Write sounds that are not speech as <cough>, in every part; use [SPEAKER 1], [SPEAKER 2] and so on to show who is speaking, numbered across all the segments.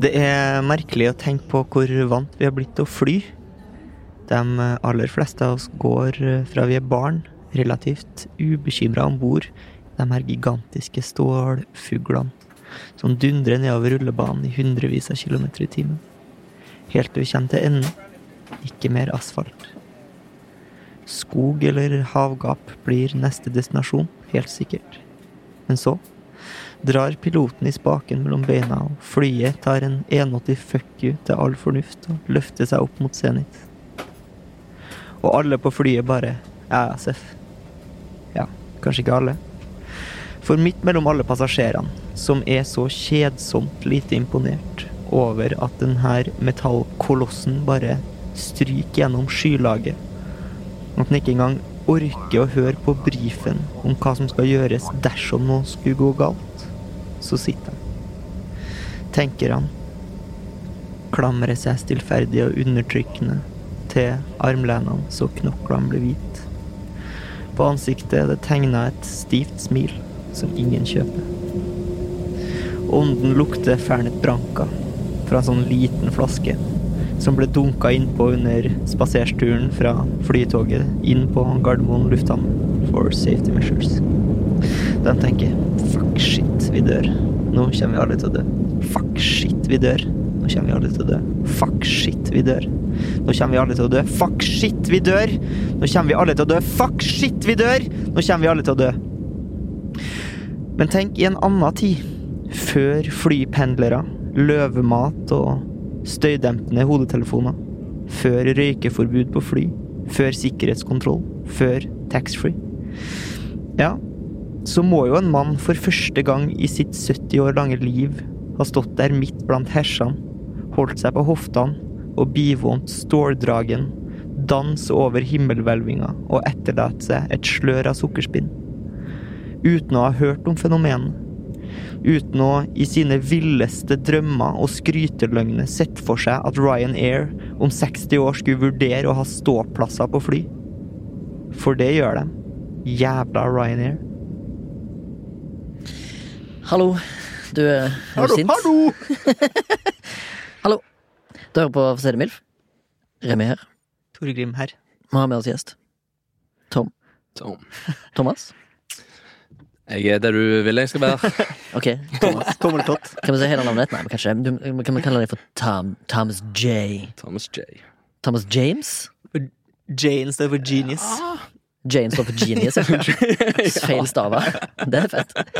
[SPEAKER 1] Det er merkelig å tenke på hvor vant vi har blitt til å fly. De aller fleste av oss går eh, fra vi er barn, relativt ubekymra om bord, de her gigantiske stålfuglene som dundrer nedover rullebanen i hundrevis av kilometer i timen. Helt til vi kommer til enden. Ikke mer asfalt. Skog eller havgap blir neste destinasjon, helt sikkert. Men så drar piloten i spaken mellom beina, og flyet tar en 81 fuck you til all fornuft og løfter seg opp mot Zenit. Og alle på flyet bare Ja, ja, Seff. Ja, kanskje ikke alle. For midt mellom alle passasjerene, som er så kjedsomt lite imponert over at denne metallkolossen bare stryker gjennom skylaget, at han ikke engang orker å høre på brifen om hva som skal gjøres dersom noe skulle gå galt, så sitter han. Tenker han. Klamrer seg stillferdig og undertrykkende til armlenene så knoklene blir hvite. På ansiktet er det tegna et stivt smil som ingen kjøper. Ånden lukter fernet branca fra en sånn liten flaske som ble dunka innpå under spasersturen fra flytoget inn på Gardermoen lufthavn for safety measures. De tenker fuck shit, vi dør. Nå kommer vi alle til å dø. Fuck shit, vi dør. Nå kommer vi alle til å dø. Fuck shit, vi dør. Nå kommer vi alle til å dø. Fuck shit, vi dør. Nå kommer vi alle til å dø. Fuck shit, vi dør. Nå kommer vi alle til å dø. Men tenk i en annen tid, før flypendlere, løvemat og støydempende hodetelefoner, før røykeforbud på fly, før sikkerhetskontroll, før taxfree. Ja, så må jo en mann for første gang i sitt 70 år lange liv ha stått der midt blant hersene, holdt seg på hoftene og bivånt ståldragen, dans over himmelhvelvinga og etterlatt seg et slør av sukkerspinn uten å ha hørt om fenomenet. Uten å i sine villeste drømmer og skryteløgner sett for seg at Ryanair om 60 år skulle vurdere å ha ståplasser på fly. For det gjør de. Jævla Ryanair.
[SPEAKER 2] Hallo, du er, er du sint? Hallo! Du hører på For å si det mildt. Remi her.
[SPEAKER 1] Torgrim <laughs> her.
[SPEAKER 2] Vi har med oss gjest. Tom.
[SPEAKER 3] Tom.
[SPEAKER 2] <laughs> Thomas.
[SPEAKER 3] Jeg er der du vil jeg skal være.
[SPEAKER 2] Ok, Thomas.
[SPEAKER 1] Tommeltott.
[SPEAKER 2] Kan vi si hele navnet ditt? Nei, men kanskje du, Kan vi kalle deg for Tom, Thomas J?
[SPEAKER 3] Thomas J.
[SPEAKER 2] Thomas James?
[SPEAKER 1] Jane står for genius.
[SPEAKER 2] Jane står for genius. Feil stava. Det er fett.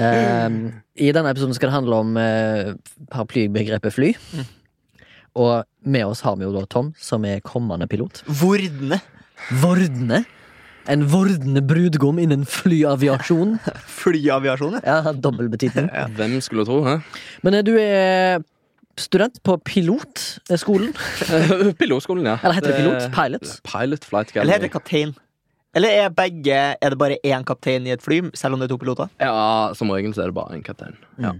[SPEAKER 2] Ehm, I denne episoden skal det handle om eh, paraplybegrepet fly. Og med oss har vi jo da Tom, som er kommende pilot.
[SPEAKER 1] Vordene.
[SPEAKER 2] Vordne. En vordende brudgom innen flyaviasjon.
[SPEAKER 1] Flyaviasjon, ja.
[SPEAKER 2] Ja, dobbel betydning.
[SPEAKER 3] Hvem skulle tro, hæ? <laughs>
[SPEAKER 2] Men eh, du er student på pilotskolen.
[SPEAKER 3] Pilotskolen, ja. Eh,
[SPEAKER 2] Eller heter det pilot? Pilot?
[SPEAKER 3] Pilot Flight
[SPEAKER 1] Eller heter
[SPEAKER 3] Academy.
[SPEAKER 1] det kaptein? Eller er begge Er det bare én kaptein i et fly, selv om det er to piloter?
[SPEAKER 3] Ja, som regel så er det bare en kaptein. Ja.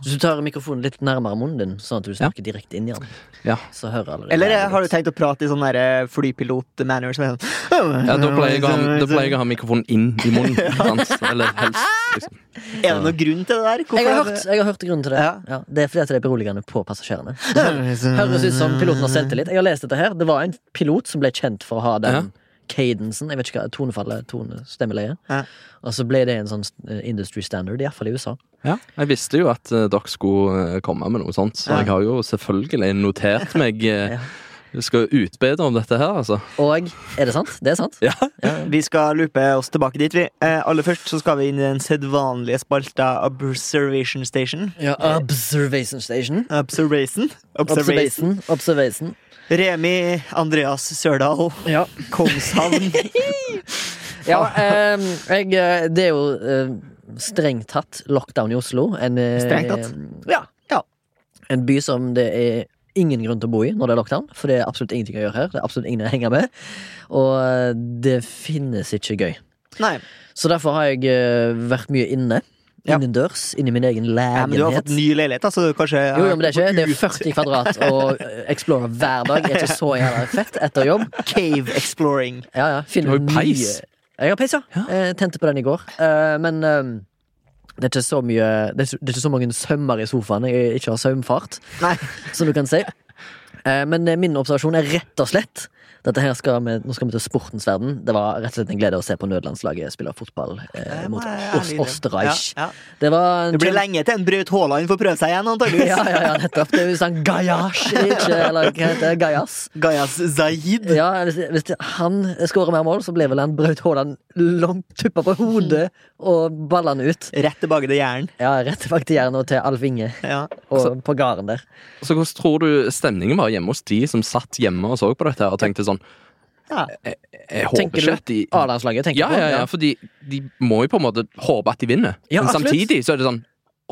[SPEAKER 2] Hvis du tar mikrofonen litt nærmere munnen din, sånn at du snakker direkte inn i den,
[SPEAKER 3] Ja.
[SPEAKER 2] så hører alle det.
[SPEAKER 1] Eller eh, har du tenkt å prate i sånn derre flypilot-manner som er sånn
[SPEAKER 3] Ja, da pleier jeg å ha,
[SPEAKER 1] <laughs>
[SPEAKER 3] da pleier jeg å ha mikrofonen inn i munnen. Sant? Eller helst, liksom.
[SPEAKER 1] Er det noen grunn til det der?
[SPEAKER 2] jeg har, hørt, jeg har hørt grunnen til det. Ja.
[SPEAKER 1] Ja.
[SPEAKER 2] det er fordi at det er beroligende på passasjerene.
[SPEAKER 3] <laughs>
[SPEAKER 2] <laughs>
[SPEAKER 1] hørt
[SPEAKER 2] Høres ut som piloten har selvtillit. Jeg har lest dette her. Det var en pilot som ble kjent for å ha den cadensen. Jeg vet ikke hva tonefallet, tone, stemmeleie.
[SPEAKER 1] Ja.
[SPEAKER 2] Og så ble det en sånn eh, industry standard, iallfall i USA.
[SPEAKER 3] Ja, jeg visste jo at eh, dere skulle eh, komme med noe sånt, så
[SPEAKER 1] Ja.
[SPEAKER 3] jeg har jo selvfølgelig notert meg eh, Jeg skal utbedre om dette her, altså.
[SPEAKER 2] Og er det sant? Det er sant.
[SPEAKER 3] Ja.
[SPEAKER 1] Vi skal loope oss tilbake dit, vi. Eh, aller først så skal vi inn i den sedvanlige spalta Observation Station.
[SPEAKER 2] Ja, observation station.
[SPEAKER 1] Observation. Observation.
[SPEAKER 2] Observation. Observation.
[SPEAKER 1] Remi Andreas Sørdal.
[SPEAKER 2] Ja. <laughs>
[SPEAKER 1] Kongshavn.
[SPEAKER 2] Ja, ehm, jeg, eh, det er jo eh, strengt tatt lockdown i Oslo. En, eh,
[SPEAKER 1] Strengt tatt?
[SPEAKER 2] Ja.
[SPEAKER 1] Ja.
[SPEAKER 2] En by som det er ingen grunn til å bo i når det er lockdown, for det er absolutt ingenting å gjøre her. Det er absolutt ingen å henge med, og eh, det finnes ikke gøy.
[SPEAKER 1] Nei,
[SPEAKER 2] Så derfor har jeg eh, vært mye inne.
[SPEAKER 1] Ja.
[SPEAKER 2] Innendørs, inni min egen
[SPEAKER 1] ja, men du har fått
[SPEAKER 2] leilighet.
[SPEAKER 1] ny leilighet, da, så du kanskje
[SPEAKER 2] Jo, jo, men det er ikke Det er 40 kvadrat og eh, Explorer hver dag. Er ikke så jævla fett etter jobb.
[SPEAKER 1] <laughs> Cave exploring.
[SPEAKER 2] Ja, ja, finne
[SPEAKER 3] Du har jo
[SPEAKER 2] nye-
[SPEAKER 3] peis.
[SPEAKER 2] Jeg har peis, ja.
[SPEAKER 3] Ja.
[SPEAKER 2] Jeg tente på den i går. Eh, men eh, det er ikke så mye Det er ikke- det er ikke så mange sømmer i sofaen. Jeg ikke har sømfart,
[SPEAKER 1] Nei.
[SPEAKER 2] som du kan si. Eh, men eh, min observasjon er rett og slett dette her skal vi, Nå skal vi til sportens verden. Det var rett og slett en glede å se på nødlandslaget spille fotball eh,
[SPEAKER 1] Det må
[SPEAKER 2] mot
[SPEAKER 1] jeg
[SPEAKER 2] Os-
[SPEAKER 1] ærlig innrømme.
[SPEAKER 2] Osterreich.
[SPEAKER 1] Ja, ja.
[SPEAKER 2] Det var en
[SPEAKER 1] Det blir
[SPEAKER 2] kjempe-
[SPEAKER 1] lenge til en Braut Haaland får prøve seg igjen,
[SPEAKER 2] <laughs>
[SPEAKER 1] antageligvis.
[SPEAKER 2] ja, ja, ja, nettopp. Det er jo sånn gajasj, ikke Eller hva heter det? Gajas.
[SPEAKER 1] Gaias Zaid.
[SPEAKER 2] Ja, hvis, hvis han skårer mer mål, så blir vel han Braut Haaland langt tuppa på hodet og ballene ut.
[SPEAKER 1] Rett tilbake til Jæren.
[SPEAKER 2] Ja, rett tilbake til Jæren og til Alf Inge
[SPEAKER 1] Ja.
[SPEAKER 3] Altså-
[SPEAKER 2] og på gården der.
[SPEAKER 3] Så hvordan tror du stemningen var hjemme hos de som satt hjemme og så på dette her og tenkte sånn
[SPEAKER 1] Ja.
[SPEAKER 3] Jeg håper
[SPEAKER 2] du
[SPEAKER 3] ikke at de
[SPEAKER 2] A-landslaget, tenker
[SPEAKER 3] Ja,
[SPEAKER 2] du på?
[SPEAKER 3] ja, ja, for de, de må jo på en måte håpe at de vinner.
[SPEAKER 2] Ja,
[SPEAKER 3] Men
[SPEAKER 2] absolutt.
[SPEAKER 3] samtidig så er det sånn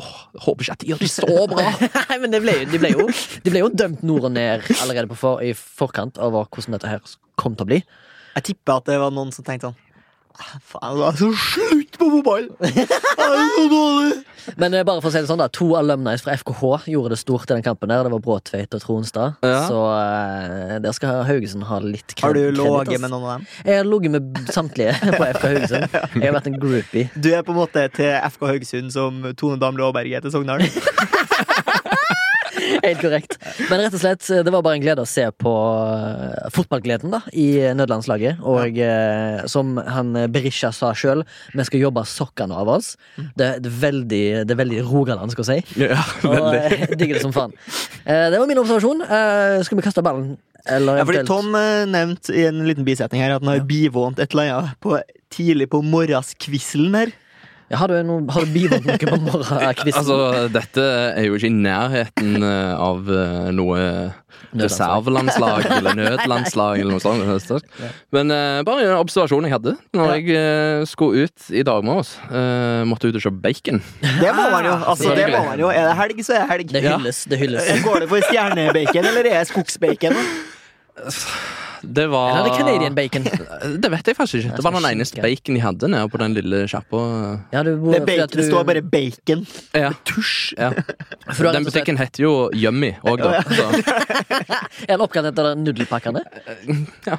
[SPEAKER 3] Åh, jeg håper ikke at
[SPEAKER 2] <laughs>
[SPEAKER 3] de gjør det så bra!
[SPEAKER 2] Nei, men det ble, jo- de, ble jo, de ble jo dømt nord og ned allerede på for, i forkant over hvordan dette her kom til å bli.
[SPEAKER 1] Jeg tipper at det var noen som tenkte sånn "Ah, Faen, det er så slutt på
[SPEAKER 2] <laughs>
[SPEAKER 1] fotball! Det er så dårlig!
[SPEAKER 2] Men eh, bare for å si det sånn da to alumnis fra FKH gjorde det stort i den kampen. der Det var Bråtveit og Tronstad.
[SPEAKER 3] Ja.
[SPEAKER 2] Så eh, der skal Haugesund ha litt kred-
[SPEAKER 1] Har du
[SPEAKER 2] kreditt, ass.
[SPEAKER 1] ligget med noen av dem?
[SPEAKER 2] Jeg har ligget med samtlige <laughs> på FK Haugesund. Jeg har vært en groupie.
[SPEAKER 1] Du er på en måte til FK Haugesund som Tone Damli Aaberge er til Sogndal.
[SPEAKER 2] Helt korrekt. Men rett og slett, eh, det var bare en glede å se på eh, fotballgleden da, i eh, nødlandslaget. Og eh, som han eh, Berisha sa sjøl, vi skal jobbe sokkene av oss.
[SPEAKER 1] Mm.
[SPEAKER 2] Det, det, er veldig, det er veldig Rogaland, skal
[SPEAKER 1] <laughs>
[SPEAKER 2] jeg si.
[SPEAKER 3] Ja, <laughs>
[SPEAKER 2] Og
[SPEAKER 3] veldig.
[SPEAKER 2] eh, digger det som faen. Eh, det var min observasjon. Eh, skal vi kaste ballen? Eller
[SPEAKER 1] Ja, fordi
[SPEAKER 2] eventuelt
[SPEAKER 1] Tom eh, nevnte i en liten bisetning her at han har bivånt et eller annet på, tidlig på morgenskvisselen her.
[SPEAKER 2] ja, Har du, noe- har du bivånt noe på
[SPEAKER 1] <laughs>
[SPEAKER 2] morgenkvisten?
[SPEAKER 3] Altså, dette er jo ikke i nærheten eh, av eh, noe
[SPEAKER 2] <laughs>
[SPEAKER 3] reservelandslag eller nødlandslag eller noe sånt. det er sterkt. Men eh, bare en observasjon jeg hadde når jeg eh, skulle ut i dag morges. eh, måtte ut og kjøpe bacon.
[SPEAKER 1] Det må man jo. Altså, det
[SPEAKER 3] Selvfølgelig.
[SPEAKER 1] må man jo. Er det helg, så er det helg.
[SPEAKER 2] Ah, det
[SPEAKER 1] Eh,
[SPEAKER 2] hylles. Det hylles.
[SPEAKER 1] Går det for stjernebacon, eller er det skogsbacon?
[SPEAKER 2] <laughs>
[SPEAKER 3] Det var Eh,
[SPEAKER 2] Eller er det Canadian bacon?
[SPEAKER 3] Det vet jeg faktisk ikke. Det var den eneste bacon de hadde nede på den lille sjappa. eh,
[SPEAKER 2] Ja, du, fordi
[SPEAKER 1] Det, er
[SPEAKER 2] at
[SPEAKER 1] bacon, det
[SPEAKER 2] du-
[SPEAKER 1] står bare bacon.
[SPEAKER 3] Ja. Tusj.
[SPEAKER 2] <laughs>
[SPEAKER 3] Ja.
[SPEAKER 2] For du har
[SPEAKER 3] Den
[SPEAKER 2] rett og slett-
[SPEAKER 3] butikken heter jo Yummy òg, da.
[SPEAKER 2] <laughs>
[SPEAKER 3] Så,
[SPEAKER 2] Er den oppkalt etter nudelpakkene?
[SPEAKER 3] ja.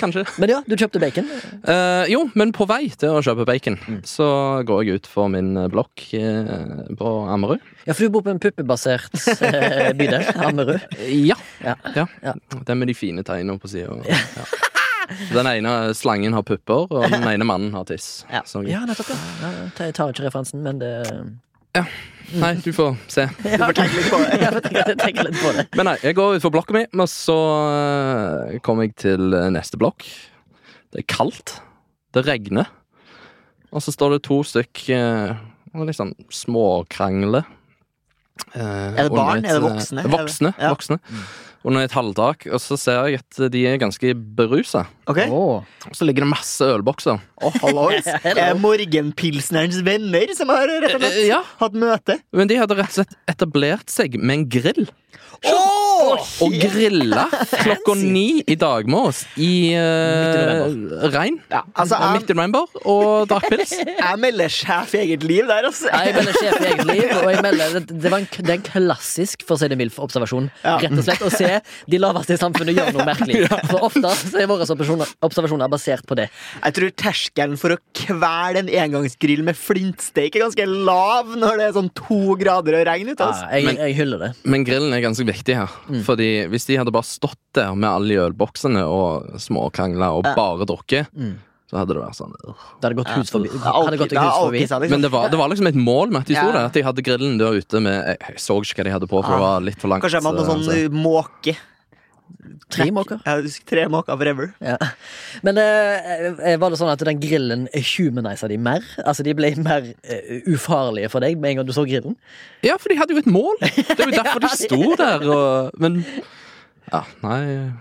[SPEAKER 3] Kanskje.
[SPEAKER 2] Men ja, du kjøpte bacon.
[SPEAKER 3] Eh, jo, men på vei til å kjøpe bacon,
[SPEAKER 2] Mm.
[SPEAKER 3] så går jeg ut for min eh, blokk eh, på Ammerud.
[SPEAKER 2] Ja, for du bor på en puppebasert eh, bydel. Ammerud.
[SPEAKER 3] Ja.
[SPEAKER 2] Ja. Ja.
[SPEAKER 3] Den med de fine tegnene på sida. Ja. Den ene slangen har pupper, og
[SPEAKER 2] <laughs>
[SPEAKER 3] den ene mannen har tiss.
[SPEAKER 1] Ja.
[SPEAKER 3] Så-
[SPEAKER 2] Ja, nettopp. Ja. Ja, ja. Jeg tar ikke referansen, men det
[SPEAKER 3] Nei, du får se.
[SPEAKER 1] Du får tenke litt på
[SPEAKER 2] <laughs>
[SPEAKER 1] det.
[SPEAKER 2] Jeg tenker- jeg tenker litt på det.
[SPEAKER 3] Men nei, jeg går ut for blokka mi, og så eh, kommer jeg til eh, neste blokk. Det er kaldt. Det regner. Og så står det to stykk eh, og liksom småkrangler. eh,
[SPEAKER 1] Er det barn? Er det voksne?
[SPEAKER 3] Voksne.
[SPEAKER 1] Ja.
[SPEAKER 3] voksne. Under et halvtak. Og så ser jeg at de er ganske berusa.
[SPEAKER 1] Ok?
[SPEAKER 2] Åh.
[SPEAKER 3] Og så ligger det masse ølbokser.
[SPEAKER 1] Å,
[SPEAKER 2] <laughs>
[SPEAKER 1] hallois. Er morgenpilsnerens venner som har rett og slett
[SPEAKER 3] Eh, ja.
[SPEAKER 1] hatt møte?
[SPEAKER 3] Men de hadde rett og slett etablert seg med en grill. Og grilla klokka ni i dag med oss i eh, regn.
[SPEAKER 1] Ja, altså,
[SPEAKER 3] Ja,
[SPEAKER 1] jeg,
[SPEAKER 3] Midt i november og drakk pils.
[SPEAKER 1] jeg melder sjef i eget liv der, altså.
[SPEAKER 2] Nei, Jeg melder sjef i eget liv, og jeg melder, det, det, var en, det er en klassisk for å si det mildt, observasjon.
[SPEAKER 1] Ja.
[SPEAKER 2] Rett og slett Å se de laveste i samfunnet gjøre noe merkelig.
[SPEAKER 1] <laughs>
[SPEAKER 2] For ofte så er våre observasjoner, observasjoner basert på det.
[SPEAKER 1] Jeg tror terskelen for å kvele en engangsgrill med flintsteik er ganske lav når det er sånn to grader og regn ute.
[SPEAKER 2] Ja,
[SPEAKER 1] Altså.
[SPEAKER 2] jeg,
[SPEAKER 3] Men-
[SPEAKER 2] jeg hyller det.
[SPEAKER 3] <laughs> Men grillen er ganske viktig her.
[SPEAKER 1] Mm.
[SPEAKER 3] Fordi hvis de hadde bare stått der med alle de ølboksene og småkrangla og
[SPEAKER 1] Ja.
[SPEAKER 3] bare drukket,
[SPEAKER 2] Mm.
[SPEAKER 3] så hadde det vært sånn øh.
[SPEAKER 2] Det hadde gått hus forbi.
[SPEAKER 1] Det er
[SPEAKER 2] Hadde
[SPEAKER 1] alltid-
[SPEAKER 2] gått
[SPEAKER 1] det er
[SPEAKER 2] hus forbi.
[SPEAKER 1] alltid sånn, liksom.
[SPEAKER 3] Men det var, det var liksom et mål med at de sto
[SPEAKER 1] Ja. Ah.
[SPEAKER 3] der. At de hadde grillen der ute med Jeg, jeg så ikke hva de hadde på, for det var litt for langt.
[SPEAKER 1] Kanskje de hadde noe
[SPEAKER 3] eh,
[SPEAKER 1] sånn måke.
[SPEAKER 2] Tre måker.
[SPEAKER 1] Ja, tre måker forever.
[SPEAKER 2] Ja. Men eh, var det sånn at den grillen humaniza de mer? Altså De ble mer eh, ufarlige for deg med en gang du så grillen?
[SPEAKER 3] så- Ja, for de hadde jo
[SPEAKER 1] <laughs>
[SPEAKER 3] et mål! Det er jo derfor
[SPEAKER 2] Ja,
[SPEAKER 3] de sto der og Men Ja, nei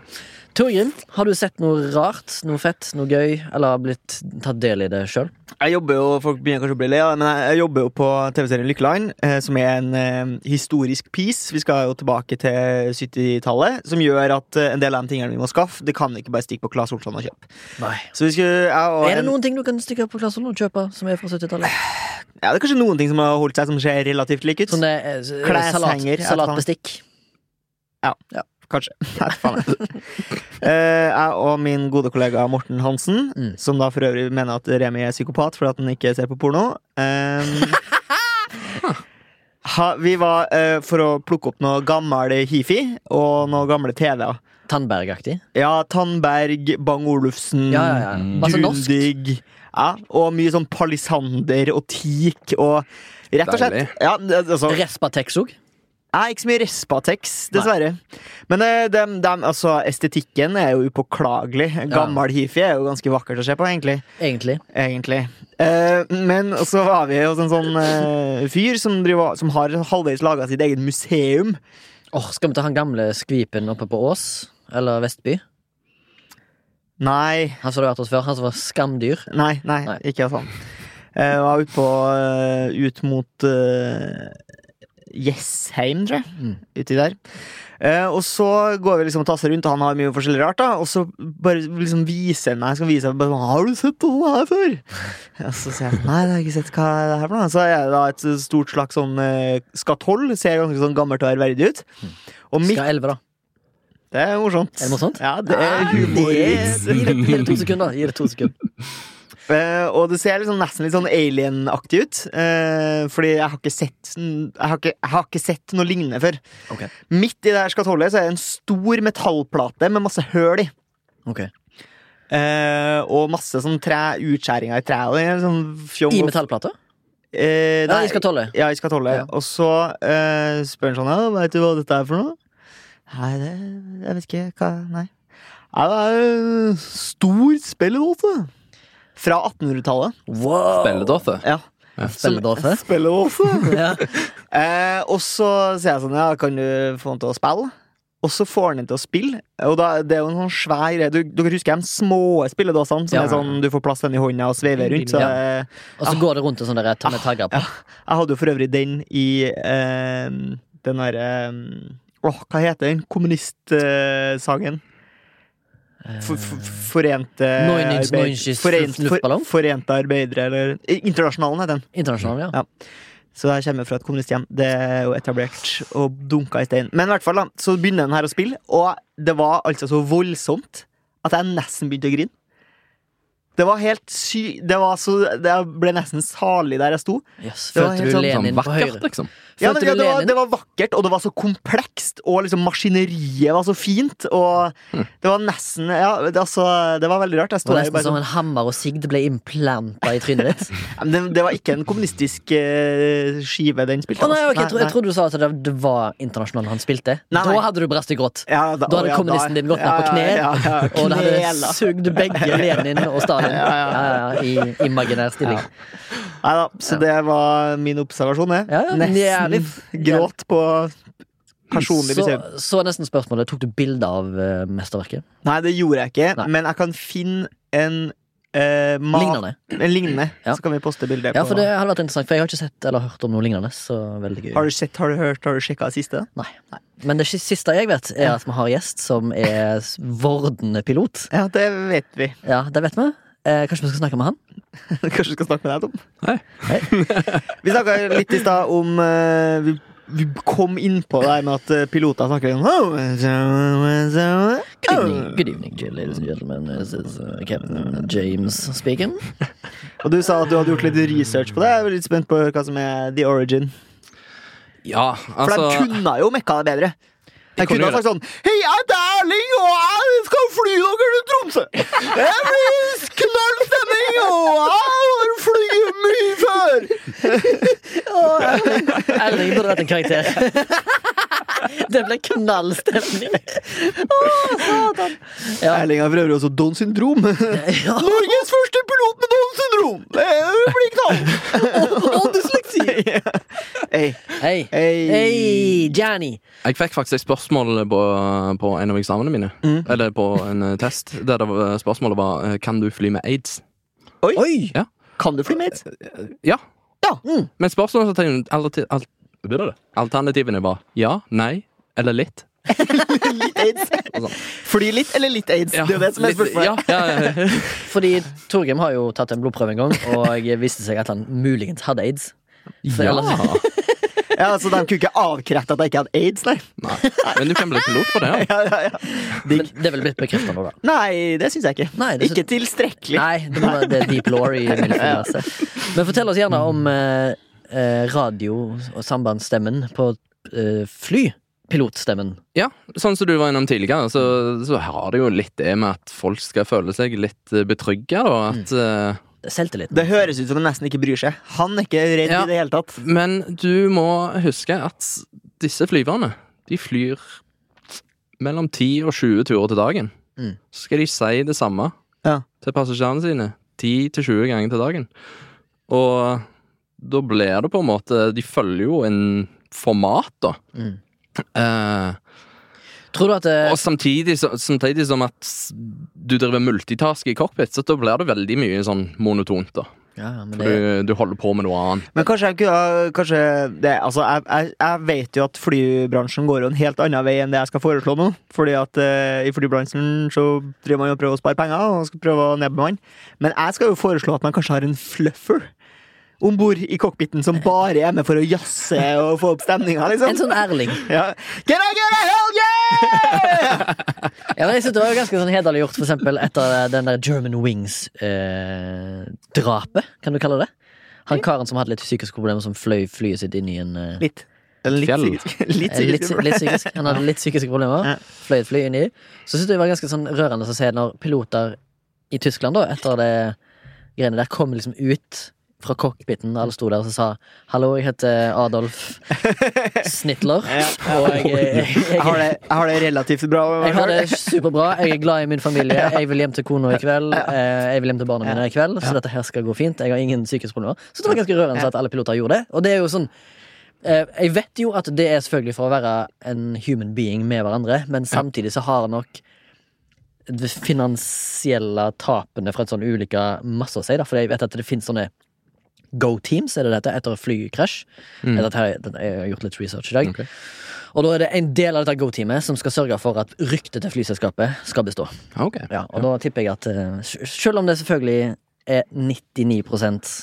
[SPEAKER 2] Torgrim, har du sett noe rart, noe fett, noe gøy, eller har blitt tatt del i det sjøl?
[SPEAKER 1] Jeg jobber jo, Folk begynner kanskje å bli lei av det, men jeg, jeg jobber jo på TV-serien Lykkeland, eh, som er en eh, historisk piece. Vi skal jo tilbake til 70-tallet, som gjør at eh, en del av de tingene vi må skaffe, det kan vi ikke bare stikke på Claes Olsson og kjøpe.
[SPEAKER 2] Nei.
[SPEAKER 1] Så vi skulle, jeg og
[SPEAKER 2] Er det
[SPEAKER 1] en- Eh,
[SPEAKER 2] noen ting du kan stikke opp på klassen og kjøpe som er fra 70-tallet?
[SPEAKER 1] Ja, det er kanskje noen ting som har holdt seg, som ser relativt like ut.
[SPEAKER 2] Sånn det er s- salat,
[SPEAKER 1] Kleshenger,
[SPEAKER 2] salatbestikk.
[SPEAKER 1] Kanskje. <laughs> Nei, faen jeg. Eh, jeg og min gode kollega Morten Hansen,
[SPEAKER 2] Mm.
[SPEAKER 1] som da for øvrig mener at Remi er psykopat fordi at han ikke ser på porno
[SPEAKER 2] <laughs>
[SPEAKER 1] ehm, ha, Vi var eh, for å plukke opp noe gammel hifi og noe gamle TV-er.
[SPEAKER 2] Tandberg-aktig.
[SPEAKER 1] Ja, Tandberg, Bang Olufsen,
[SPEAKER 2] Ja, ja, ja.
[SPEAKER 3] Mm.
[SPEAKER 2] Masse norsk.
[SPEAKER 1] Grundig. Ja, og mye sånn palisander og teak og Rett og slett.
[SPEAKER 3] Deilig.
[SPEAKER 1] Ja, altså,
[SPEAKER 2] Respatex òg.
[SPEAKER 1] Nei, ikke så mye Respatex, dessverre. Men eh, dem- dem- altså, estetikken er jo upåklagelig. Gammel hifi er jo ganske vakkert å se på, egentlig.
[SPEAKER 2] Egentlig.
[SPEAKER 1] egentlig. Eh, men så har vi hos en sånn eh, fyr som, driver, som har halvveis laga sitt eget museum.
[SPEAKER 2] Åh, skal vi ta han gamle skvipen oppe på Ås? Eller Vestby?
[SPEAKER 1] Nei,
[SPEAKER 2] Han som du har vært hos før, han som var skamdyr.
[SPEAKER 1] nei, nei,
[SPEAKER 2] Nei.
[SPEAKER 1] ikke sånn. Eh, var ute på eh, Ut mot eh, Jessheim, tror jeg.
[SPEAKER 2] Mm.
[SPEAKER 1] Uti der. Eh, og så går vi liksom og tasser rundt, og han har mye forskjellig rart. da Og så bare liksom viser han meg skal vise meg, bare, sånn, Har du sett noe her før? <laughs> Og så sier jeg nei, det har jeg ikke sett. Hva er det her for noe? Så er det da et stort slags sånn eh, skatoll. Ser ganske sånn gammelt og ærverdig ut. Og
[SPEAKER 2] Mm.
[SPEAKER 1] midt
[SPEAKER 2] Skal 11, da.
[SPEAKER 1] Det er morsomt.
[SPEAKER 2] Er det morsomt?
[SPEAKER 1] Ja, det er
[SPEAKER 2] Ah,
[SPEAKER 1] humorvits.
[SPEAKER 2] det- Gi det, gi det to sekunder. Gi det to sekunder.
[SPEAKER 1] Eh, og det ser liksom nesten litt sånn alien-aktig ut. eh, fordi jeg har ikke sett Jeg har ikke, jeg har ikke sett noe lignende før.
[SPEAKER 2] Ok.
[SPEAKER 1] Midt i det her skatollet så er det en stor metallplate med masse høl i.
[SPEAKER 2] Ok.
[SPEAKER 1] Eh, og masse sånn tre, utskjæringer i treet. og det er Sånn fjong
[SPEAKER 2] I
[SPEAKER 1] og-
[SPEAKER 2] metallplata?
[SPEAKER 1] Eh,
[SPEAKER 2] Ja,
[SPEAKER 1] nei,
[SPEAKER 2] i skatollet.
[SPEAKER 1] Ja, i skatollet.
[SPEAKER 2] Ja.
[SPEAKER 1] Og så eh, spør han sånn ja, Veit du hva dette er for noe? Nei, det Jeg vet ikke. Hva Nei. Ja, det er en stor spelledåse. altså. Fra 1800-tallet.
[SPEAKER 2] Wow.
[SPEAKER 3] Belledorfe.
[SPEAKER 1] Ja.
[SPEAKER 2] Spelledåse? <laughs>
[SPEAKER 1] Spelledåse. <laughs>
[SPEAKER 2] Ja.
[SPEAKER 1] Eh, og så sier jeg sånn, ja, kan du få han til å spille? Og så får han den til å spille. Og da, det er jo en sånn svær greie. Du- Dere husker de små spilledåsene? Som
[SPEAKER 2] Ja.
[SPEAKER 1] er sånn, du får plass til den i hånda og sveiver rundt. Så,
[SPEAKER 2] Ja.
[SPEAKER 1] eh,
[SPEAKER 2] Og så går det rundt en sånn der ta- med tagger på.
[SPEAKER 1] jeg hadde jo for øvrig den i eh, den derre eh, Åh, hva heter den kommunistsangen?
[SPEAKER 2] Eh,
[SPEAKER 1] For, for, forente
[SPEAKER 2] Neun inch, neun inch
[SPEAKER 1] Forent-
[SPEAKER 2] luftballong?
[SPEAKER 1] for, Forente arbeidere, eller eh, Internasjonalen heter den.
[SPEAKER 2] Internasjonal, ja.
[SPEAKER 1] Ja. Så jeg kommer fra et kommunisthjem. Det er jo etablert og dunka i stein. Men i hvert fall da, så begynner den her å spille, og det var altså så voldsomt at jeg nesten begynte å grine. Det var helt sy... Det var så Jeg ble nesten salig der jeg sto.
[SPEAKER 2] Yes.
[SPEAKER 1] Det var
[SPEAKER 2] Følte
[SPEAKER 1] helt
[SPEAKER 2] du
[SPEAKER 1] sånn-
[SPEAKER 2] Lenin
[SPEAKER 3] Sånn
[SPEAKER 2] på høyre?
[SPEAKER 3] vakkert, liksom.
[SPEAKER 1] Ja, men,
[SPEAKER 2] Følte
[SPEAKER 1] ja,
[SPEAKER 2] du
[SPEAKER 1] det, var,
[SPEAKER 2] Lenin?
[SPEAKER 1] det var vakkert, og det var så komplekst, og liksom maskineriet var så fint, og det var nesten Ja, det, altså, Hm. det var veldig rart.
[SPEAKER 2] Det
[SPEAKER 1] Jeg sto
[SPEAKER 2] var nesten
[SPEAKER 1] der bare
[SPEAKER 2] som en
[SPEAKER 1] sånn
[SPEAKER 2] hammer og sigd ble implanta i trynet ditt.
[SPEAKER 1] <laughs> Ja, men det, det var ikke en kommunistisk eh, skive den
[SPEAKER 2] Å
[SPEAKER 1] spilte.
[SPEAKER 2] nei,
[SPEAKER 1] altså.
[SPEAKER 2] ok, jeg, tro, jeg trodde du sa at det, det var internasjonal han spilte.
[SPEAKER 1] Nei,
[SPEAKER 2] Da
[SPEAKER 1] nei.
[SPEAKER 2] hadde du brast i gråt.
[SPEAKER 1] Ja,
[SPEAKER 2] Da hadde
[SPEAKER 1] å, ja,
[SPEAKER 2] kommunisten din gått ned på kne,
[SPEAKER 1] ja, ja, ja,
[SPEAKER 2] Og det hadde
[SPEAKER 1] knela.
[SPEAKER 2] sugd begge Lenin og Stalin ja,
[SPEAKER 1] <laughs> ja,
[SPEAKER 2] ja, i imaginær stilling.
[SPEAKER 1] Nei da, så det var min observasjon, det.
[SPEAKER 2] Ja, ja, men det er
[SPEAKER 1] Nesten gråt på personlig
[SPEAKER 2] Så,
[SPEAKER 1] museum.
[SPEAKER 2] så er nesten spørsmålet Tok du bilde av eh, mesterverket?
[SPEAKER 1] Nei, det gjorde jeg ikke,
[SPEAKER 2] Nei.
[SPEAKER 1] men jeg kan finne en eh, ma-
[SPEAKER 2] Lignende.
[SPEAKER 1] En lignende.
[SPEAKER 2] Ja.
[SPEAKER 1] Så kan vi poste bilde.
[SPEAKER 2] Ja,
[SPEAKER 1] på-
[SPEAKER 2] for det hadde vært interessant, for jeg har ikke sett eller hørt om noe lignende. Så veldig gøy
[SPEAKER 1] Har du sett, har du hørt, har du sjekka det siste?
[SPEAKER 2] Men det si- siste jeg vet, er at vi har gjest som er s- vordende pilot.
[SPEAKER 1] Ja, det vet vi.
[SPEAKER 2] Ja, det vet vi. Eh, kanskje vi skal snakke med han?
[SPEAKER 1] Kanskje vi skal snakke med deg, Tom?
[SPEAKER 3] Nei.
[SPEAKER 1] vi snakka litt i stad om eh, vi, vi kom innpå det her med at eh, piloter snakker litt sånn
[SPEAKER 2] Good evening, good evening, dear ladies and gentlemen. This is uh, Captain James speaking.
[SPEAKER 1] Og du sa at du hadde gjort litt research på det. Jeg er litt spent på hva som er the origin.
[SPEAKER 3] Ja,
[SPEAKER 1] For de
[SPEAKER 3] altså
[SPEAKER 1] kunne jo mekka det bedre. De
[SPEAKER 3] De kunne
[SPEAKER 1] kunne ha
[SPEAKER 3] jo
[SPEAKER 1] sagt sånn Hei, jeg heter Erling, og jeg skal fly dere til Tromsø! Det blir knallstemning, og jeg har flydd mye før!
[SPEAKER 2] Erling burde vært en karakter. <laughs> Det ble
[SPEAKER 1] <laughs>
[SPEAKER 2] knallstemning. Ja.
[SPEAKER 1] Erling har for øvrig også Downs syndrom.
[SPEAKER 2] Ja,
[SPEAKER 1] Norges første pilot med Downs syndrom! Det blir knall!
[SPEAKER 2] og dysleksi! sier.
[SPEAKER 1] Ei,
[SPEAKER 2] Hei.
[SPEAKER 1] ei.
[SPEAKER 2] Hei, Johnny!
[SPEAKER 3] Jeg fikk faktisk et spørsmål på, på en av eksamene mine.
[SPEAKER 1] Mm.
[SPEAKER 3] Eller på en eh, test. Der det var, spørsmålet var eh, Kan du fly med aids.
[SPEAKER 2] Oi!
[SPEAKER 3] Ja.
[SPEAKER 1] Kan du fly med hit?
[SPEAKER 3] Ja.
[SPEAKER 1] Ja.
[SPEAKER 2] Mm.
[SPEAKER 3] Men spørsmålet som tegnet- alter- al- alternativene var ja, nei eller litt.
[SPEAKER 1] Litt <laughs> aids. sånn. Fly litt eller litt aids?
[SPEAKER 3] Ja,
[SPEAKER 1] Det er jo det som er
[SPEAKER 3] litt-
[SPEAKER 1] spørsmålet.
[SPEAKER 3] Ja, ja,
[SPEAKER 1] <laughs>
[SPEAKER 3] ja.
[SPEAKER 2] Fordi Torgrim har jo tatt en blodprøve en gang, og viste seg at han muligens hadde aids. For ellers-
[SPEAKER 3] ja.
[SPEAKER 1] Ja, altså, De kunne ikke avkrefte at jeg ikke hadde aids, nei.
[SPEAKER 3] Nei. Men du kan bli pilot for det. Ja.
[SPEAKER 1] <laughs> Ja, ja, ja.
[SPEAKER 2] Men det er vel blitt bekrefta nå, da.
[SPEAKER 1] Nei, det syns jeg ikke.
[SPEAKER 2] Nei, det syns-
[SPEAKER 1] Ikke tilstrekkelig.
[SPEAKER 2] Nei, det, må, være- det er deep lore i Milfjordglasset. Men fortell oss gjerne om eh, eh, radio- og sambandsstemmen på eh, fly. Pilotstemmen.
[SPEAKER 3] Ja, sånn som du var innom tidligere, så, så har det jo litt det med at folk skal føle seg litt eh, betrygget, da. At,
[SPEAKER 1] Mm.
[SPEAKER 3] eh,
[SPEAKER 2] Selvtilliten.
[SPEAKER 1] Det høres ut som han nesten ikke bryr seg. Han er ikke redd
[SPEAKER 3] Ja.
[SPEAKER 1] i det hele tatt.
[SPEAKER 3] men du må huske at disse flyverne, de flyr mellom 10 og 20 turer til dagen.
[SPEAKER 2] Mm.
[SPEAKER 3] Så skal de si det samme
[SPEAKER 1] Ja.
[SPEAKER 3] til passasjerene sine 10 til 20 ganger til dagen. Og da blir det på en måte De følger jo en format, da.
[SPEAKER 2] Mm.
[SPEAKER 3] Eh,
[SPEAKER 2] Tror du at eh,
[SPEAKER 3] Og samtidig, så- samtidig som at s- du driver multitask i cockpit, så da blir det veldig mye sånn monotont. da.
[SPEAKER 2] ja, ja, men
[SPEAKER 3] For
[SPEAKER 2] det,
[SPEAKER 3] du, du holder på med noe annet.
[SPEAKER 1] Men kanskje jeg kunne ha- Kanskje det, altså jeg, jeg, jeg vet jo at flybransjen går jo en helt annen vei enn det jeg skal foreslå nå. Fordi at eh, i flybransjen så driver man jo og prøver å spare penger og skal prøve å nedbemanne. Men jeg skal jo foreslå at man kanskje har en fluffer om bord i cockpiten som bare er med for å jazze og få opp stemninga,
[SPEAKER 2] En
[SPEAKER 1] liksom.
[SPEAKER 2] sånn ærling.
[SPEAKER 1] Ja. Can I get a hell yeah?
[SPEAKER 2] Ja, men jeg synes Det var jo ganske sånn hederlig gjort for eksempel, etter eh, den der German Wings-drapet, kan du kalle det. Han karen som hadde litt psykiske problemer, som fløy flyet sitt inn i en eh,
[SPEAKER 1] Litt. Eller litt
[SPEAKER 3] Fjell.
[SPEAKER 1] psykisk. Litt
[SPEAKER 2] Eh, Litt,
[SPEAKER 1] psykisk.
[SPEAKER 2] litt psykisk. <laughs> Han hadde litt psykiske problemer.
[SPEAKER 1] Ja.
[SPEAKER 2] Fløy et fly inn i. Så synes jeg det var ganske sånn rørende å se når piloter i Tyskland, da, etter det greiene der, kom liksom ut fra cockpiten. Alle sto der og så sa 'Hallo, jeg heter <laughs> Adolf Snitler'. Og jeg, jeg,
[SPEAKER 1] Jeg har
[SPEAKER 2] jeg,
[SPEAKER 1] det, jeg har det relativt bra. med meg
[SPEAKER 2] jeg har
[SPEAKER 1] selv.
[SPEAKER 2] det superbra. Jeg er glad i min familie. Jeg vil hjem til kona i kveld. eh, Jeg vil hjem til barna mine i kveld, så dette her skal gå fint. Jeg har ingen psykiske problemer. Så det var ganske rørende at alle piloter gjorde det. Og det er jo sånn Eh, Jeg vet jo at det er selvfølgelig for å være en human being med hverandre, men samtidig så har nok det finansielle tapene fra en sånn ulykke masse å si, da, for jeg vet at det finnes sånne Go-teams, er det dette, etter flykrasj. Etter at jeg, jeg har gjort litt research i dag.
[SPEAKER 3] Ok.
[SPEAKER 2] Og da er det en del av dette Go-teamet som skal sørge for at ryktet til flyselskapet skal bestå.
[SPEAKER 3] Ja, ok.
[SPEAKER 2] Ja, og da tipper jeg at eh, sj- Selv om det selvfølgelig er 99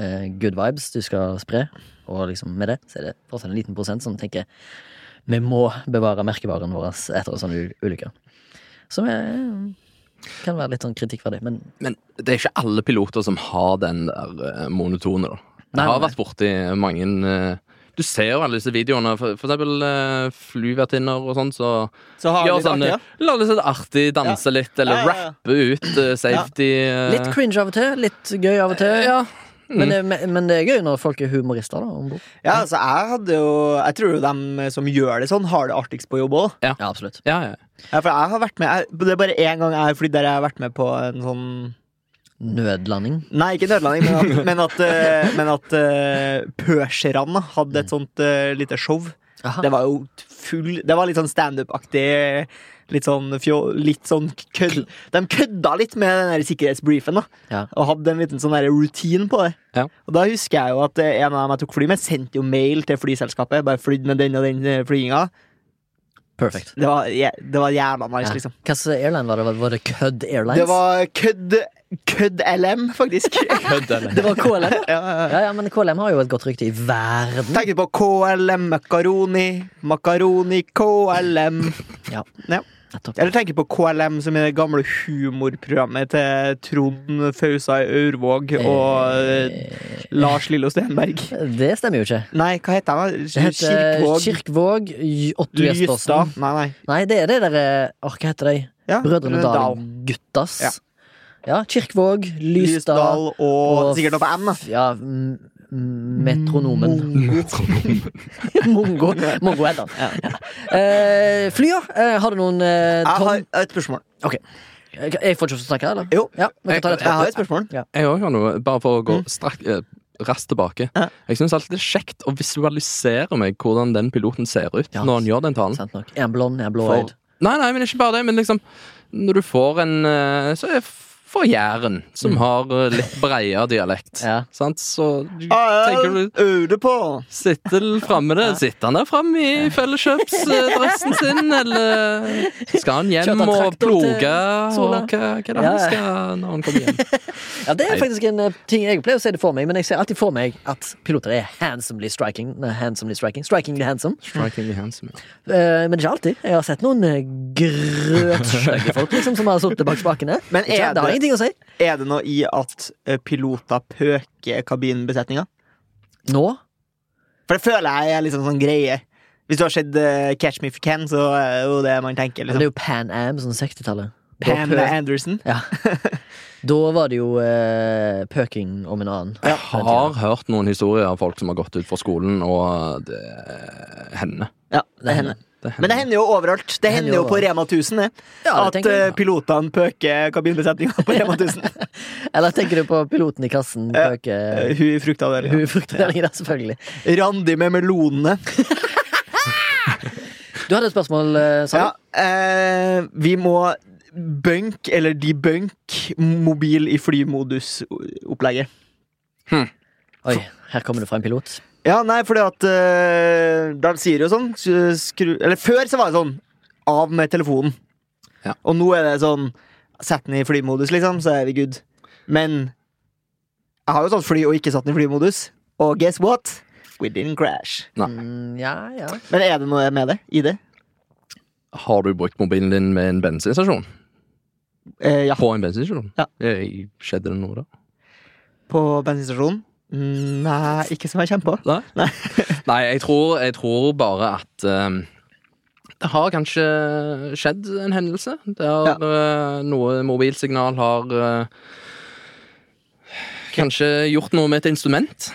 [SPEAKER 2] eh, good vibes du skal spre, og liksom med det, så er det fortsatt en liten prosent som tenker vi må bevare merkevaren vår etter en sånn u- ulykke. Som er, eh, kan være litt sånn kritikkverdig, men
[SPEAKER 3] Men det er ikke alle piloter som har den der eh, monotone. da.
[SPEAKER 2] Nei,
[SPEAKER 3] Jeg har
[SPEAKER 2] nei.
[SPEAKER 3] vært borti mange eh, Du ser jo alle disse videoene, for, for eksempel eh, flyvertinner og sånn, så
[SPEAKER 1] Så har
[SPEAKER 3] gjør
[SPEAKER 1] vi
[SPEAKER 3] sånn
[SPEAKER 1] det Ah, artig,
[SPEAKER 3] eh,
[SPEAKER 1] ja.
[SPEAKER 3] La det være artig, danse litt, eller
[SPEAKER 1] Ja, ja, ja.
[SPEAKER 3] rappe ut eh, safety. eh,
[SPEAKER 2] litt cringe av og til, litt gøy av og til.
[SPEAKER 3] ja.
[SPEAKER 2] Men, det, men- men det er gøy når folk er humorister da, om bord.
[SPEAKER 1] Ja, altså jeg hadde jo Jeg tror jo dem som gjør det sånn, har det artigst på jobb òg.
[SPEAKER 2] Ja, absolutt.
[SPEAKER 3] Ja, ja.
[SPEAKER 1] Ja, for jeg har vært med jeg, Det er bare én gang jeg har flydd der jeg har vært med på en sånn
[SPEAKER 2] Nødlanding.
[SPEAKER 1] Nei, ikke nødlanding, men at, men at, eh, men at eh, pørserne hadde et sånt eh, lite show.
[SPEAKER 2] Aha.
[SPEAKER 1] <laughs> Det var jo full Det var litt sånn standup-aktig. Litt sånn fjå... Litt sånn kødd... De kødda litt med den der sikkerhetsbriefen, da.
[SPEAKER 2] Ja.
[SPEAKER 1] Og hadde en liten sånn der routine på det.
[SPEAKER 3] Ja.
[SPEAKER 1] Og da husker jeg jo at eh, en av dem jeg tok fly med, sendte jo mail til flyselskapet. Bare flydd med den og den eh, flyginga.
[SPEAKER 2] Perfect.
[SPEAKER 1] Det var, jæ- det var jævla nice,
[SPEAKER 2] Ja.
[SPEAKER 1] liksom.
[SPEAKER 2] Hvilken airline var det? Var det Kødd Airlines?
[SPEAKER 1] Det var kødd Kødd LM, faktisk.
[SPEAKER 2] det var KLM, ja.
[SPEAKER 1] <laughs> ja, ja, ja.
[SPEAKER 2] Ja, ja, men KLM har jo et godt rykte i verden.
[SPEAKER 1] Tenkte på KLM, makaroni, makaroni, KLM.
[SPEAKER 2] Ja.
[SPEAKER 1] Ja.
[SPEAKER 2] Nettopp.
[SPEAKER 1] Eller tenker på KLM, som er det gamle humorprogrammet til Trond Fausa Aurvåg og eh, Lars Lillo Stenberg.
[SPEAKER 2] Det stemmer jo ikke.
[SPEAKER 1] Nei, hva heter han?
[SPEAKER 2] Det heter
[SPEAKER 1] Kirkvåg?
[SPEAKER 2] Kirkvåg, J- Otto Jespersen.
[SPEAKER 1] Lystad? Nei, nei.
[SPEAKER 2] Nei, det er det derre Åh, hva heter de?
[SPEAKER 1] Ja,
[SPEAKER 2] Brødrene
[SPEAKER 1] Dahl.
[SPEAKER 2] Dal-guttas.
[SPEAKER 1] Ja.
[SPEAKER 2] Ja. Kirkvåg, Lysdal
[SPEAKER 1] Lysdal og sikkert noe på M, da.
[SPEAKER 2] f- Ja, m- m- Metronomen. <laughs> Mongo. Mongo heter han. Eh, fly, ja. Eh, har du noen eh,
[SPEAKER 1] Jeg
[SPEAKER 2] tom...
[SPEAKER 1] har et spørsmål.
[SPEAKER 2] Ok. Eh, Jeg får ikke snakke, eller?
[SPEAKER 1] Jo,
[SPEAKER 2] ja, vi kan ta det
[SPEAKER 1] jeg
[SPEAKER 2] etterpå.
[SPEAKER 1] har et spørsmål.
[SPEAKER 3] Jeg òg har noe, bare for å gå strakt eh, raskt tilbake.
[SPEAKER 1] Mm. Ja.
[SPEAKER 3] Jeg syns alltid det er kjekt å visualisere meg hvordan den piloten ser ut
[SPEAKER 2] Ja.
[SPEAKER 3] når han gjør den talen.
[SPEAKER 1] Sånn.
[SPEAKER 2] Sant nok. Er han blond? Er han
[SPEAKER 3] For-
[SPEAKER 2] blåøyd?
[SPEAKER 3] Nei, nei, men ikke bare det, men liksom Når du får en eh, Så er jeg fra Jæren, som har eh, litt
[SPEAKER 2] <laughs>
[SPEAKER 3] breiere dialekt.
[SPEAKER 2] Mm. Ja.
[SPEAKER 3] Sant? Så du
[SPEAKER 1] Ah,
[SPEAKER 3] tenker du
[SPEAKER 1] Øde på!
[SPEAKER 3] Sitter framme der? Sitter han der framme i
[SPEAKER 2] <laughs>
[SPEAKER 3] felleskjøpsdressen sin, eller skal han
[SPEAKER 2] Kjørte
[SPEAKER 3] hjem
[SPEAKER 2] han
[SPEAKER 3] og
[SPEAKER 2] traktor til
[SPEAKER 3] ploge, og hva,
[SPEAKER 2] Sola?
[SPEAKER 3] hva er det
[SPEAKER 2] Ja,
[SPEAKER 3] han
[SPEAKER 2] ja.
[SPEAKER 3] skal når han
[SPEAKER 2] <laughs>
[SPEAKER 3] kommer hjem?
[SPEAKER 2] Ja, det er
[SPEAKER 3] Nei.
[SPEAKER 2] faktisk en eh, ting jeg pleier å se det for meg, men jeg ser alltid for meg at piloter er handsomely striking. Nei, handsomely striking. Strikingly handsome.
[SPEAKER 3] Strikingly handsome, ja.
[SPEAKER 2] Eh, men ikke alltid. Jeg har sett noen eh, grøtskjegge folk liksom, som har sittet bak spakene.
[SPEAKER 1] Men
[SPEAKER 2] Ikke,
[SPEAKER 1] er
[SPEAKER 2] det har
[SPEAKER 1] det,
[SPEAKER 2] ingenting å si.
[SPEAKER 1] er det noe i at eh, piloter pøker kabinbesetninga?
[SPEAKER 2] Nå?
[SPEAKER 1] For det føler jeg er liksom sånn greie. Hvis du har sett eh, Catch Me If You Can, så er det jo det man tenker.
[SPEAKER 2] Men det er
[SPEAKER 1] Liksom.
[SPEAKER 2] jo Pan Am, sånn 60-tallet. Da
[SPEAKER 1] Pam
[SPEAKER 2] pø-
[SPEAKER 1] Anderson.
[SPEAKER 2] Ja. Da var det jo eh, pøking om en annen.
[SPEAKER 1] Eh,
[SPEAKER 3] Jeg
[SPEAKER 2] På den tiden.
[SPEAKER 3] har hørt noen historier av folk som har gått ut fra skolen, og det er henne.
[SPEAKER 1] Ja,
[SPEAKER 2] det hender.
[SPEAKER 3] Det er
[SPEAKER 1] Men det
[SPEAKER 3] henne.
[SPEAKER 1] hender jo overalt. Det, hender jo på
[SPEAKER 2] overalt.
[SPEAKER 1] Rema 1000 det,
[SPEAKER 2] Ja, det
[SPEAKER 1] at
[SPEAKER 2] tenker jeg.
[SPEAKER 1] eh, pilotene pøker kabinbesetninga på Rema
[SPEAKER 2] <laughs>
[SPEAKER 1] 1000.
[SPEAKER 2] Eller tenker du på piloten i kassen?
[SPEAKER 1] Ja.
[SPEAKER 2] Pøke <laughs>
[SPEAKER 1] Eh, Hun i fruktavdelinga.
[SPEAKER 2] Hun frykter den, ja, selvfølgelig.
[SPEAKER 1] Randi med melonene.
[SPEAKER 2] Du hadde et spørsmål, eh, sa du?
[SPEAKER 1] Ja, eh, vi må bunk, eller debunk, mobil i flymodus-opplegget.
[SPEAKER 2] Oi, her kommer det fra en pilot.
[SPEAKER 1] Ja, nei, fordi at eh, De sier jo sånn skru, Eller før så var det sånn Av med telefonen.
[SPEAKER 3] Ja.
[SPEAKER 1] Og nå er det sånn Sett den i flymodus, liksom, så er vi good. Men jeg har jo tatt fly og ikke satt den i flymodus. Og guess what? We didn't crash.
[SPEAKER 2] Mm, ja, ja.
[SPEAKER 1] Men er det noe med det? I det?
[SPEAKER 3] Har du brukt mobilen din med en bensinstasjon?
[SPEAKER 1] Eh, ja.
[SPEAKER 3] På en bensinstasjon?
[SPEAKER 1] Ja.
[SPEAKER 3] Eh, Skjedde det noe da?
[SPEAKER 1] På bensinstasjonen? Mm, Nei, ikke som jeg kommer på.
[SPEAKER 3] Nei?
[SPEAKER 1] Nei.
[SPEAKER 3] <laughs> Nei, jeg tror, jeg tror bare at ehm, det har kanskje skjedd en hendelse der eh, noe mobilsignal har eh, Kanskje gjort noe med et instrument.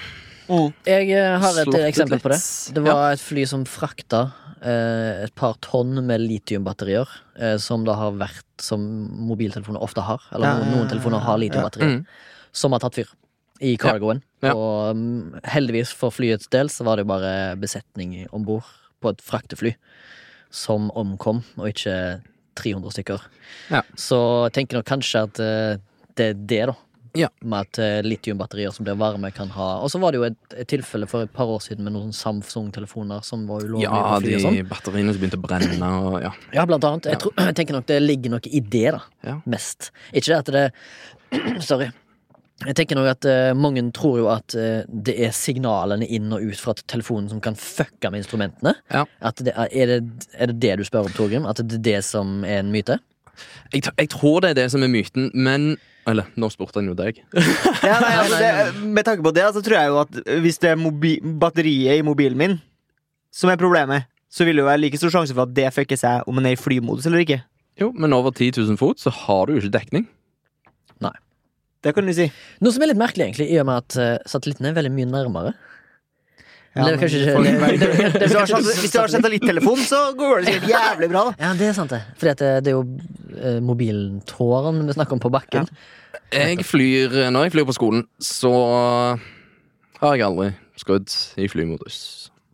[SPEAKER 2] Jeg eh, har et
[SPEAKER 3] Slått ut
[SPEAKER 2] eksempel på det.
[SPEAKER 3] litt.
[SPEAKER 2] Det var et fly som frakta eh, et par tonn med litiumbatterier, eh, som det har vært som mobiltelefoner ofte har. Eller
[SPEAKER 1] Ja,
[SPEAKER 2] no- noen telefoner har litiumbatterier.
[SPEAKER 3] Mm.
[SPEAKER 2] Som har tatt fyr i cargoen.
[SPEAKER 3] Ja.
[SPEAKER 2] Og mm, heldigvis for flyets del så var det bare besetning om bord på et fraktefly som omkom, og ikke 300 stykker.
[SPEAKER 3] Ja.
[SPEAKER 2] Så jeg tenker nok kanskje at eh, det er det, da.
[SPEAKER 3] Ja.
[SPEAKER 2] Med at eh, litiumbatterier som blir varme, kan ha Og så var det jo et, et tilfelle for et par år siden med noen Samsung-telefoner som var ulovlige
[SPEAKER 3] Ja,
[SPEAKER 2] på fly
[SPEAKER 3] de
[SPEAKER 2] og sånn.
[SPEAKER 3] batteriene som begynte å brenne og ja.
[SPEAKER 2] Ja, blant annet. Jeg,
[SPEAKER 3] Ja.
[SPEAKER 2] tror, <clears throat> jeg tenker nok det ligger noe i det, da.
[SPEAKER 3] Ja.
[SPEAKER 2] Mest. Ikke det <clears throat> at det Sorry. Jeg tenker nok at eh, mange tror jo at eh, det er signalene inn og ut fra telefonen som kan fucke med instrumentene.
[SPEAKER 3] Ja.
[SPEAKER 2] At det, er- er, det, er det det du spør om, Torgrim? At det er det som er en myte?
[SPEAKER 3] Jeg, t- jeg tror det er det som er myten, men Eller, nå spurte han jo deg.
[SPEAKER 1] Ja, nei,
[SPEAKER 2] Nei,
[SPEAKER 1] altså,
[SPEAKER 2] nei,
[SPEAKER 1] det, med tanke på det, så tror jeg jo at hvis det er mobi batteriet i mobilen min som er problemet, så vil det jo være like stor sjanse for at det fucker seg om en er i flymodus eller ikke.
[SPEAKER 3] Jo, Men over 10 000 fot så har du jo ikke dekning.
[SPEAKER 1] Det kan du si.
[SPEAKER 2] Noe som er litt merkelig, egentlig, i og med at eh, satellittene er veldig mye nærmere.
[SPEAKER 1] Ja,
[SPEAKER 2] Eller
[SPEAKER 1] men
[SPEAKER 2] kanskje ikke-
[SPEAKER 1] folk-
[SPEAKER 2] det- det- det- <laughs> det- det-
[SPEAKER 1] Hvis du har sat- hvis du har satellittelefon, så går det sikkert jævlig bra. da.
[SPEAKER 2] Ja, det er sant, det. Fordi at det, det er jo eh, mobiltårn vi snakker om på bakken.
[SPEAKER 3] Jeg flyr, Når jeg flyr på skolen, så har jeg aldri skrudd i flymodus.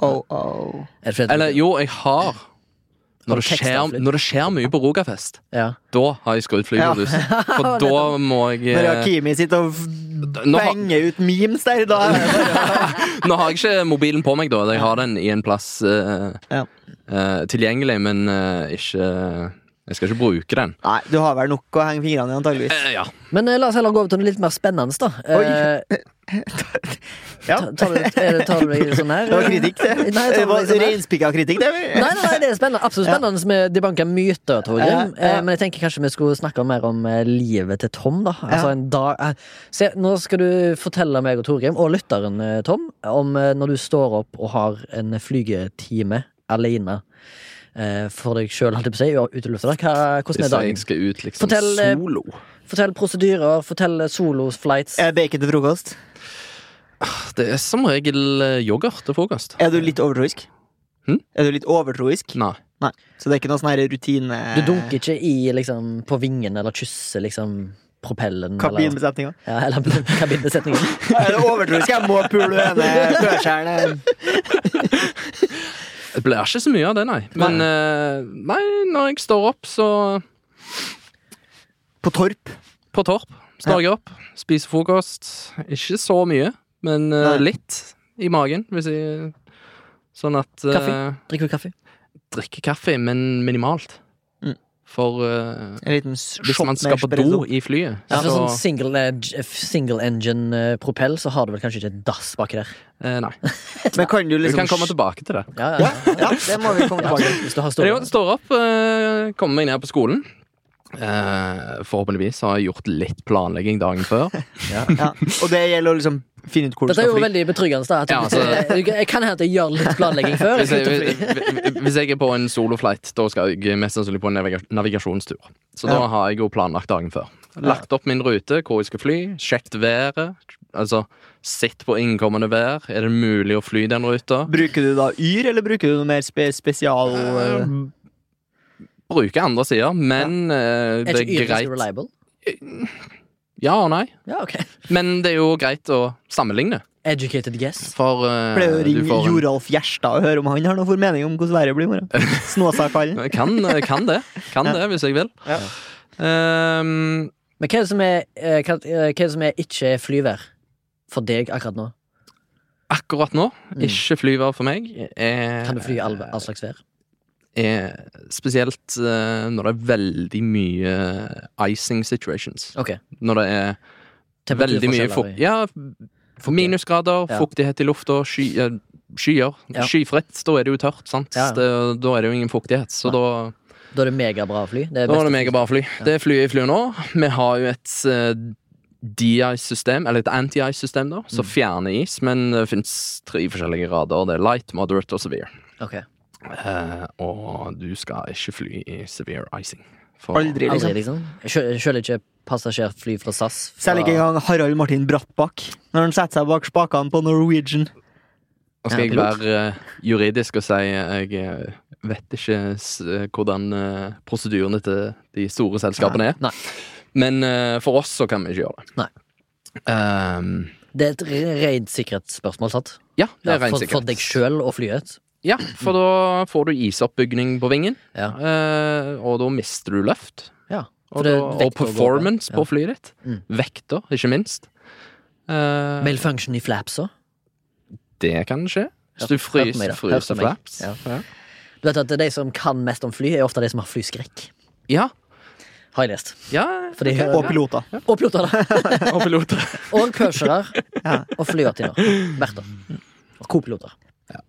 [SPEAKER 1] Oh, oh.
[SPEAKER 2] Er det fordi at-
[SPEAKER 3] Eller jo, jeg har. Når det,
[SPEAKER 2] Har du
[SPEAKER 3] skjer,
[SPEAKER 2] tekstavflytt?
[SPEAKER 3] når det skjer mye på Rogafest,
[SPEAKER 2] ja.
[SPEAKER 3] da har jeg skrudd flymodus.
[SPEAKER 2] <laughs>
[SPEAKER 3] For da må jeg
[SPEAKER 1] Når
[SPEAKER 3] eh,
[SPEAKER 1] Hakimi sitter og
[SPEAKER 3] Nå har-
[SPEAKER 1] fenger ut memes der, da er det bare
[SPEAKER 3] Nå har jeg ikke mobilen på meg, da. Jeg har den i en plass eh,
[SPEAKER 1] Ja.
[SPEAKER 3] eh, tilgjengelig, men eh, ikke Jeg skal ikke bruke den.
[SPEAKER 1] Nei, du har vel nok å henge fingrene i, antageligvis.
[SPEAKER 3] Eh, ja.
[SPEAKER 2] Men eh, la oss heller gå over til noe litt mer spennende, da. Eh,
[SPEAKER 1] Ja.
[SPEAKER 2] ta- tar, du, er det- tar du deg sånn her?
[SPEAKER 1] Det var kritikk, det.
[SPEAKER 2] Nei, tar
[SPEAKER 1] Det
[SPEAKER 2] du
[SPEAKER 1] var
[SPEAKER 2] deg sånn her?
[SPEAKER 1] Reinspikka kritikk, det.
[SPEAKER 2] Nei, nei, nei, det er spennende. absolutt spennende med debanka myter. Torgrim.
[SPEAKER 1] Ja, ja.
[SPEAKER 2] Eh, Men jeg tenker kanskje vi skulle snakke mer om eh, livet til Tom. da altså,
[SPEAKER 1] Ja.
[SPEAKER 2] en dag, eh, se, Nå skal du fortelle meg og Torgrim, og lytteren eh, Tom, om eh, når du står opp og har en flygetime alene eh, for deg sjøl, holdt jeg på å si, og utelufta. Hva, hvordan
[SPEAKER 3] Hvis
[SPEAKER 2] er
[SPEAKER 3] jeg
[SPEAKER 2] dagen?
[SPEAKER 3] skal ut liksom
[SPEAKER 2] Fortell, eh,
[SPEAKER 3] solo.
[SPEAKER 2] Fortell prosedyrer, fortell soloflights.
[SPEAKER 1] Er Eh, bacon til frokost?
[SPEAKER 3] Det er som regel eh, yoghurt til frokost.
[SPEAKER 1] Er du litt overtroisk?
[SPEAKER 3] Hm?
[SPEAKER 1] Er du litt overtroisk?
[SPEAKER 3] Nei.
[SPEAKER 1] Nei. Så det er ikke noe sånn her rutine
[SPEAKER 2] Du dunker ikke i liksom, på vingen eller kysser liksom propellen. Eller,
[SPEAKER 1] Kabinbesetninga.
[SPEAKER 2] ja, eller <laughs> kabinbesetningen.
[SPEAKER 1] Er det overtroisk? Jeg må pule <laughs> henne førskjæren.
[SPEAKER 3] Det blir ikke så mye av det, nei. Men eh, nei, når jeg står opp, så
[SPEAKER 1] På Torp.
[SPEAKER 3] På Torp står jeg opp, spiser frokost. Ikke så mye, men eh,
[SPEAKER 1] Nei.
[SPEAKER 3] litt i magen, hvis jeg Sånn at eh,
[SPEAKER 2] Kaffe? Drikker du kaffe?
[SPEAKER 3] Drikker kaffe, men minimalt.
[SPEAKER 1] Mm.
[SPEAKER 3] For eh,
[SPEAKER 1] En liten shot
[SPEAKER 3] hvis man skal på <laughs> do i flyet,
[SPEAKER 2] Ja, for
[SPEAKER 3] så
[SPEAKER 2] sånn single, edge- f- single engine eh, propell, så har du vel kanskje ikke et dass baki der.
[SPEAKER 3] eh, Nei.
[SPEAKER 1] Men kan du
[SPEAKER 3] Vi
[SPEAKER 1] liksom
[SPEAKER 3] kan komme <laughs> tilbake til det.
[SPEAKER 2] Ja, ja, ja.
[SPEAKER 1] Ja, det må vi komme
[SPEAKER 2] Ja,
[SPEAKER 1] tilbake til.
[SPEAKER 2] hvis du har
[SPEAKER 3] Jeg
[SPEAKER 2] store
[SPEAKER 3] står opp, eh, kommer meg ned på skolen. Eh, forhåpentligvis har jeg gjort litt planlegging dagen før.
[SPEAKER 1] Ja. Og det gjelder å liksom finne ut hvor du
[SPEAKER 2] Dette er
[SPEAKER 1] skal
[SPEAKER 2] jo
[SPEAKER 1] fly.
[SPEAKER 2] veldig betryggende. da at
[SPEAKER 3] Ja,
[SPEAKER 2] <laughs>
[SPEAKER 3] altså-
[SPEAKER 2] du, Jeg kan hende at jeg gjør litt planlegging før. Jeg
[SPEAKER 3] Hvis jeg,
[SPEAKER 2] slutter å fly.
[SPEAKER 3] hvis- hvis jeg er på en soloflight, da skal jeg mest sannsynlig på en naviga- navigasjonstur. Så da
[SPEAKER 1] Ja.
[SPEAKER 3] har jeg jo planlagt dagen før. Lagt opp min rute, hvor jeg skal fly, sjekket været. Altså, sett på innkommende vær. Er det mulig å fly den ruta?
[SPEAKER 1] Bruker du da Yr, eller bruker du noe mer spe spesial...
[SPEAKER 3] Eh,
[SPEAKER 2] Mm.
[SPEAKER 3] Bruke andre sider, men eh,
[SPEAKER 2] Er
[SPEAKER 3] det
[SPEAKER 2] ikke
[SPEAKER 3] er
[SPEAKER 2] yrket så
[SPEAKER 3] greit.
[SPEAKER 2] reliable?
[SPEAKER 3] Ja og nei.
[SPEAKER 2] Ja, ok.
[SPEAKER 3] Men det er jo greit å sammenligne,
[SPEAKER 2] Educated guess.
[SPEAKER 3] for eh,
[SPEAKER 1] Jeg pleier å
[SPEAKER 3] du
[SPEAKER 1] ringe
[SPEAKER 3] får en-
[SPEAKER 1] Joralf Gjerstad og høre om han har noen formening om hvordan været blir i morgen. Snåsakallen.
[SPEAKER 3] <laughs> Jeg Eh, kan, jeg kan det. Kan det, hvis jeg vil.
[SPEAKER 1] Ja.
[SPEAKER 3] Ehm,
[SPEAKER 2] Men hva er det som er, eh, hva, eh, hva er, det som er ikke flyvær for deg akkurat nå?
[SPEAKER 3] akkurat nå,
[SPEAKER 2] Mm.
[SPEAKER 3] ikke flyvær for meg. Er,
[SPEAKER 2] Kan du fly i all, all slags vær?
[SPEAKER 3] Er, spesielt eh, når det er veldig mye icing situations.
[SPEAKER 2] Ok.
[SPEAKER 3] Når det er veldig mye
[SPEAKER 2] Temperaturforskjeller
[SPEAKER 3] fukt...
[SPEAKER 2] i-
[SPEAKER 3] Ja, minusgrader,
[SPEAKER 2] Ja.
[SPEAKER 3] fuktighet i lufta, sky, eh, skyer.
[SPEAKER 2] Ja.
[SPEAKER 3] Skyfritt, da er det jo tørt, sant?
[SPEAKER 2] Ja.
[SPEAKER 3] Det, da er det jo ingen fuktighet. Så da
[SPEAKER 2] Da er det megabra å fly. Det er
[SPEAKER 3] Nå er
[SPEAKER 2] best-
[SPEAKER 3] det megabra fly. Det er flyet jeg flyr nå. Vi har jo et eh, DI-system, eller et anti-ice-system, da,
[SPEAKER 2] Mm.
[SPEAKER 3] som fjerner is, men det fins tre forskjellige grader. Det er light, moderate og severe.
[SPEAKER 2] Ok.
[SPEAKER 3] Eh, og du skal ikke fly i severe icing. For
[SPEAKER 1] Aldri,
[SPEAKER 2] Aldri,
[SPEAKER 1] liksom.
[SPEAKER 2] liksom? Sjøl selv ikke passasjerfly fra SAS? Fra...
[SPEAKER 1] Selv ikke engang Harald Martin Brattbakk når han setter seg bak spakene på Norwegian.
[SPEAKER 3] Nå skal
[SPEAKER 2] Ja,
[SPEAKER 3] jeg
[SPEAKER 2] pilot.
[SPEAKER 3] være eh, juridisk og si eh, jeg eh, vet ikke s hvordan eh, prosedyrene til de store selskapene er.
[SPEAKER 2] Nei.
[SPEAKER 3] Men eh, for oss så kan vi ikke gjøre det.
[SPEAKER 2] Nei.
[SPEAKER 3] Ehm,
[SPEAKER 2] Det er et re- rent sikkerhetsspørsmål, sant?
[SPEAKER 3] ja, det
[SPEAKER 2] Ja,
[SPEAKER 3] er ren
[SPEAKER 2] for, for
[SPEAKER 3] sikkerhet.
[SPEAKER 2] deg sjøl og flyet?
[SPEAKER 3] Ja, for da får du isoppbygning på vingen,
[SPEAKER 2] Ja.
[SPEAKER 3] eh, og da mister du løft.
[SPEAKER 2] Ja.
[SPEAKER 3] Og,
[SPEAKER 2] for det
[SPEAKER 3] da,
[SPEAKER 2] er vekt å gå
[SPEAKER 3] og
[SPEAKER 2] på.
[SPEAKER 3] performance
[SPEAKER 2] Ja.
[SPEAKER 3] på flyet ditt.
[SPEAKER 2] Mm.
[SPEAKER 3] Vekter, ikke minst. Eh,
[SPEAKER 2] Malfunction i flapsa.
[SPEAKER 3] det kan skje. Hvis du
[SPEAKER 2] Hør- hør på meg, da.
[SPEAKER 3] fryser,
[SPEAKER 2] Hør på
[SPEAKER 3] fryser
[SPEAKER 2] meg.
[SPEAKER 3] flaps.
[SPEAKER 2] Ja. Du vet at De som kan mest om fly, er ofte de som har flyskrekk.
[SPEAKER 3] Ja.
[SPEAKER 2] Har jeg lest.
[SPEAKER 3] ja.
[SPEAKER 2] For de-
[SPEAKER 1] Og piloter.
[SPEAKER 2] Og piloter, da.
[SPEAKER 3] Og piloter.
[SPEAKER 2] Og pøsere.
[SPEAKER 1] Ja.
[SPEAKER 2] Og flyvertinner. Berter. Og co-piloter.
[SPEAKER 3] <laughs>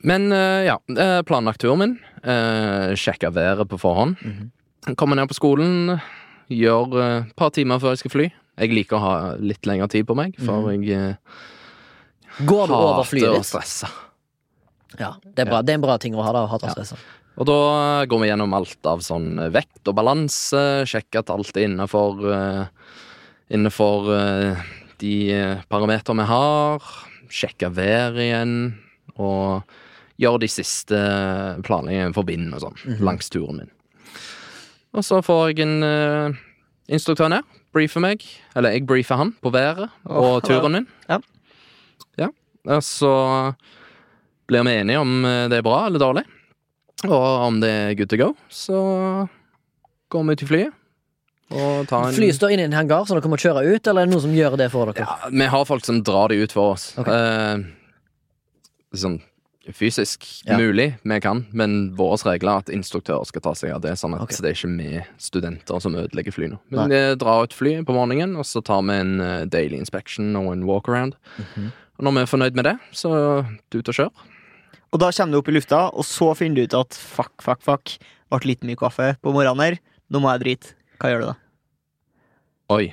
[SPEAKER 3] Men eh, ja, eh, planlagt turen min. Uh, Sjekka været på forhånd.
[SPEAKER 2] Mhm.
[SPEAKER 3] Kommer ned på skolen, gjør eh, et par timer før jeg skal fly. Jeg liker å ha litt lengre tid på meg, for jeg eh,
[SPEAKER 2] Mhm. Går du over
[SPEAKER 3] hater
[SPEAKER 2] flyet
[SPEAKER 3] å
[SPEAKER 2] ditt?
[SPEAKER 3] stresse.
[SPEAKER 2] Ja, det er, bra. det er en bra ting å ha. da å ha ja.
[SPEAKER 3] Og da går vi gjennom alt av sånn vekt og balanse, sjekker at alt er innafor Innenfor eh, de eh, parameter vi har. Sjekker været igjen. Og gjør de siste planleggingene for bind og sånn
[SPEAKER 1] Mhm.
[SPEAKER 3] langs turen min. Og så får jeg en eh, instruktør ned. Briefer meg. Eller jeg briefer han på været
[SPEAKER 1] Åh,
[SPEAKER 3] og turen min.
[SPEAKER 1] ja.
[SPEAKER 3] Ja. Og så blir vi enige om eh, det er bra eller dårlig. Og om det er good to go, så går vi til flyet. Og tar en
[SPEAKER 2] Flyet står inne i en hangar, så dere må kjøre ut, eller er det noen som gjør det for dere?
[SPEAKER 3] Ja, vi har folk som drar det ut for oss.
[SPEAKER 2] Ok.
[SPEAKER 3] Eh, sånn fysisk
[SPEAKER 2] Ja.
[SPEAKER 3] mulig, vi kan, men våre regler er at instruktører skal ta seg av det. Sånn at
[SPEAKER 2] Ok.
[SPEAKER 3] det er ikke vi studenter som ødelegger flyene.
[SPEAKER 2] Nei.
[SPEAKER 3] Men vi drar ut flyet på morgenen, og så tar vi en eh, daily inspection og en walkaround.
[SPEAKER 2] Mhm.
[SPEAKER 3] Og når vi er fornøyd med det, så tut og kjør.
[SPEAKER 1] Og da kommer du opp i lufta, og så finner du ut at fuck, fuck, fuck. Ble litt mye kaffe på morgenen her. Nå må jeg drite. Hva gjør du da?
[SPEAKER 3] Oi.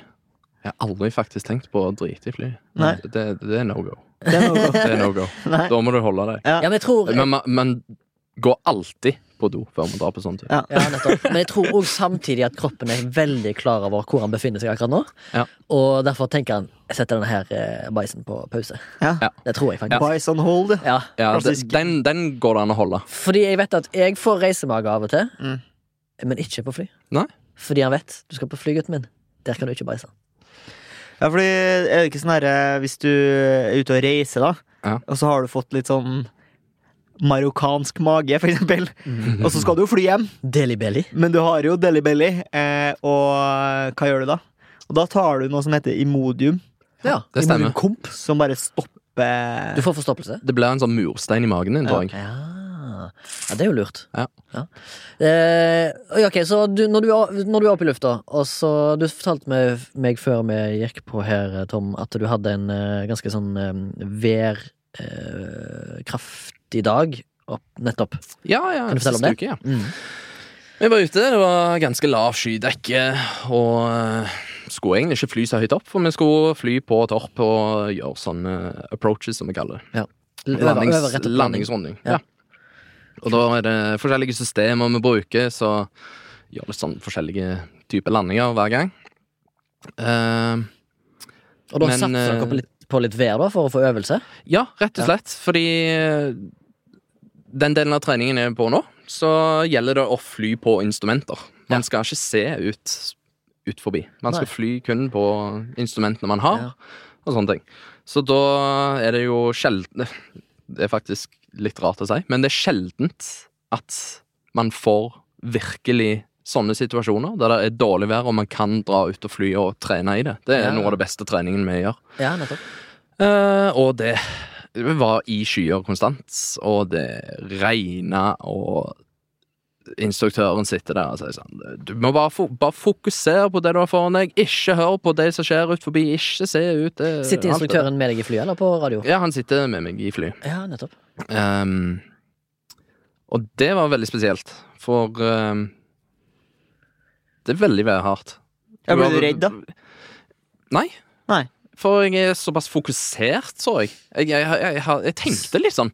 [SPEAKER 3] Jeg har aldri faktisk tenkt på å drite i flyet.
[SPEAKER 1] Nei.
[SPEAKER 3] Det, det er no go.
[SPEAKER 1] Det er noe.
[SPEAKER 3] Det er no
[SPEAKER 2] <laughs>
[SPEAKER 3] go.
[SPEAKER 1] Nei.
[SPEAKER 3] Da må du holde deg.
[SPEAKER 2] Ja, men jeg tror
[SPEAKER 3] Men man, man går alltid på do før man drar på sånn sånne ting.
[SPEAKER 1] Ja.
[SPEAKER 2] Ja, nettopp. Men jeg tror også samtidig at kroppen er veldig klar over hvor han befinner seg akkurat nå.
[SPEAKER 3] Ja.
[SPEAKER 2] Og derfor tenker han jeg setter denne her eh, bæsjen på pause.
[SPEAKER 1] Ja.
[SPEAKER 3] Ja.
[SPEAKER 2] Det tror jeg faktisk.
[SPEAKER 1] Buys on hold.
[SPEAKER 2] Ja.
[SPEAKER 3] Ja,
[SPEAKER 1] Klassisk.
[SPEAKER 3] det- den, den går det an å holde.
[SPEAKER 2] Fordi jeg vet at jeg får reisemage av og til,
[SPEAKER 1] Mm.
[SPEAKER 2] men ikke på fly.
[SPEAKER 3] Nei.
[SPEAKER 2] Fordi han vet du skal på fly, gutten min. Der kan du ikke bæsje.
[SPEAKER 1] Ja, fordi er det ikke sånn herre Hvis du er ute og reiser, da,
[SPEAKER 3] Ja.
[SPEAKER 1] og så har du fått litt sånn marokkansk mage, for eksempel, og så skal du jo fly hjem,
[SPEAKER 2] Deli belly.
[SPEAKER 1] men du har jo Deli Belly, eh, og hva gjør du da? Og da tar du noe som heter Imodium,
[SPEAKER 2] Ja,
[SPEAKER 3] det stemmer.
[SPEAKER 2] Komp.
[SPEAKER 1] som bare stopper
[SPEAKER 2] Du får forstoppelse.
[SPEAKER 3] Det blir en sånn murstein i magen din,
[SPEAKER 2] Ja.
[SPEAKER 3] tror jeg.
[SPEAKER 2] Ja. ja, det er jo lurt.
[SPEAKER 3] Ja.
[SPEAKER 2] Eh, oi, ok, så du, når, du er, når du er oppe i lufta, og så Du fortalte meg, meg før vi gikk på her, Tom, at du hadde en eh, ganske sånn eh, værkraftig dag opp, nettopp.
[SPEAKER 3] Ja, ja,
[SPEAKER 2] Kan du fortelle om
[SPEAKER 3] siste
[SPEAKER 2] det?
[SPEAKER 3] uke, ja.
[SPEAKER 2] Mm.
[SPEAKER 3] Vi var ute, det var ganske lav skydekke, og eh, skulle egentlig ikke fly så høyt opp, for vi skulle fly på Torp og gjøre sånne approaches, som vi kaller det.
[SPEAKER 2] Øver-
[SPEAKER 3] Landings,
[SPEAKER 2] øver rett opp.
[SPEAKER 3] landingsrunding.
[SPEAKER 2] Ja.
[SPEAKER 3] Ja. Og da er det forskjellige systemer vi bruker, så gjør litt sånn forskjellige typer landinger hver gang. Eh,
[SPEAKER 2] Og da
[SPEAKER 3] Men,
[SPEAKER 2] satser dere
[SPEAKER 3] eh,
[SPEAKER 2] på litt, på litt vær, da, for å få øvelse?
[SPEAKER 3] Ja, rett og
[SPEAKER 2] Ja.
[SPEAKER 3] slett. Fordi eh, den delen av treningen jeg er på nå, så gjelder det å fly på instrumenter. Man skal ikke se ut, ut forbi. Man skal
[SPEAKER 2] Nei.
[SPEAKER 3] fly kun på instrumentene man har,
[SPEAKER 2] Ja.
[SPEAKER 3] og sånne ting. Så da er det jo sjelden Det er faktisk litt rart å si, men det er sjeldent at man får virkelig sånne situasjoner der det er dårlig vær og man kan dra ut og fly og trene i det. Det er
[SPEAKER 2] Ja.
[SPEAKER 3] noe av det beste treningen vi gjør.
[SPEAKER 2] Ja, nettopp.
[SPEAKER 3] Eh, og det var i skyer konstant, og det regna, og instruktøren sitter der og sier sånn Du må bare, fo bare fokusere på det du har foran deg, ikke hør på det som skjer ut forbi, ikke se ut det,
[SPEAKER 2] Sitter
[SPEAKER 3] Eh, alt det der.»
[SPEAKER 2] instruktøren med deg i flyet, eller på radio?
[SPEAKER 3] Ja, han sitter med meg i flyet.
[SPEAKER 2] Ja, nettopp.
[SPEAKER 3] Ehm, og det var veldig spesielt, for ehm, det er veldig værhardt.
[SPEAKER 1] Ja, Ble du redd, da?
[SPEAKER 3] Nei.
[SPEAKER 1] Nei.
[SPEAKER 3] For jeg er såpass fokusert, så jeg. Jeg, jeg, jeg, jeg, har- jeg tenkte litt sånn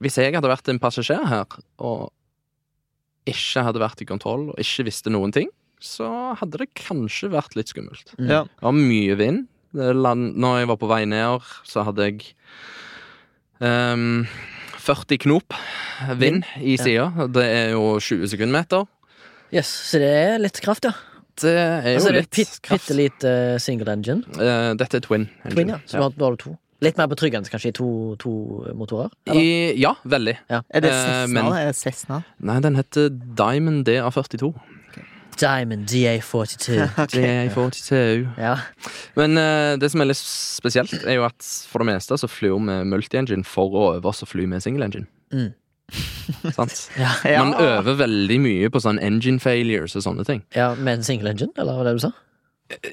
[SPEAKER 3] Hvis jeg hadde vært en passasjer her, og ikke hadde vært i kontroll, og ikke visste noen ting, så hadde det kanskje vært litt skummelt.
[SPEAKER 2] Mm.
[SPEAKER 1] Ja.
[SPEAKER 3] Det var mye vind. Det Land, når jeg var på vei nedover, så hadde jeg ehm, 40 knop vind i sida. Det er jo 20 sekundmeter.
[SPEAKER 2] Yes, så det er litt kraft, ja.
[SPEAKER 3] Det er jo
[SPEAKER 2] Og så er Altså, det
[SPEAKER 3] litt kraft.
[SPEAKER 2] bitte lite single engine.
[SPEAKER 3] Eh, dette er twin. engine.
[SPEAKER 2] Twin, ja. Så da har- da har du to. Litt mer betryggende, kanskje, i to, to motorer?
[SPEAKER 3] I,
[SPEAKER 2] Eller?
[SPEAKER 3] ja, veldig.
[SPEAKER 1] Er det Cessna?
[SPEAKER 3] Eh, men-
[SPEAKER 1] da? Er det Cessna?
[SPEAKER 3] Nei, den heter Diamond DA42.
[SPEAKER 2] Diamond
[SPEAKER 1] <laughs>
[SPEAKER 2] DA42.
[SPEAKER 3] DA42.
[SPEAKER 2] Ja.
[SPEAKER 3] Men eh, det som er litt spesielt, er jo at for det meste så flyr vi multi-engine for å øve oss å fly med single engine.
[SPEAKER 2] Mm. <laughs>
[SPEAKER 3] Sant?
[SPEAKER 2] Ja.
[SPEAKER 1] Ja.
[SPEAKER 3] Man øver veldig mye på sånn engine failures og sånne ting.
[SPEAKER 2] ja, Med en single engine, eller hva var det du sa?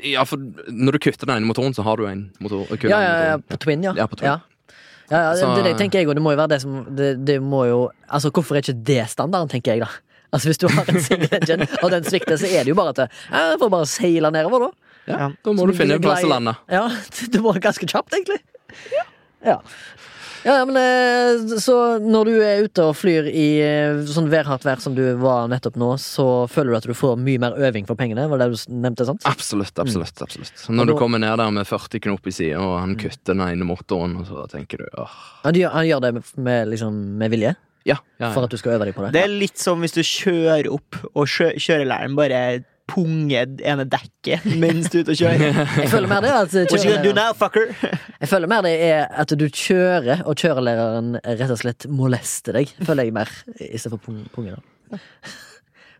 [SPEAKER 3] Ja, for når du kutter den ene motoren, så har du en motor. kun
[SPEAKER 2] Ja,
[SPEAKER 3] en
[SPEAKER 2] ja, ja,
[SPEAKER 3] motor.
[SPEAKER 2] på Twin, ja.
[SPEAKER 3] Ja, på Twin.
[SPEAKER 2] Ja. Ja, ja,
[SPEAKER 3] Så-
[SPEAKER 2] det, det tenker jeg, og det må jo være det som det, det må jo, altså Hvorfor er ikke det standarden, tenker jeg, da? Altså Hvis du har en single engine, og den svikter, så er det jo bare at det- ja, jeg får bare seile nedover, da.
[SPEAKER 3] Ja,
[SPEAKER 1] Ja.
[SPEAKER 3] Da må
[SPEAKER 2] Så
[SPEAKER 3] du finne en plass å
[SPEAKER 2] glei-
[SPEAKER 3] lande.
[SPEAKER 2] <laughs> Ja, det var ganske kjapt, egentlig. Ja. Ja, men eh, Så når du er ute og flyr i eh, sånn værhardt vær som du var nettopp nå, så føler du at du får mye mer øving for pengene? Var det det du nevnte,
[SPEAKER 3] Ah.
[SPEAKER 2] sant?
[SPEAKER 3] Absolutt, absolutt. absolutt
[SPEAKER 2] Og
[SPEAKER 3] Når du
[SPEAKER 2] da-
[SPEAKER 3] kommer ned der med 40 knop i sida, og han kutter den ene motoren, og så tenker du åh.
[SPEAKER 2] Han gjør, han gjør det med, med, liksom, med vilje,
[SPEAKER 3] Ja, ja,
[SPEAKER 2] for
[SPEAKER 3] ja.
[SPEAKER 2] at du skal øve deg på det?
[SPEAKER 1] Det er litt som hvis du kjører opp, og kjø kjørelæreren bare punger det ene dekket <laughs> mens du er ute og kjører.
[SPEAKER 2] Jeg føler mer det at eh,
[SPEAKER 1] What you gonna do
[SPEAKER 2] kjørelæreren-
[SPEAKER 1] now, fucker? <laughs>
[SPEAKER 2] Jeg føler mer det er at du kjører, og kjørelæreren rett og slett molester deg, føler jeg mer, istedenfor pung- pungen. da. <laughs>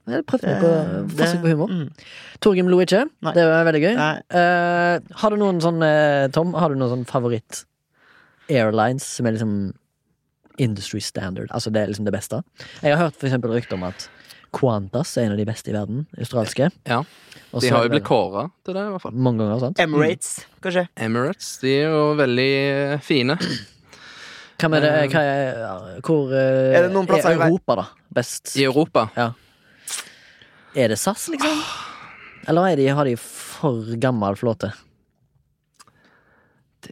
[SPEAKER 2] Men jeg prøvde meg på forsøk på humor.
[SPEAKER 1] Eh, Mm.
[SPEAKER 2] Torgrim lo ikke.
[SPEAKER 1] Nei.
[SPEAKER 2] Det var veldig gøy.
[SPEAKER 1] Nei.
[SPEAKER 2] Eh, har du noen sånn, eh, Tom, har du noen sånn favoritt airlines som er liksom industry standard? Altså det er liksom det beste? Jeg har hørt for eksempel rykte om at Qantas er en av de beste i verden. Australske.
[SPEAKER 3] Ja.
[SPEAKER 2] Og
[SPEAKER 3] De
[SPEAKER 2] så
[SPEAKER 3] har
[SPEAKER 2] er
[SPEAKER 3] jo
[SPEAKER 2] det
[SPEAKER 3] blitt kåra til det, i hvert fall.
[SPEAKER 2] mange ganger, sant?
[SPEAKER 1] Emirates, kanskje?
[SPEAKER 3] Emirates de er jo veldig eh, fine.
[SPEAKER 2] Hva med det, hva er, hvor eh,
[SPEAKER 1] Eh, Er det noen plasser i
[SPEAKER 2] er
[SPEAKER 1] verden?
[SPEAKER 2] Europa, da? Best?
[SPEAKER 3] I Europa
[SPEAKER 2] Er det SAS, liksom?
[SPEAKER 1] Ah.
[SPEAKER 2] Eller er de, har de for gammel flåte?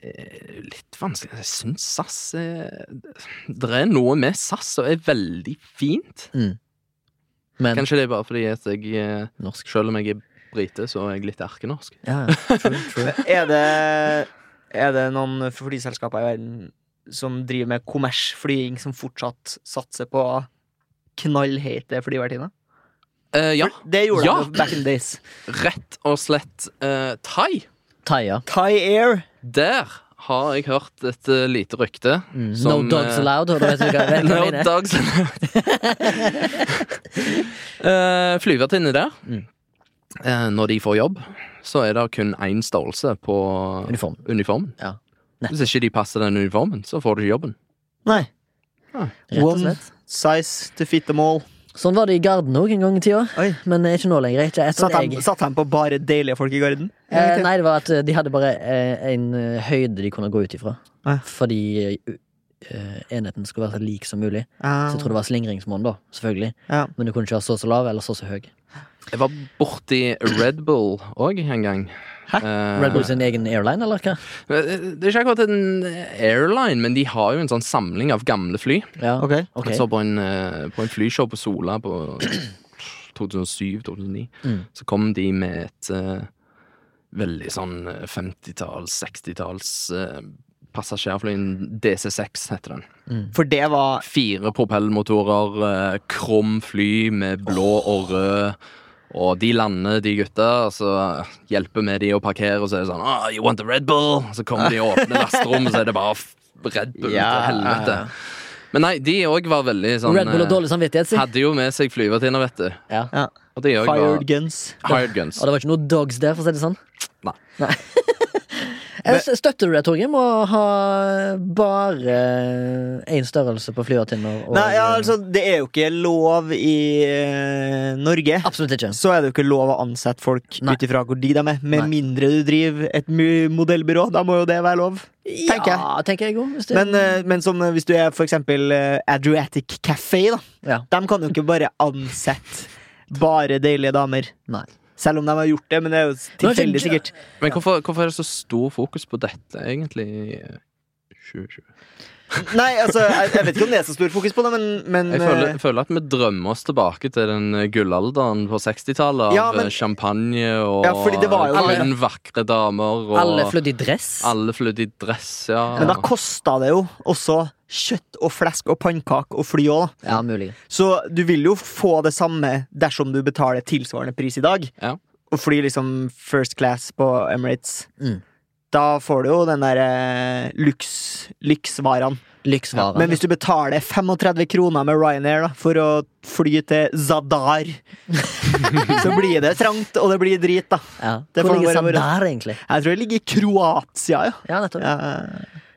[SPEAKER 3] Litt vanskelig. Jeg syns SAS er Det er noe med SAS som er veldig fint.
[SPEAKER 2] Men
[SPEAKER 3] Kanskje det er bare fordi at jeg eh,
[SPEAKER 2] norsk.
[SPEAKER 3] Selv om jeg er brite, så er jeg litt erkenorsk.
[SPEAKER 2] Ja, ja. True, true.
[SPEAKER 3] <laughs>
[SPEAKER 1] Er det, er det noen flyselskaper i verden som driver med kommersflying, som fortsatt satser på knallheite flyvertinner?
[SPEAKER 3] Eh, ja.
[SPEAKER 1] Det gjorde
[SPEAKER 3] Ja.
[SPEAKER 1] de back in the days.
[SPEAKER 3] Rett og slett eh, thai.
[SPEAKER 2] Thaia.
[SPEAKER 1] Thai Air.
[SPEAKER 3] Der har jeg hørt et eh, lite rykte.
[SPEAKER 2] Mm. No dogs
[SPEAKER 3] eh,
[SPEAKER 2] allowed. Og da vet du hva jeg
[SPEAKER 3] <laughs> No
[SPEAKER 2] mener.
[SPEAKER 3] dogs allowed. Eh, Flyvertinne der. Eh, når de får jobb, så er det kun én størrelse på
[SPEAKER 2] Uniform.
[SPEAKER 3] uniformen.
[SPEAKER 2] Ja.
[SPEAKER 3] Hvis ikke de passer den uniformen, så får du ikke jobben.
[SPEAKER 1] Nei.
[SPEAKER 2] Rett og
[SPEAKER 1] One
[SPEAKER 2] slett.
[SPEAKER 1] Size to fit them all.
[SPEAKER 2] Sånn var det i Garden òg en gang i tida.
[SPEAKER 1] Oi.
[SPEAKER 2] Men eh, ikke nå lenger. Ikke etter
[SPEAKER 1] Satt
[SPEAKER 2] at
[SPEAKER 1] de,
[SPEAKER 2] jeg
[SPEAKER 1] satt de på bare deilige folk i garden?
[SPEAKER 2] eh, Nei, det var at eh, de hadde bare eh, en eh, høyde de kunne gå ut ifra.
[SPEAKER 1] Ja.
[SPEAKER 2] Fordi eh, eh, enheten skulle være så lik som mulig.
[SPEAKER 1] Ah,
[SPEAKER 2] Så jeg tror det var slingringsmonn, da. Selvfølgelig.
[SPEAKER 1] ja.
[SPEAKER 2] Men du kunne ikke ha så så lav eller så så høy.
[SPEAKER 3] Jeg var borti Red Bull òg en gang.
[SPEAKER 2] Hæ?
[SPEAKER 3] Eh,
[SPEAKER 2] Red Bull sin egen airline, eller hva?
[SPEAKER 3] Det er ikke akkurat en airline, men de har jo en sånn samling av gamle fly.
[SPEAKER 2] Ja,
[SPEAKER 1] Ok.
[SPEAKER 2] ok.
[SPEAKER 3] Jeg så på en, eh, på en flyshow på Sola på 2007-2009.
[SPEAKER 2] Mm.
[SPEAKER 3] Så kom de med et eh, veldig sånn eh, 50-talls, 60-talls eh, passasjerfly. En DC6 heter den.
[SPEAKER 1] For det var
[SPEAKER 3] Fire propellmotorer, eh, krum fly med blå og rød. Og de lander, de gutta, og så hjelper vi de å parkere, og så er det sånn oh, You want the Red Bull? Så kommer de
[SPEAKER 2] <laughs>
[SPEAKER 3] og åpner lasterommet, så er det bare f- Red Bull
[SPEAKER 1] Ja.
[SPEAKER 3] til helvete. Men nei, de òg var veldig sånn
[SPEAKER 2] Red Bull og
[SPEAKER 3] eh,
[SPEAKER 2] dårlig samvittighet, si.
[SPEAKER 3] hadde jo med seg flyvertinner, vet du.
[SPEAKER 2] Ja.
[SPEAKER 1] ja.
[SPEAKER 3] Og det gjør jeg
[SPEAKER 1] Fired
[SPEAKER 3] var
[SPEAKER 1] guns.
[SPEAKER 3] Hired guns.
[SPEAKER 2] Og det var ikke noe dogs der, for å si det sånn?
[SPEAKER 3] Nei.
[SPEAKER 2] <laughs> Eh, s- Støtter du det, Torgrim, å ha bare én størrelse på flyvertinner? og-
[SPEAKER 1] Nei, ja, altså, det er jo ikke lov i eh, Norge.
[SPEAKER 2] Absolutt ikke.
[SPEAKER 1] Så er det jo ikke lov å ansette folk
[SPEAKER 2] Nei.
[SPEAKER 1] ut ifra hvor de de er, med
[SPEAKER 2] Nei.
[SPEAKER 1] mindre du driver et mu- modellbyrå. Da må jo det være lov. tenker jeg.
[SPEAKER 2] Ja, tenker jeg òg.
[SPEAKER 1] Men, eh, men som eh, hvis du er for eksempel eh, Adriatic Café, da.
[SPEAKER 2] ja.
[SPEAKER 1] De kan jo ikke bare ansette bare deilige damer.
[SPEAKER 2] Nei.
[SPEAKER 1] Selv om de har gjort det, men det er jo tilfeldig,
[SPEAKER 2] Men
[SPEAKER 1] sikkert.
[SPEAKER 2] ikke-
[SPEAKER 3] Men hvorfor, hvorfor er det så stor fokus på dette, egentlig? i, eh, 2020.
[SPEAKER 1] Nei, altså, jeg, jeg vet ikke om det er så stor fokus på det, men, men
[SPEAKER 3] Jeg føler,
[SPEAKER 1] eh,
[SPEAKER 3] jeg føler at vi drømmer oss tilbake til den eh, gullalderen på 60-tallet. Av
[SPEAKER 1] Ja, men-
[SPEAKER 3] eh, champagne og
[SPEAKER 1] Ja, fordi det var jo-
[SPEAKER 3] kun vakre damer. Og
[SPEAKER 2] Alle flydd i dress.
[SPEAKER 3] alle flød i dress, ja.
[SPEAKER 1] Men da kosta det jo også kjøtt og flesk og pannekake og fly òg, da.
[SPEAKER 2] Ja, mulig.
[SPEAKER 1] Så du vil jo få det samme dersom du betaler tilsvarende pris i dag.
[SPEAKER 3] Ja.
[SPEAKER 1] Og fly liksom first class på Emirates.
[SPEAKER 2] Mm.
[SPEAKER 1] Da får du jo den der eh, luks, lyksvarene.
[SPEAKER 2] Lyksvaren.
[SPEAKER 1] Men hvis du betaler 35 kroner med Ryanair da, for å fly til Zadar, så blir det trangt, og det blir drit, da.
[SPEAKER 2] ja.
[SPEAKER 1] Det
[SPEAKER 2] Hvor
[SPEAKER 1] får
[SPEAKER 2] ligger
[SPEAKER 1] bare være-
[SPEAKER 2] Sandar, egentlig?
[SPEAKER 1] Jeg tror det ligger i Kroatia, ja.
[SPEAKER 2] Ja, nettopp.
[SPEAKER 1] ja.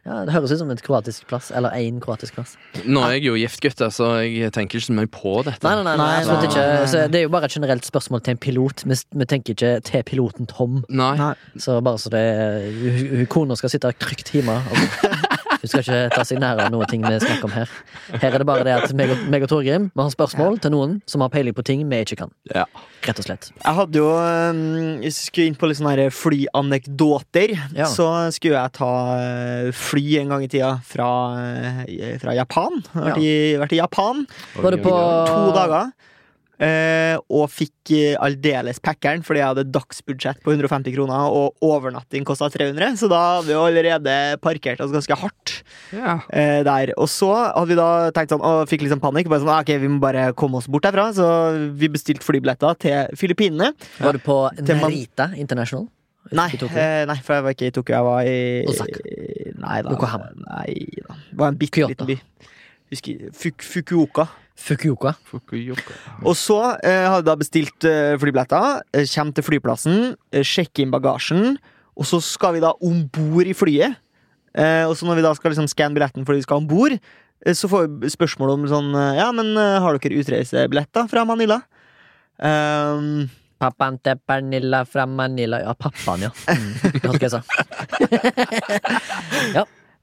[SPEAKER 2] Ja, det høres ut som et kroatisk plass. Eller én kroatisk plass.
[SPEAKER 3] Nå er jeg jo gift, gutter, så jeg tenker ikke så mye på dette.
[SPEAKER 2] Nei, nei, nei, nei,
[SPEAKER 1] Nei,
[SPEAKER 2] absolutt
[SPEAKER 1] nei,
[SPEAKER 2] ikke.
[SPEAKER 1] nei, nei.
[SPEAKER 2] Så det er jo bare et generelt spørsmål til en pilot. Vi, s- vi tenker ikke til piloten Tom.
[SPEAKER 3] Nei.
[SPEAKER 1] Nei.
[SPEAKER 2] Så bare så det er- hun- hun- Kona skal sitte trygt hjemme. Og hun skal ikke ta seg nær av noe ting vi snakker om her. Her er det bare det at meg og, meg og Torgrim vi har spørsmål til noen som har peiling på ting vi ikke kan.
[SPEAKER 3] Ja.
[SPEAKER 2] Rett og slett.
[SPEAKER 1] Jeg hadde jo eh, Hvis jeg skulle inn på litt sånne her flyanekdoter,
[SPEAKER 2] Ja.
[SPEAKER 1] så skulle jeg ta eh, fly en gang i tida fra, eh, fra Japan. Jeg har Vært, i, vært i Japan
[SPEAKER 2] Var du på
[SPEAKER 1] to dager. eh, og fikk eh, aldeles packeren fordi jeg hadde dagsbudsjett på 150 kroner, og overnatting kosta 300, så da hadde vi jo allerede parkert oss ganske hardt
[SPEAKER 3] Ja.
[SPEAKER 1] eh, der. Og så hadde vi da tenkt sånn, og fikk liksom panikk. Bare sånn, «Ah, ok, Vi må bare komme oss bort derfra. Så vi bestilte flybilletter til Filippinene.
[SPEAKER 2] Var du på
[SPEAKER 1] Til man-
[SPEAKER 2] Narita International?
[SPEAKER 1] Nei,
[SPEAKER 2] I Tokyo?
[SPEAKER 1] eh, nei, for jeg var ikke i Tokyo. Jeg var i
[SPEAKER 2] Osaka.
[SPEAKER 1] Nei da.
[SPEAKER 2] Yokohama.
[SPEAKER 1] Nei da. Det var en bitte
[SPEAKER 2] Kyoto.
[SPEAKER 1] liten by. Husker, Fuk Fukuoka.
[SPEAKER 2] Fukuoka.
[SPEAKER 3] Fukuyoka.
[SPEAKER 1] Og så eh, hadde jeg da bestilt eh, flybilletter. Eh, Kjem til flyplassen, eh, sjekker inn bagasjen, og så skal vi da om bord i flyet. Eh, og så når vi da skal liksom skanne billetten fordi vi skal om bord, eh, så får vi spørsmål om sånn eh, Ja, men eh, har dere utreisebilletter fra Manila? Ehm,
[SPEAKER 2] Pappaen til Pernilla fra Manila. Ja, pappaen, ja. Mm. Det hørte jeg sa.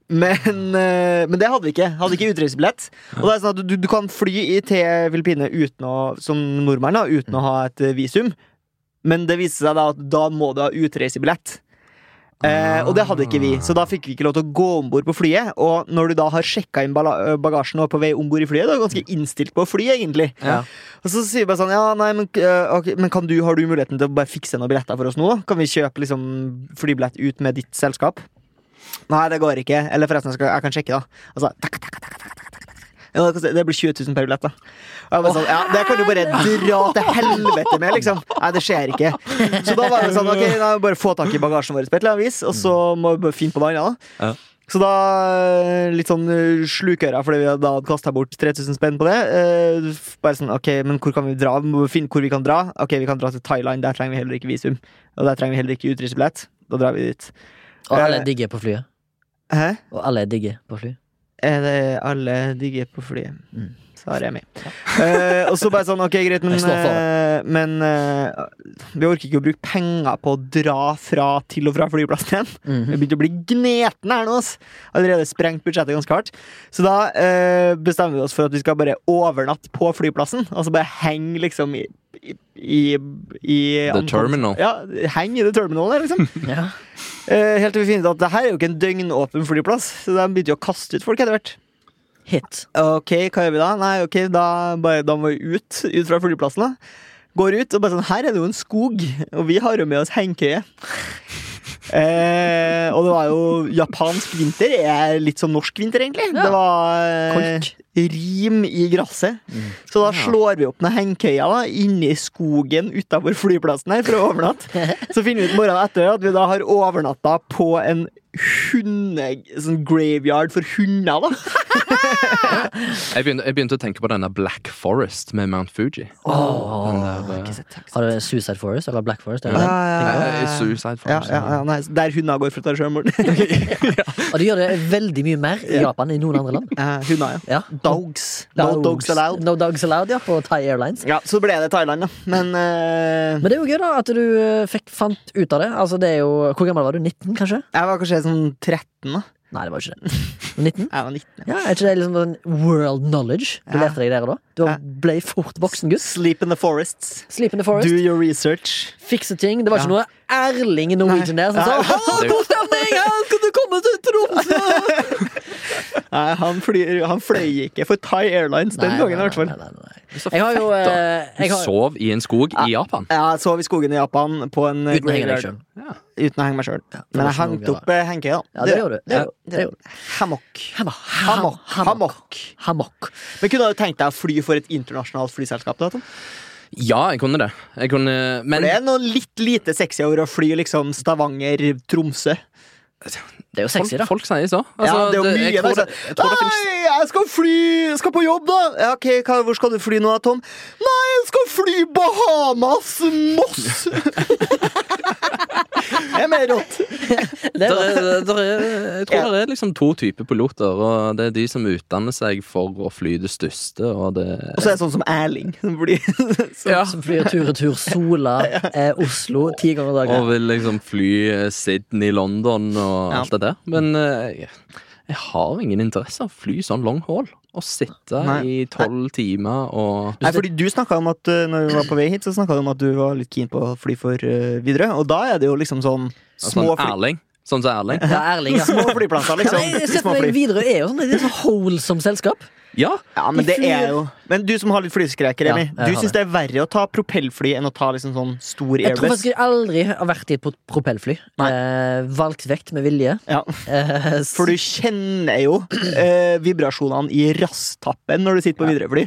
[SPEAKER 1] Men, eh, men det hadde vi ikke. Hadde ikke utreisebillett. Og det er sånn at du, du kan fly i- til Filippinene uten å, som nordmann da, uten å ha et eh, visum, men det viste seg da at da må du ha utreisebillett. Eh, og det hadde ikke vi, så da fikk vi ikke lov til å gå om bord på flyet. Og når du da har sjekka inn bala- eh, bagasjen og er på vei om bord i flyet, da er du ganske innstilt på å fly, egentlig.
[SPEAKER 3] Ja.
[SPEAKER 1] Og så sier vi bare sånn Ja, nei, men, eh, ok, men kan du, har du muligheten til å bare fikse noen billetter for oss nå? da? Kan vi kjøpe liksom flybillett ut med ditt Altså, selskap? Nei, det går ikke. Eller forresten, jeg, skal, jeg kan sjekke, da. Og så, takk, takk, takk, takk, takk, takk, takk. Ja, det koster- Det blir 20 000 per billett, da. Og jeg var sånn, ja, det kan du bare dra til helvete med, liksom. Nei, det skjer ikke. Så da var det sånn, ok, da må vi bare få tak i bagasjen vår på et eller annet vis, og så må vi bare finne på noe annet. da.
[SPEAKER 3] Ja.
[SPEAKER 1] Så da eh, litt sånn eh, slukøra, fordi vi da hadde kasta bort 3000 spenn på det. eh, f- Bare sånn, ok, men hvor kan vi dra? Vi må finne hvor vi kan dra. Ok, vi kan dra til Thailand, der trenger vi heller ikke visum. Og der trenger vi heller ikke utreisebillett. Da drar vi dit.
[SPEAKER 2] Og alle
[SPEAKER 1] Eh.
[SPEAKER 2] er digge på flyet.
[SPEAKER 1] Hæ?
[SPEAKER 2] Og alle er digge på flyet.
[SPEAKER 1] Er det alle digger på flyet?
[SPEAKER 2] Mm.
[SPEAKER 1] Svarer jeg med. Eh, og så bare sånn, ok, greit, men,
[SPEAKER 2] Jeg står for det.
[SPEAKER 1] eh, men eh, vi orker ikke å bruke penger på å dra fra til og fra flyplassen igjen. Vi <laughs>
[SPEAKER 2] Mhm.
[SPEAKER 1] begynte å bli gnetne her nå. ass. Allerede sprengt budsjettet ganske hardt. Så da eh, bestemmer vi oss for at vi skal bare overnatte på flyplassen. Altså bare henge liksom i, i, i, i
[SPEAKER 3] The terminal.
[SPEAKER 1] Ja, heng i the terminal der,
[SPEAKER 3] <laughs>
[SPEAKER 1] liksom.
[SPEAKER 2] Ja.
[SPEAKER 1] Eh, helt til vi finner ut at det her er jo ikke en døgnåpen flyplass, så de begynte jo å kaste ut folk etter hvert.
[SPEAKER 2] Hit.
[SPEAKER 1] Ok, hva gjør vi da? Nei, ok, da, bare, da må vi ut, ut fra flyplassen da. Går ut, og bare sånn, her er det jo en skog, og vi har jo med oss
[SPEAKER 2] <laughs>
[SPEAKER 1] hengkøye. Eh, og det var jo japansk vinter, er litt som norsk vinter egentlig.
[SPEAKER 2] Ja.
[SPEAKER 1] Det var eh,
[SPEAKER 2] Koldt.
[SPEAKER 1] rim i grasset.
[SPEAKER 2] Mm.
[SPEAKER 1] Så da
[SPEAKER 3] Ja.
[SPEAKER 1] slår vi opp noen hengkøyer da, inne i skogen utenfor flyplassen her for å overnatte.
[SPEAKER 2] <laughs>
[SPEAKER 1] Så finner vi ut morgenen etter at vi da har overnatta på en hunde, sånn graveyard for hunder da.
[SPEAKER 3] Jeg begynte, jeg begynte å tenke på denne Black Forest med Mount Fuji.
[SPEAKER 2] Åh.
[SPEAKER 3] Den der, eh,
[SPEAKER 2] Har du Suicide Forest eller Black Forest? Eller?
[SPEAKER 1] Ja, Ah, ja, ja,
[SPEAKER 3] eh, Suicide
[SPEAKER 1] Ja,
[SPEAKER 3] Forest.
[SPEAKER 1] ja, ja, nei, der hunder går for å
[SPEAKER 2] <laughs>
[SPEAKER 1] ta sjømord.
[SPEAKER 2] Og de gjør det veldig mye mer i Japan enn i noen andre land.
[SPEAKER 1] Eh, hunder, <laughs>
[SPEAKER 2] Ja.
[SPEAKER 1] ja. Dogs. No dogs allowed.
[SPEAKER 2] No dogs allowed, ja, på Thai Airlines.
[SPEAKER 1] Ja, så ble det Thailand, da. Men eh,
[SPEAKER 2] Men det er jo gøy da at du eh, fikk, fant ut av det. Altså, det er jo, hvor gammel var du? 19, kanskje?
[SPEAKER 1] jeg var kanskje sånn 13, da.
[SPEAKER 2] Nei, det <laughs> var ikke det. 19?
[SPEAKER 1] Jeg var 19.
[SPEAKER 2] Ja, Er ikke det liksom sånn world knowledge du
[SPEAKER 1] Ja.
[SPEAKER 2] lærte deg der og da? Du
[SPEAKER 1] Ja.
[SPEAKER 2] ble fort voksen gutt.
[SPEAKER 1] Sleep in the forests.
[SPEAKER 2] Sleep in the forest,
[SPEAKER 1] Do your research.
[SPEAKER 2] fikse ting. Det var ikke
[SPEAKER 1] Ja.
[SPEAKER 2] noe Erling i Norwegian der som
[SPEAKER 1] Nei.
[SPEAKER 2] sa
[SPEAKER 1] Nei.
[SPEAKER 2] 'Hallo, god stemning! Ja, skal du komme til Tromsø?'
[SPEAKER 1] Nei, han, flyr, han fløy ikke for Thai Airlines den gangen, i hvert fall.
[SPEAKER 2] Nei, nei, nei, nei.
[SPEAKER 3] Så
[SPEAKER 2] Jeg har jo
[SPEAKER 3] fett, da.
[SPEAKER 2] eh,
[SPEAKER 3] Du
[SPEAKER 2] jeg har,
[SPEAKER 3] sov i en skog
[SPEAKER 1] Ah.
[SPEAKER 3] i Japan.
[SPEAKER 1] Jeg sov i skogen i Japan på en
[SPEAKER 2] Uten å henge deg
[SPEAKER 1] graveyard
[SPEAKER 2] sjøl.
[SPEAKER 3] Ja.
[SPEAKER 1] uten å henge meg sjøl.
[SPEAKER 2] det
[SPEAKER 1] Men
[SPEAKER 2] var
[SPEAKER 1] jeg
[SPEAKER 2] ikke noe
[SPEAKER 1] hengte
[SPEAKER 2] gøy,
[SPEAKER 1] opp eh, hengekøya.
[SPEAKER 2] Ja, det gjorde du. Det
[SPEAKER 1] ja,
[SPEAKER 2] gjorde du.
[SPEAKER 1] det
[SPEAKER 2] Det
[SPEAKER 1] gjorde du. Hammock.
[SPEAKER 2] Hammock.
[SPEAKER 1] Hammock.
[SPEAKER 2] Hammock.
[SPEAKER 1] Hammock.
[SPEAKER 2] Hammock.
[SPEAKER 1] Men kunne du tenkt deg å fly for et internasjonalt flyselskap? da, Tom?
[SPEAKER 3] ja, jeg kunne det. Jeg kunne, men
[SPEAKER 1] For det er noe litt lite sexy over å fly liksom Stavanger-Tromsø.
[SPEAKER 2] Det er jo
[SPEAKER 3] folk,
[SPEAKER 2] sexy, da.
[SPEAKER 3] folk sier så.
[SPEAKER 1] Ja,
[SPEAKER 3] Altså,
[SPEAKER 1] det er jo mye sånn,
[SPEAKER 3] jeg, tror det, jeg tror det
[SPEAKER 1] Nei,
[SPEAKER 3] finnes
[SPEAKER 1] jeg skal fly Jeg skal på jobb, da! Ja, ok, hva, Hvor skal du fly nå, da, Tom? Nei, jeg skal fly Bahamas! Moss! <laughs> det er mer rått.
[SPEAKER 2] Det
[SPEAKER 3] der
[SPEAKER 2] var-
[SPEAKER 3] er, der er, jeg tror det er liksom to typer piloter, og det er de som utdanner seg for å fly det største, og det
[SPEAKER 1] Og så er det sånn som Erling. Som
[SPEAKER 3] <laughs>
[SPEAKER 1] blir, som,
[SPEAKER 3] ja,
[SPEAKER 2] Som flyr tur-retur
[SPEAKER 1] <laughs>
[SPEAKER 2] Sola, eh, Oslo, ti ganger
[SPEAKER 3] Og
[SPEAKER 2] dagen.
[SPEAKER 3] vil liksom fly eh, Sydney, London og
[SPEAKER 1] Ja.
[SPEAKER 3] alt det der. Men eh, jeg har ingen interesse av å fly sånn long haul. Å sitte
[SPEAKER 1] Nei.
[SPEAKER 3] i tolv timer og
[SPEAKER 1] Nei, fordi du snakket om at uh, Når vi var på vei hit, så snakka du om at du var litt keen på å fly for uh, Widerøe. Og da er det jo liksom sånn små,
[SPEAKER 3] Sånn
[SPEAKER 1] fly,
[SPEAKER 3] Erling. Sånn som Erling.
[SPEAKER 2] Ja, Erling, ja.
[SPEAKER 1] <laughs> små flyplasser,
[SPEAKER 2] Ja,
[SPEAKER 1] liksom.
[SPEAKER 2] men jeg ser
[SPEAKER 1] Små
[SPEAKER 2] for
[SPEAKER 1] fly.
[SPEAKER 2] meg Widerøe er jo sånn, det er et sånn wholesome selskap.
[SPEAKER 3] Ja!
[SPEAKER 1] Ja, men
[SPEAKER 2] De
[SPEAKER 1] det er
[SPEAKER 2] flyr-
[SPEAKER 1] jo Men du som har litt flyskrekk,
[SPEAKER 2] Ja,
[SPEAKER 1] Remi.
[SPEAKER 2] jeg
[SPEAKER 1] du
[SPEAKER 2] har
[SPEAKER 1] syns det er verre å ta propellfly enn å ta liksom sånn stor
[SPEAKER 2] Jeg tror
[SPEAKER 1] airbus?
[SPEAKER 2] faktisk jeg aldri har vært i et pro- propellfly.
[SPEAKER 1] Nei.
[SPEAKER 2] Eh, valgt vekt med vilje.
[SPEAKER 1] Ja,
[SPEAKER 2] Eh, s-
[SPEAKER 1] for du kjenner jo eh, vibrasjonene i rasstappen når du sitter på Widerøe-fly.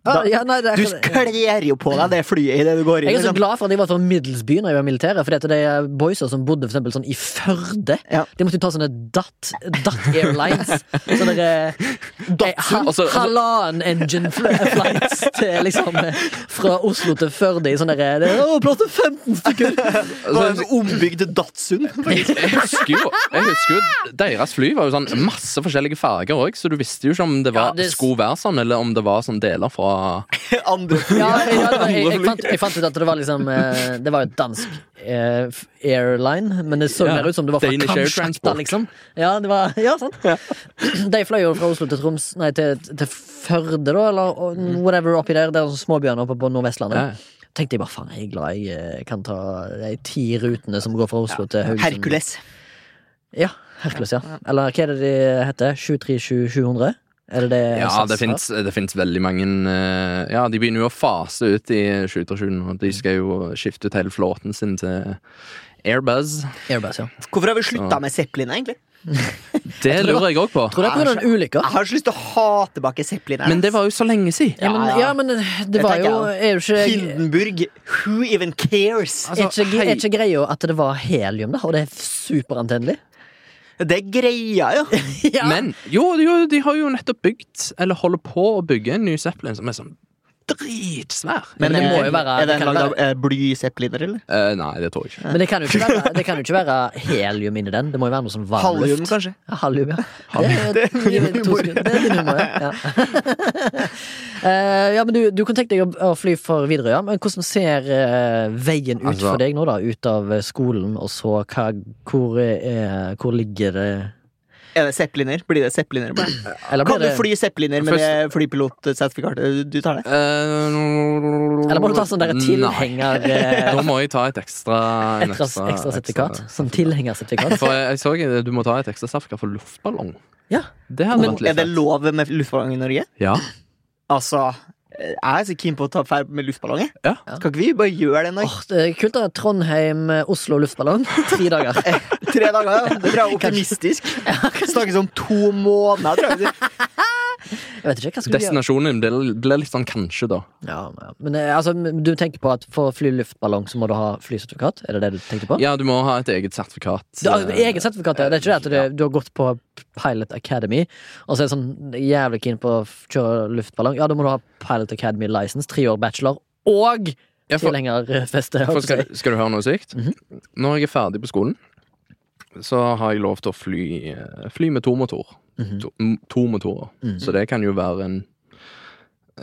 [SPEAKER 2] Ah,
[SPEAKER 1] Da-
[SPEAKER 2] ja, nei, det er-
[SPEAKER 1] Du kler jo på deg det flyet idet du går inn.
[SPEAKER 2] Jeg er så
[SPEAKER 1] liksom.
[SPEAKER 2] glad for at jeg var fra middelsby når jeg var i militæret. For det er boyser som bodde for eksempel, sånn i Førde.
[SPEAKER 1] Ja.
[SPEAKER 2] De måtte jo ta sånne DAT, DAT
[SPEAKER 3] <laughs>
[SPEAKER 2] Airlines. Sånne der, eh, ha,
[SPEAKER 3] Altså- altså-
[SPEAKER 2] Halvannen engine fl eh, flights til, liksom, eh, fra Oslo til Førde i sånne der, det er, å, Plass til 15 stykker!
[SPEAKER 3] <laughs>
[SPEAKER 1] Det var en ombygd Datsun. faktisk.
[SPEAKER 3] Jeg husker, jo, jeg husker jo Deres fly var jo sånn masse forskjellige farger òg, så du visste jo ikke om det, var,
[SPEAKER 2] Ja, det-
[SPEAKER 3] skulle være sånn, eller om det var sånn deler fra
[SPEAKER 1] Andre fly.
[SPEAKER 2] Ja, jeg, jeg, jeg, jeg,
[SPEAKER 1] Andre
[SPEAKER 2] fant,
[SPEAKER 1] fly.
[SPEAKER 2] jeg fant ut at det var liksom eh, Det var jo et dansk eh, f- airline, men det så
[SPEAKER 3] Ja.
[SPEAKER 2] mer ut som det var fra
[SPEAKER 3] Danish Air
[SPEAKER 2] Kamsjakta,
[SPEAKER 3] Transport.
[SPEAKER 2] liksom. Ja, det var, <laughs> ja sant. <clears throat> De fløy jo fra Oslo til Troms Nei, til, til Førde, da, eller og whatever oppi der. Det er sånne småbjørner oppe på Nordvestlandet. Tenkte jeg bare faen, jeg er glad jeg eh, kan ta de ti rutene som går fra Oslo til Haugesund.
[SPEAKER 1] Hercules.
[SPEAKER 2] Ja, Hercules, ja. Eller hva er det de heter? 737-700? Er det det?
[SPEAKER 3] Ja,
[SPEAKER 2] SAS
[SPEAKER 3] det
[SPEAKER 2] har?
[SPEAKER 3] fins, det finnes veldig mange eh, Ja, de begynner jo å fase ut i 2027, og de skal jo skifte ut hele flåten sin til Airbuzz.
[SPEAKER 2] Airbus, ja.
[SPEAKER 1] Hvorfor har vi slutta med Zeppelin, egentlig?
[SPEAKER 3] Det lurer jeg òg på.
[SPEAKER 2] Tror det er pga. en ulykke.
[SPEAKER 1] Jeg har så lyst til å ha tilbake Zeppelin.
[SPEAKER 3] Men det var jo så lenge siden.
[SPEAKER 2] Ja, men,
[SPEAKER 1] ah, Ja, ja.
[SPEAKER 2] ja, men det
[SPEAKER 1] Det
[SPEAKER 2] var
[SPEAKER 1] tenker
[SPEAKER 2] jo Er jo ikke
[SPEAKER 1] Hindenburg, who even cares?
[SPEAKER 2] er
[SPEAKER 3] Altså,
[SPEAKER 2] ikke, er
[SPEAKER 3] hei.
[SPEAKER 2] ikke greia at det var helium, da? Og det er superantennelig? Altså-
[SPEAKER 1] Det er greia, jo.
[SPEAKER 2] <laughs> Ja.
[SPEAKER 3] Men jo, jo, de har jo nettopp bygd, eller holder på å bygge, en ny Zeppelin som er sånn dritsvær.
[SPEAKER 2] Men det
[SPEAKER 1] eh,
[SPEAKER 2] må jo være-
[SPEAKER 1] Er den
[SPEAKER 2] kan det
[SPEAKER 1] lagd av eh, bly i zeppeliner, eller?
[SPEAKER 3] Eh, nei, det tror jeg ikke.
[SPEAKER 2] Men det kan, jo ikke være, det kan jo ikke være helium inni den. Det må jo være noe sånn varm
[SPEAKER 1] Halium,
[SPEAKER 2] luft.
[SPEAKER 1] kanskje?
[SPEAKER 2] Ja, Halium, ja. Det er
[SPEAKER 1] min
[SPEAKER 2] to
[SPEAKER 1] humor.
[SPEAKER 2] sekunder. Det er din humor, ja. <laughs> ja. Eh, ja men du, du kan tenke deg å- å fly for Widerøe, ja. men hvordan ser eh, veien ut
[SPEAKER 3] Altså-
[SPEAKER 2] for deg nå, da? Ut av eh, skolen, og så hva, hvor, eh, hvor ligger det
[SPEAKER 1] Er det zeppeliner? Blir det zeppeliner? Blir det?
[SPEAKER 2] Eller
[SPEAKER 1] Kan
[SPEAKER 2] blir
[SPEAKER 1] du
[SPEAKER 2] det
[SPEAKER 1] fly zeppeliner med det flypilotsertifikatet? Du tar det?
[SPEAKER 3] Eh,
[SPEAKER 2] Eller må du ta sånn der
[SPEAKER 3] Nei.
[SPEAKER 2] tilhenger... eh,
[SPEAKER 3] <laughs> Nå må jeg ta et ekstra en
[SPEAKER 2] Et ekstra, ekstra sertifikat? Sånn tilhengersertifikat?
[SPEAKER 3] For jeg, jeg så eh, du må ta et ekstra sertifikat for luftballong.
[SPEAKER 2] Ja.
[SPEAKER 3] Det hadde
[SPEAKER 1] Men
[SPEAKER 3] vært
[SPEAKER 1] er
[SPEAKER 3] litt
[SPEAKER 1] det
[SPEAKER 3] fett.
[SPEAKER 1] lov med luftballong i Norge?
[SPEAKER 3] Ja.
[SPEAKER 1] Altså, jeg er så keen på å ta ferd med luftballong. jeg.
[SPEAKER 3] Ja.
[SPEAKER 1] Skal ikke vi bare gjøre det en dag?
[SPEAKER 2] Åh, det er kult da, Trondheim-Oslo luftballong. Tre dager.
[SPEAKER 1] Tre dager,
[SPEAKER 2] <laughs>
[SPEAKER 1] ja. Det tror jeg er optimistisk. Snakkes om to måneder, tror jeg.
[SPEAKER 2] Jeg vet ikke, hva skal du gjøre?
[SPEAKER 3] Destinasjonen blir blir litt sånn kanskje, da.
[SPEAKER 2] Ja, ja. Men eh, altså, du tenker på at for å fly luftballong så må du ha flysertifikat? Er det det du tenkte på?
[SPEAKER 3] Ja, du må ha et eget sertifikat. eh.
[SPEAKER 2] Du har eget sertifikat, ja. Det er ikke det at du,
[SPEAKER 3] Ja.
[SPEAKER 2] du har gått på Pilot Academy, og så er det sånn jævlig keen på å f- kjøre luftballong. Ja, da må du ha Pilot Academy license, tre år bachelor, og
[SPEAKER 3] Ja, for-
[SPEAKER 2] tilhengerfeste.
[SPEAKER 3] For
[SPEAKER 2] holdt jeg
[SPEAKER 3] skal,
[SPEAKER 2] på å si.
[SPEAKER 3] skal du høre noe sykt?
[SPEAKER 2] Mhm.
[SPEAKER 3] Når jeg er ferdig på skolen, så har jeg lov til å fly, eh, fly med to motor.
[SPEAKER 2] Mhm.
[SPEAKER 3] To, m- to motorer.
[SPEAKER 2] Mhm.
[SPEAKER 3] Så det kan jo være en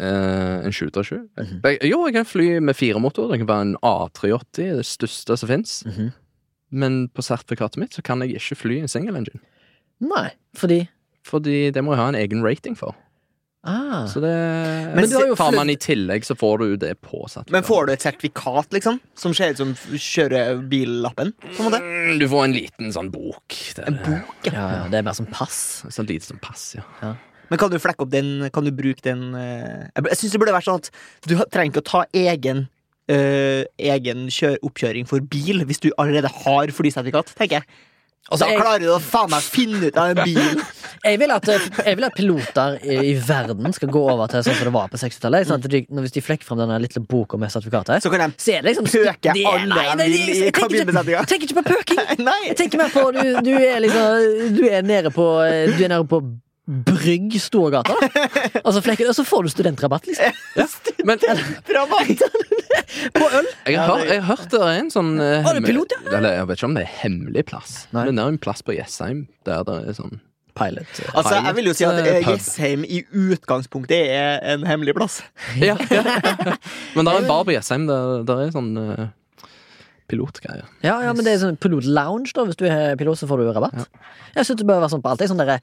[SPEAKER 3] eh, en 787.
[SPEAKER 2] Mhm.
[SPEAKER 3] Jeg- Jo, jeg kan fly med fire motorer. Det kan være en A380, det største som fins.
[SPEAKER 2] Mhm.
[SPEAKER 3] Men på sertifikatet mitt så kan jeg ikke fly en single engine.
[SPEAKER 2] Nei, fordi
[SPEAKER 3] Fordi det må jeg ha en egen rating for.
[SPEAKER 2] ah.
[SPEAKER 3] Så det
[SPEAKER 2] Men du har jo
[SPEAKER 3] Tar man
[SPEAKER 2] flydd-
[SPEAKER 3] i tillegg, så får du det på sertifikatet.
[SPEAKER 1] Men får du et sertifikat, liksom? Som ser ut som f- kjørebillappen? På en måte.
[SPEAKER 3] Mm, Du får en liten sånn bok. Det er
[SPEAKER 1] En bok?
[SPEAKER 2] ja, ja, Det er mer som pass.
[SPEAKER 3] Sånn lite som pass, ja.
[SPEAKER 1] Men kan du flekke opp den Kan du bruke den eh, Jeg, jeg syns det burde vært sånn at du ha- trenger ikke å ta egen eh, egen kjør, oppkjøring for bil hvis du allerede har flysertifikat, tenker jeg.
[SPEAKER 2] Altså,
[SPEAKER 1] da
[SPEAKER 2] jeg-
[SPEAKER 1] klarer du å faen meg finne ut av den
[SPEAKER 2] <laughs>
[SPEAKER 1] bilen.
[SPEAKER 2] Jeg vil, at, eh, jeg vil at piloter i, i verden skal gå over til sånn som det var på 60-tallet. Sånn at de, når- hvis de flekker frem denne lille boka med sertifikatet
[SPEAKER 1] Så kan de
[SPEAKER 2] så er det liksom
[SPEAKER 1] pøke
[SPEAKER 2] det-
[SPEAKER 1] alle
[SPEAKER 2] nei, det-
[SPEAKER 1] de vil i
[SPEAKER 2] jeg tenker ikke-
[SPEAKER 1] kabinbesetninga.
[SPEAKER 2] Jeg tenker ikke på pøking!
[SPEAKER 1] Nei!
[SPEAKER 2] Jeg tenker mer på du, du er liksom Du er nede på Du er nede på Brygg Storgata da. og så, flekker, og så får du studentrabatt liksom
[SPEAKER 3] Men jeg
[SPEAKER 1] Rabatt!
[SPEAKER 2] <laughs> På øl
[SPEAKER 3] har, hørt- jeg har hørt det er en sånn
[SPEAKER 2] Å,
[SPEAKER 3] eh,
[SPEAKER 2] det er
[SPEAKER 3] hemmel-
[SPEAKER 2] pilot,
[SPEAKER 3] Eller jeg vet ikke om det er hemmelig plass,
[SPEAKER 2] Nei.
[SPEAKER 3] men det er en plass på Jessheim der det er sånn
[SPEAKER 2] Pilot
[SPEAKER 1] Altså, jeg vil jo si at eh,
[SPEAKER 3] Pilot, eh, pub.
[SPEAKER 1] Jessheim i utgangspunktet er en hemmelig plass.
[SPEAKER 3] ja, ja, ja. <laughs> Men det er en bar på Jessheim der det er sånn eh, pilotgreier.
[SPEAKER 2] Ja, ja, men det er sånn pilot lounge da Hvis du er pilot så får du rabatt Jeg synes det bør være sånn på alt Det er sånn der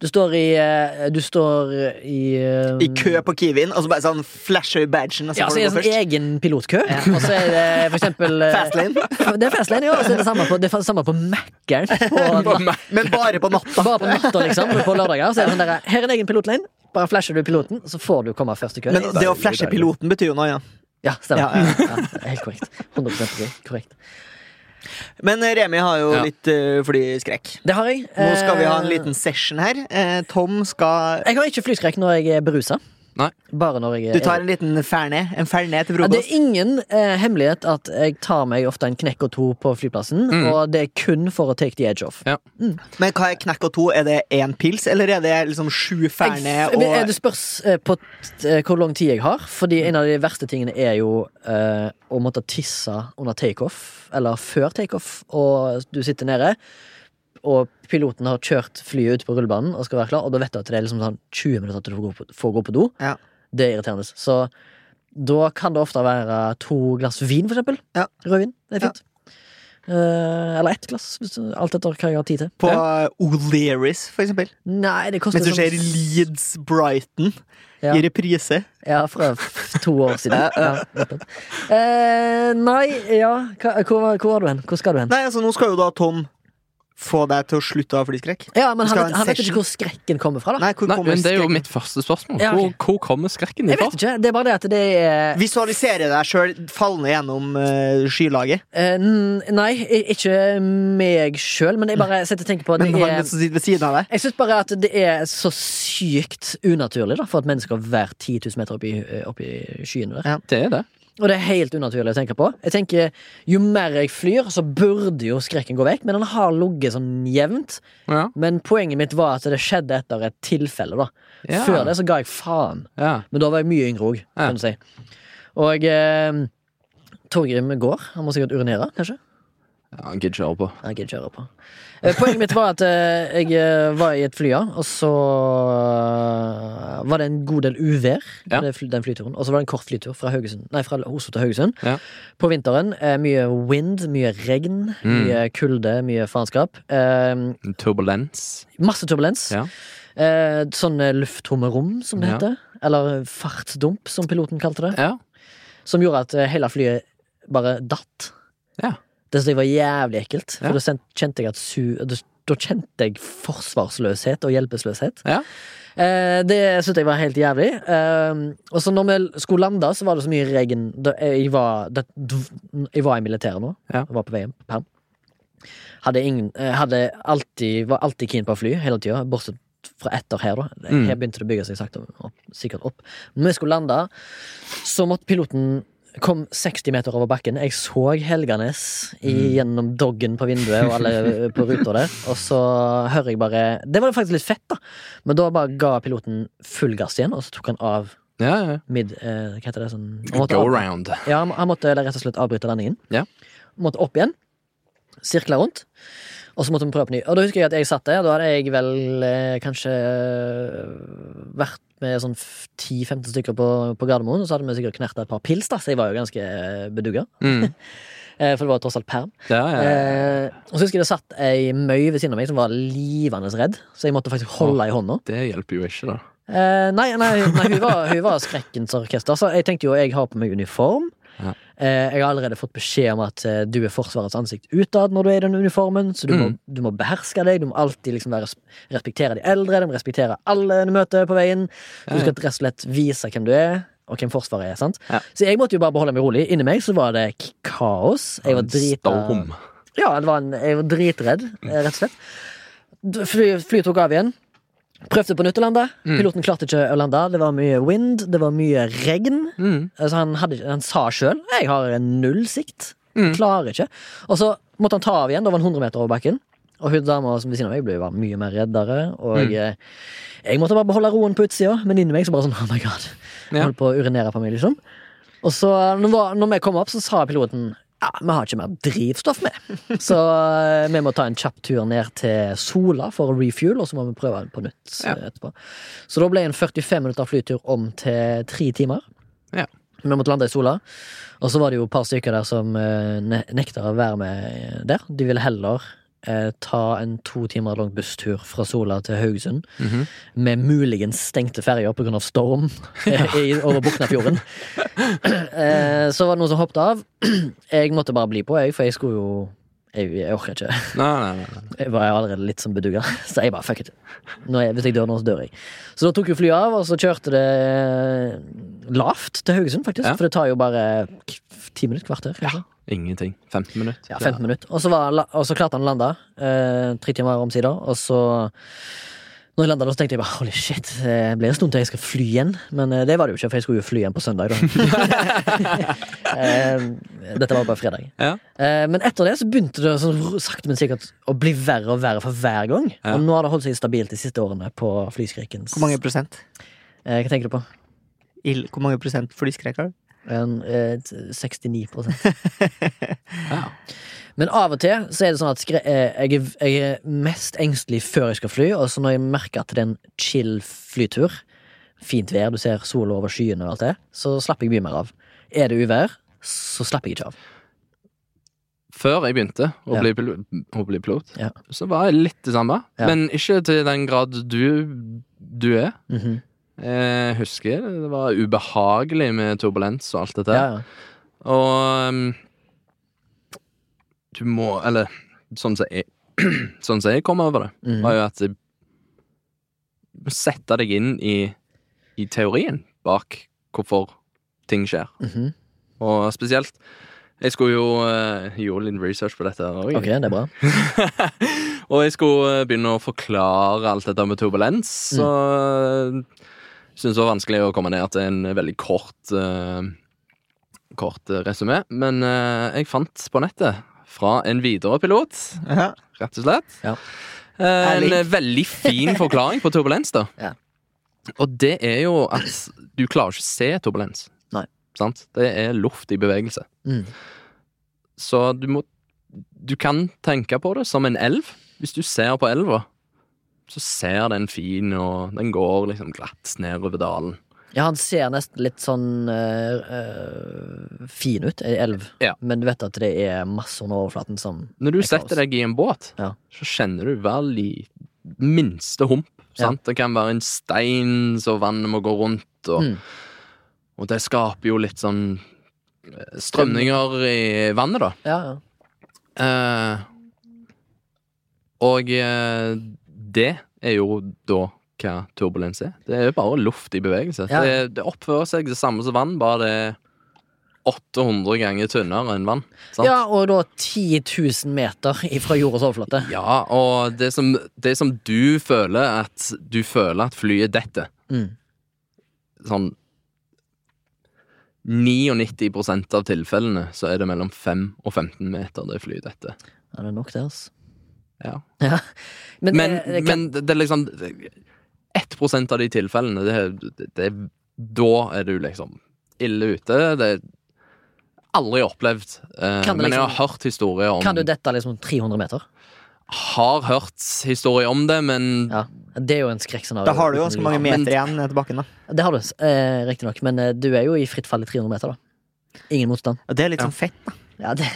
[SPEAKER 2] Du står i eh, Du står i eh,
[SPEAKER 1] I kø på Kiwien, og så bare sånn flasher badgen. og så
[SPEAKER 2] ja,
[SPEAKER 1] får
[SPEAKER 2] så er
[SPEAKER 1] du
[SPEAKER 2] det
[SPEAKER 1] gå
[SPEAKER 2] sånn
[SPEAKER 1] først.
[SPEAKER 2] egen pilotkø Og så er det for eksempel eh,
[SPEAKER 1] Fastlane.
[SPEAKER 2] <laughs> Det er fastlane, ja Og så er det samme på Det er samme på Mac-eren
[SPEAKER 1] <laughs>
[SPEAKER 2] På
[SPEAKER 1] Men bare
[SPEAKER 2] <laughs>
[SPEAKER 1] på natta.
[SPEAKER 2] Bare på natta, liksom. På lørdager. Så er det sånn der, Her er en egen pilotlane. Bare flasher du piloten, så får du komme først i køen.
[SPEAKER 1] Men det å flashe piloten betyr jo noe, ja.
[SPEAKER 2] Ja, stemmer.
[SPEAKER 1] Ja, ja.
[SPEAKER 2] Ja, helt korrekt. 100 korrekt.
[SPEAKER 1] Men eh, Remi har jo
[SPEAKER 3] Ja.
[SPEAKER 1] litt eh, flyskrekk.
[SPEAKER 2] Det har jeg.
[SPEAKER 1] Nå skal vi ha en
[SPEAKER 2] Eh,
[SPEAKER 1] liten session her. Eh, Tom skal
[SPEAKER 2] Jeg har ikke flyskrekk når jeg er berusa.
[SPEAKER 3] Nei.
[SPEAKER 2] Bare når jeg
[SPEAKER 1] Du tar en liten fernet en fernet til
[SPEAKER 2] ja, Det
[SPEAKER 1] frokost.
[SPEAKER 2] er ingen eh, hemmelighet at jeg tar meg ofte en knekk og to på flyplassen,
[SPEAKER 3] Mm.
[SPEAKER 2] og det er kun for å take the edge off.
[SPEAKER 1] Men hva er knekk og to? Er det én pils, eller er det liksom sju fernet
[SPEAKER 2] Jeg- eh,
[SPEAKER 1] og
[SPEAKER 2] Det spørs eh, på t- eh, hvor lang tid jeg har, fordi en av de verste tingene er jo eh, å måtte tisse under takeoff, eller før takeoff, og du sitter nede, og piloten har kjørt flyet ut på rullebanen og skal være klar, og da vet du at det er liksom sånn 20 minutter til du får gå på, får gå på do.
[SPEAKER 1] Ja.
[SPEAKER 2] Det er irriterende. Så da kan det ofte være to glass vin, for eksempel.
[SPEAKER 1] Ja.
[SPEAKER 2] Rødvin. Det er fint. Eh, eller ett glass, hvis du- alt etter hva jeg har tid til.
[SPEAKER 1] på O'Learys, for eksempel?
[SPEAKER 2] Nei, det koster
[SPEAKER 1] Mens du
[SPEAKER 2] sånn-
[SPEAKER 1] ser Leeds Brighton
[SPEAKER 2] Ja.
[SPEAKER 1] i reprise.
[SPEAKER 2] Ja, fra f- to år siden. Ja, nettopp. eh, nei, ja hva, hvor, var- hvor var du hen? Hvor skal du hen?
[SPEAKER 1] Nei, altså nå skal jo da Tom få deg til å slutte å ha flyskrekk?
[SPEAKER 2] Ja, men
[SPEAKER 1] Du skal
[SPEAKER 2] han,
[SPEAKER 1] ha en
[SPEAKER 2] vet- han vet
[SPEAKER 1] session.
[SPEAKER 2] ikke hvor skrekken kommer fra, da.
[SPEAKER 1] Nei, hvor
[SPEAKER 3] Nei,
[SPEAKER 1] kommer
[SPEAKER 3] men Det er jo
[SPEAKER 1] skrekken?
[SPEAKER 3] mitt første spørsmål.
[SPEAKER 2] Ja,
[SPEAKER 3] Hvor,
[SPEAKER 2] ok.
[SPEAKER 3] hvor kommer skrekken
[SPEAKER 2] Jeg
[SPEAKER 3] ifra?
[SPEAKER 2] vet ikke. Det er bare det at det er
[SPEAKER 1] Visualisere deg sjøl fallende gjennom eh, skylaget.
[SPEAKER 2] Eh, n- nei, i- ikke meg sjøl, men jeg bare sitter og tenker på at
[SPEAKER 1] Men
[SPEAKER 2] det
[SPEAKER 1] han
[SPEAKER 2] er
[SPEAKER 1] som sitter ved siden av deg.
[SPEAKER 2] Jeg syns bare at det er så sykt unaturlig da, for et menneske å være 10 000 meter opp i, eh, opp i skyene der.
[SPEAKER 1] Ja.
[SPEAKER 3] Det er det.
[SPEAKER 2] Og det er helt unaturlig å tenke på. Jeg tenker, Jo mer jeg flyr, så burde jo skrekken gå vekk, men den har ligget sånn jevnt.
[SPEAKER 3] Ja.
[SPEAKER 2] Men poenget mitt var at det skjedde etter et tilfelle, da.
[SPEAKER 3] Ja.
[SPEAKER 2] Før det så ga jeg faen.
[SPEAKER 3] Ja.
[SPEAKER 2] Men da var jeg mye yngre òg,
[SPEAKER 3] Ja.
[SPEAKER 2] kan du si. Og eh, Torgrim går. Han må sikkert urinere, kanskje?
[SPEAKER 3] ja han gidder ikke høre på.
[SPEAKER 2] Jeg gidder ikke høre på. Eh, Poenget mitt var at eh, jeg eh, var i et fly, ja, og så eh, var det en god del uvær. på
[SPEAKER 3] Ja.
[SPEAKER 2] det fly- Den flyturen Og så var det en kort flytur fra, Haugesund, nei, fra Oslo til Haugesund.
[SPEAKER 3] Ja.
[SPEAKER 2] På vinteren. eh, Mye wind, mye regn,
[SPEAKER 3] Mm.
[SPEAKER 2] mye kulde, mye faenskap. Eh,
[SPEAKER 3] Turbulens.
[SPEAKER 2] Masse turbulens.
[SPEAKER 3] Ja.
[SPEAKER 2] Eh, sånne lufttomme rom, som det
[SPEAKER 3] Ja.
[SPEAKER 2] heter. Eller eh, fartsdump, som piloten kalte det.
[SPEAKER 3] Ja.
[SPEAKER 2] Som gjorde at eh, hele flyet bare datt.
[SPEAKER 3] Ja.
[SPEAKER 2] Det synes jeg var jævlig ekkelt. For
[SPEAKER 3] Ja.
[SPEAKER 2] da sen- kjente jeg at su da, da kjente jeg forsvarsløshet og hjelpeløshet.
[SPEAKER 3] Ja.
[SPEAKER 2] Eh, det syntes jeg var helt jævlig. Eh, og så når vi skulle lande, så var det så mye regn. Da, eh, jeg, var, det, jeg var i militæret nå.
[SPEAKER 3] Ja.
[SPEAKER 2] Jeg var på vei hjem. på Perm. Hadde ingen, eh, hadde alltid, var alltid keen på å fly hele tida, bortsett fra ett år her, da.
[SPEAKER 3] Mm.
[SPEAKER 2] Her begynte det å bygge seg sakte opp, sikkert opp. Når vi skulle lande, så måtte piloten Kom 60 meter over bakken. Jeg så Helganes i,
[SPEAKER 3] Mm.
[SPEAKER 2] gjennom doggen på vinduet og alle på ruta
[SPEAKER 3] <laughs>
[SPEAKER 2] der. Og så hører jeg bare Det var faktisk litt fett, da. Men da bare ga piloten full gass igjen, og så tok han av
[SPEAKER 3] Ja, ja.
[SPEAKER 2] mid... Eh, hva heter det? Sånn, han måtte
[SPEAKER 3] Go
[SPEAKER 2] av-
[SPEAKER 3] round.
[SPEAKER 2] ja, han- han måtte rett og slett avbryte landingen.
[SPEAKER 3] Ja.
[SPEAKER 2] Måtte opp igjen. Sirkle rundt. Og så måtte vi prøve på ny. Og da husker jeg at jeg satt der. Da hadde jeg vel eh, kanskje eh, vært med sånn f- 10-15 stykker på, på Gardermoen, og så hadde vi sikkert knerta et par pils, da, så jeg var jo ganske eh, bedugga.
[SPEAKER 3] Mm.
[SPEAKER 2] Eh, for det var jo tross alt perm.
[SPEAKER 3] Ja, ja.
[SPEAKER 2] Eh, og så husker jeg det satt ei møy ved siden av meg som var livende redd, så jeg måtte faktisk holde i hånda.
[SPEAKER 3] Det hjelper jo ikke, da.
[SPEAKER 2] Eh, nei, nei, nei hun, var, hun var skrekkens orkester. Så jeg tenkte jo jeg har på meg uniform.
[SPEAKER 3] Ja.
[SPEAKER 2] Eh, jeg har allerede fått beskjed om at eh, du er Forsvarets ansikt utad når du er i den uniformen, så du, må,
[SPEAKER 3] Mm.
[SPEAKER 2] du må beherske deg. Du må alltid liksom være, respektere de eldre, du må respektere alle du møter på veien. Du
[SPEAKER 3] Ja, ja.
[SPEAKER 2] skal rett og slett vise hvem du er. Og hvem Forsvaret er. sant?
[SPEAKER 3] Ja.
[SPEAKER 2] Så jeg måtte jo bare beholde meg rolig. Inni meg så var det k- kaos. Jeg var drita
[SPEAKER 3] Storm.
[SPEAKER 2] ja, det var en, jeg var dritredd,
[SPEAKER 3] Mm.
[SPEAKER 2] eh, rett og slett. D- Fly, flyet tok av igjen. Prøvde på nytt å lande.
[SPEAKER 3] Mm.
[SPEAKER 2] Piloten klarte ikke å lande. Det var mye wind, det var mye regn.
[SPEAKER 3] Mm.
[SPEAKER 2] Altså, han, hadde, ikke- han sa sjøl 'jeg har null sikt'.
[SPEAKER 3] Mm.
[SPEAKER 2] Klarer ikke. Og så måtte han ta av igjen. Da var han 100 meter over bakken. Og hun dama som ved siden av meg ble jo bare mye mer reddere. Og
[SPEAKER 3] Mm.
[SPEAKER 2] eh, jeg måtte bare beholde roen på utsida, men inni meg så bare sånn <laughs> 'oh my god'. Jeg
[SPEAKER 3] Ja.
[SPEAKER 2] Holdt på å urinere på meg, liksom. Og så, når var- når vi kom opp, så sa piloten ja, vi har ikke mer drivstoff med, så eh, vi må ta en kjapp tur ned til Sola for å refuel, og så må vi prøve på nytt eh,
[SPEAKER 3] Ja.
[SPEAKER 2] etterpå. Så da ble en 45 minutter flytur om til tre timer.
[SPEAKER 3] Ja.
[SPEAKER 2] Vi måtte lande i Sola, og så var det jo et par stykker der som eh, ne nekta å være med eh, der. De ville heller eh, ta en to timer lang busstur fra Sola til Haugesund
[SPEAKER 3] Mhm.
[SPEAKER 2] med muligens stengte ferger pga. storm
[SPEAKER 3] <laughs>
[SPEAKER 2] i, over Buknafjorden. Eh, så var det noen som hoppet av. <clears throat> Jeg måtte bare bli på, jeg, for jeg skulle jo Jeg, jeg orker ikke. <laughs>
[SPEAKER 3] Nei, nei, nei.
[SPEAKER 2] Jeg var allerede litt som bedugga, <laughs> så jeg bare fuck it. Når jeg, hvis jeg dør nå, så dør jeg. Så da tok jo flyet av, og så kjørte det lavt til Haugesund, faktisk.
[SPEAKER 3] Ja.
[SPEAKER 2] For det tar jo bare k- ti minutter, kvarter. kanskje.
[SPEAKER 3] Ingenting. 15 minutter.
[SPEAKER 2] Ja, 15 minutter. Og så, var, la- og så klarte han å lande. Eh, tre timer omsider. Og så Når jeg landa, så tenkte jeg bare holy shit, det blir en stund til jeg skal fly igjen. Men eh, det var det jo ikke, for jeg skulle jo fly igjen på søndag. Da. eh, dette var bare fredag.
[SPEAKER 3] Ja.
[SPEAKER 2] Eh, men etter det så begynte det sånn, ro- sakte, men sikkert å bli verre og verre for hver gang.
[SPEAKER 3] Ja.
[SPEAKER 2] Og nå har det holdt seg stabilt de siste årene på flyskrekkens
[SPEAKER 1] Hvor mange prosent?
[SPEAKER 2] eh, Hva tenker du på?
[SPEAKER 1] Ild- Hvor mange prosent flyskrekk har du?
[SPEAKER 2] En, eh, t- 69
[SPEAKER 3] Ja.
[SPEAKER 2] Men av og til så er det sånn at skre eh, jeg, er, jeg er mest engstelig før jeg skal fly, og så når jeg merker at det er en chill flytur, fint vær, du ser sola over skyene og alt det, så slapper jeg mye mer av. Er det uvær, så slapper jeg ikke av.
[SPEAKER 3] Før jeg begynte å,
[SPEAKER 2] Ja.
[SPEAKER 3] bli, pil- å bli pilot,
[SPEAKER 2] Ja.
[SPEAKER 3] så var jeg litt det samme.
[SPEAKER 2] Ja.
[SPEAKER 3] Men ikke til den grad du, du er.
[SPEAKER 2] Mhm.
[SPEAKER 3] Jeg husker det var ubehagelig med turbulens og alt dette.
[SPEAKER 2] ja,
[SPEAKER 3] her.
[SPEAKER 2] ja.
[SPEAKER 3] Og um, du må Eller sånn som jeg <clears throat> sånn som jeg kom over det,
[SPEAKER 2] Mm.
[SPEAKER 3] var jo at eh, Sette deg inn i, i teorien bak hvorfor ting skjer.
[SPEAKER 2] Mhm.
[SPEAKER 3] Og spesielt Jeg skulle jo eh, gjøre litt research på dette. også.
[SPEAKER 2] Ok, det er bra.
[SPEAKER 3] <laughs> og jeg skulle eh, begynne å forklare alt dette med turbulens. Så eh, syntes det var vanskelig å komme ned til en veldig kort eh, Kort eh, resumé. Men eh, jeg fant på nettet fra en Widerøe-pilot,
[SPEAKER 1] Ja.
[SPEAKER 3] rett og slett.
[SPEAKER 2] Ja.
[SPEAKER 3] Eh, En
[SPEAKER 1] Ærlig.
[SPEAKER 3] <laughs> veldig fin forklaring på turbulens, da.
[SPEAKER 2] Ja.
[SPEAKER 3] Og det er jo at du klarer ikke å se turbulens.
[SPEAKER 2] Nei.
[SPEAKER 3] Sant? Det er luft i bevegelse.
[SPEAKER 2] Mm.
[SPEAKER 3] Så du må Du kan tenke på det som en elv. Hvis du ser på elva, så ser den fin, og den går liksom glatt nedover dalen.
[SPEAKER 2] Ja, han ser nesten litt sånn eh, eh, fin ut, ei elv,
[SPEAKER 3] Ja.
[SPEAKER 2] men du vet at det er masse under overflaten som
[SPEAKER 3] Når du
[SPEAKER 2] Det er
[SPEAKER 3] setter
[SPEAKER 2] kaos.
[SPEAKER 3] deg i en båt,
[SPEAKER 2] Ja.
[SPEAKER 3] så kjenner du hver li, minste hump.
[SPEAKER 2] Ja.
[SPEAKER 3] Sant? Det kan være en stein så vannet må gå rundt, og,
[SPEAKER 2] Mm.
[SPEAKER 3] og det skaper jo litt sånn eh, strømninger i vannet, da.
[SPEAKER 2] Ja, ja.
[SPEAKER 3] Eh, og eh, det er jo da hva turbulens er. Det er jo bare luft i bevegelse.
[SPEAKER 2] Ja.
[SPEAKER 3] Det, det oppfører seg det samme som vann, bare det er 800 ganger tynnere enn vann. Sant?
[SPEAKER 2] ja, og da 10 000 meter <laughs> fra jordens overflate.
[SPEAKER 3] Ja, og det som, det som du føler at Du føler at flyet detter
[SPEAKER 2] Mm.
[SPEAKER 3] Sånn 99% av tilfellene Så er det mellom 5 og 15 meter Det flyet detter
[SPEAKER 2] Ja, det er nok det, altså.
[SPEAKER 3] Ja.
[SPEAKER 2] <laughs> Men,
[SPEAKER 3] Men,
[SPEAKER 2] eh, det kan,
[SPEAKER 3] men det, det er liksom 1% av de tilfellene det, er- det, det, er- Da er du liksom Ille ute Det er aldri opplevd eh,
[SPEAKER 2] Kan det
[SPEAKER 3] Men jeg har
[SPEAKER 2] liksom-
[SPEAKER 3] hørt historier om
[SPEAKER 2] kan du dette liksom 300 meter?
[SPEAKER 3] Har hørt historier om det Men
[SPEAKER 2] Ja. Det er jo en skrekkscenario.
[SPEAKER 1] Da har du jo ganske mange
[SPEAKER 2] men-
[SPEAKER 1] meter igjen ned til bakken, da.
[SPEAKER 2] Det har du, eh, riktignok, men eh, du er jo i fritt fall i 300 meter, da. Ingen motstand.
[SPEAKER 1] Og det er litt
[SPEAKER 3] Ja.
[SPEAKER 1] sånn fett. da.
[SPEAKER 2] Ja, det,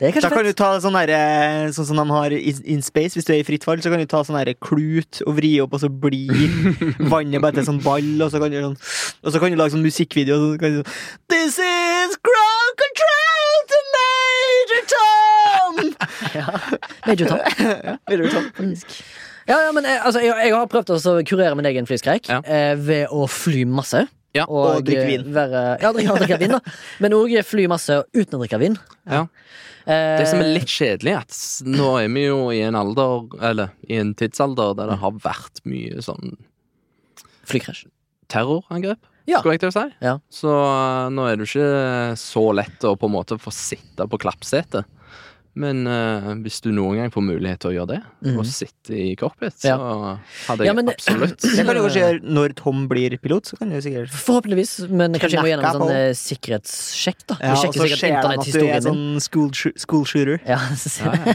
[SPEAKER 2] det er
[SPEAKER 1] Da
[SPEAKER 2] kanskje
[SPEAKER 1] kan du
[SPEAKER 2] fett.
[SPEAKER 1] ta sånn herre Sånn som de har i In Space, hvis du er i fritt fall, så kan du ta sånn herre klut og vri opp, og så
[SPEAKER 2] <laughs>
[SPEAKER 1] blir vannet bare til sånn ball, og så kan du sånn Og så kan du lage sånn musikkvideo, og så kan du sånn This is crowd control to Major Tom! <laughs>
[SPEAKER 2] Major Tom.
[SPEAKER 1] ja, Major Tom, faktisk.
[SPEAKER 2] Ja, ja, men eh, altså, jeg, jeg har prøvd også å kurere min egen flyskrekk
[SPEAKER 3] Ja.
[SPEAKER 2] eh, ved å fly masse.
[SPEAKER 3] Ja,
[SPEAKER 1] og drikke vin.
[SPEAKER 2] eh, Være, ja, drikke, drikke vin, da. Men òg fly masse uten å drikke vin.
[SPEAKER 3] Ja.
[SPEAKER 2] Eh,
[SPEAKER 3] Det som er litt kjedelig, er at s- nå er vi jo i en alder, eller i en tidsalder, der det har vært mye sånn
[SPEAKER 2] Flykrasj.
[SPEAKER 3] terrorangrep,
[SPEAKER 2] Ja.
[SPEAKER 3] skulle jeg til å si.
[SPEAKER 2] Ja.
[SPEAKER 3] Så eh, nå er det jo ikke så lett å på en måte få sitte på klappsetet. Men eh, hvis du noen gang får mulighet til å gjøre det,
[SPEAKER 2] Mhm.
[SPEAKER 3] og sitte i cockpit, så hadde jeg
[SPEAKER 2] Ja, men- eh,
[SPEAKER 3] absolutt <clears throat>
[SPEAKER 1] Det kan du kanskje gjøre når Tom blir pilot, så kan du sikkert
[SPEAKER 2] Forhåpentligvis, men kanskje jeg må gjennom en
[SPEAKER 1] Knekka på.
[SPEAKER 2] sånn eh, sikkerhetssjekk. da
[SPEAKER 1] ja,
[SPEAKER 2] Vi
[SPEAKER 1] Og så
[SPEAKER 2] sjekker
[SPEAKER 1] ser
[SPEAKER 2] sikkert
[SPEAKER 1] de at du er
[SPEAKER 2] internetthistorien min.
[SPEAKER 1] sånn school, shoo- school shooter.
[SPEAKER 2] <laughs> Ja, så ser
[SPEAKER 3] Ja, ja.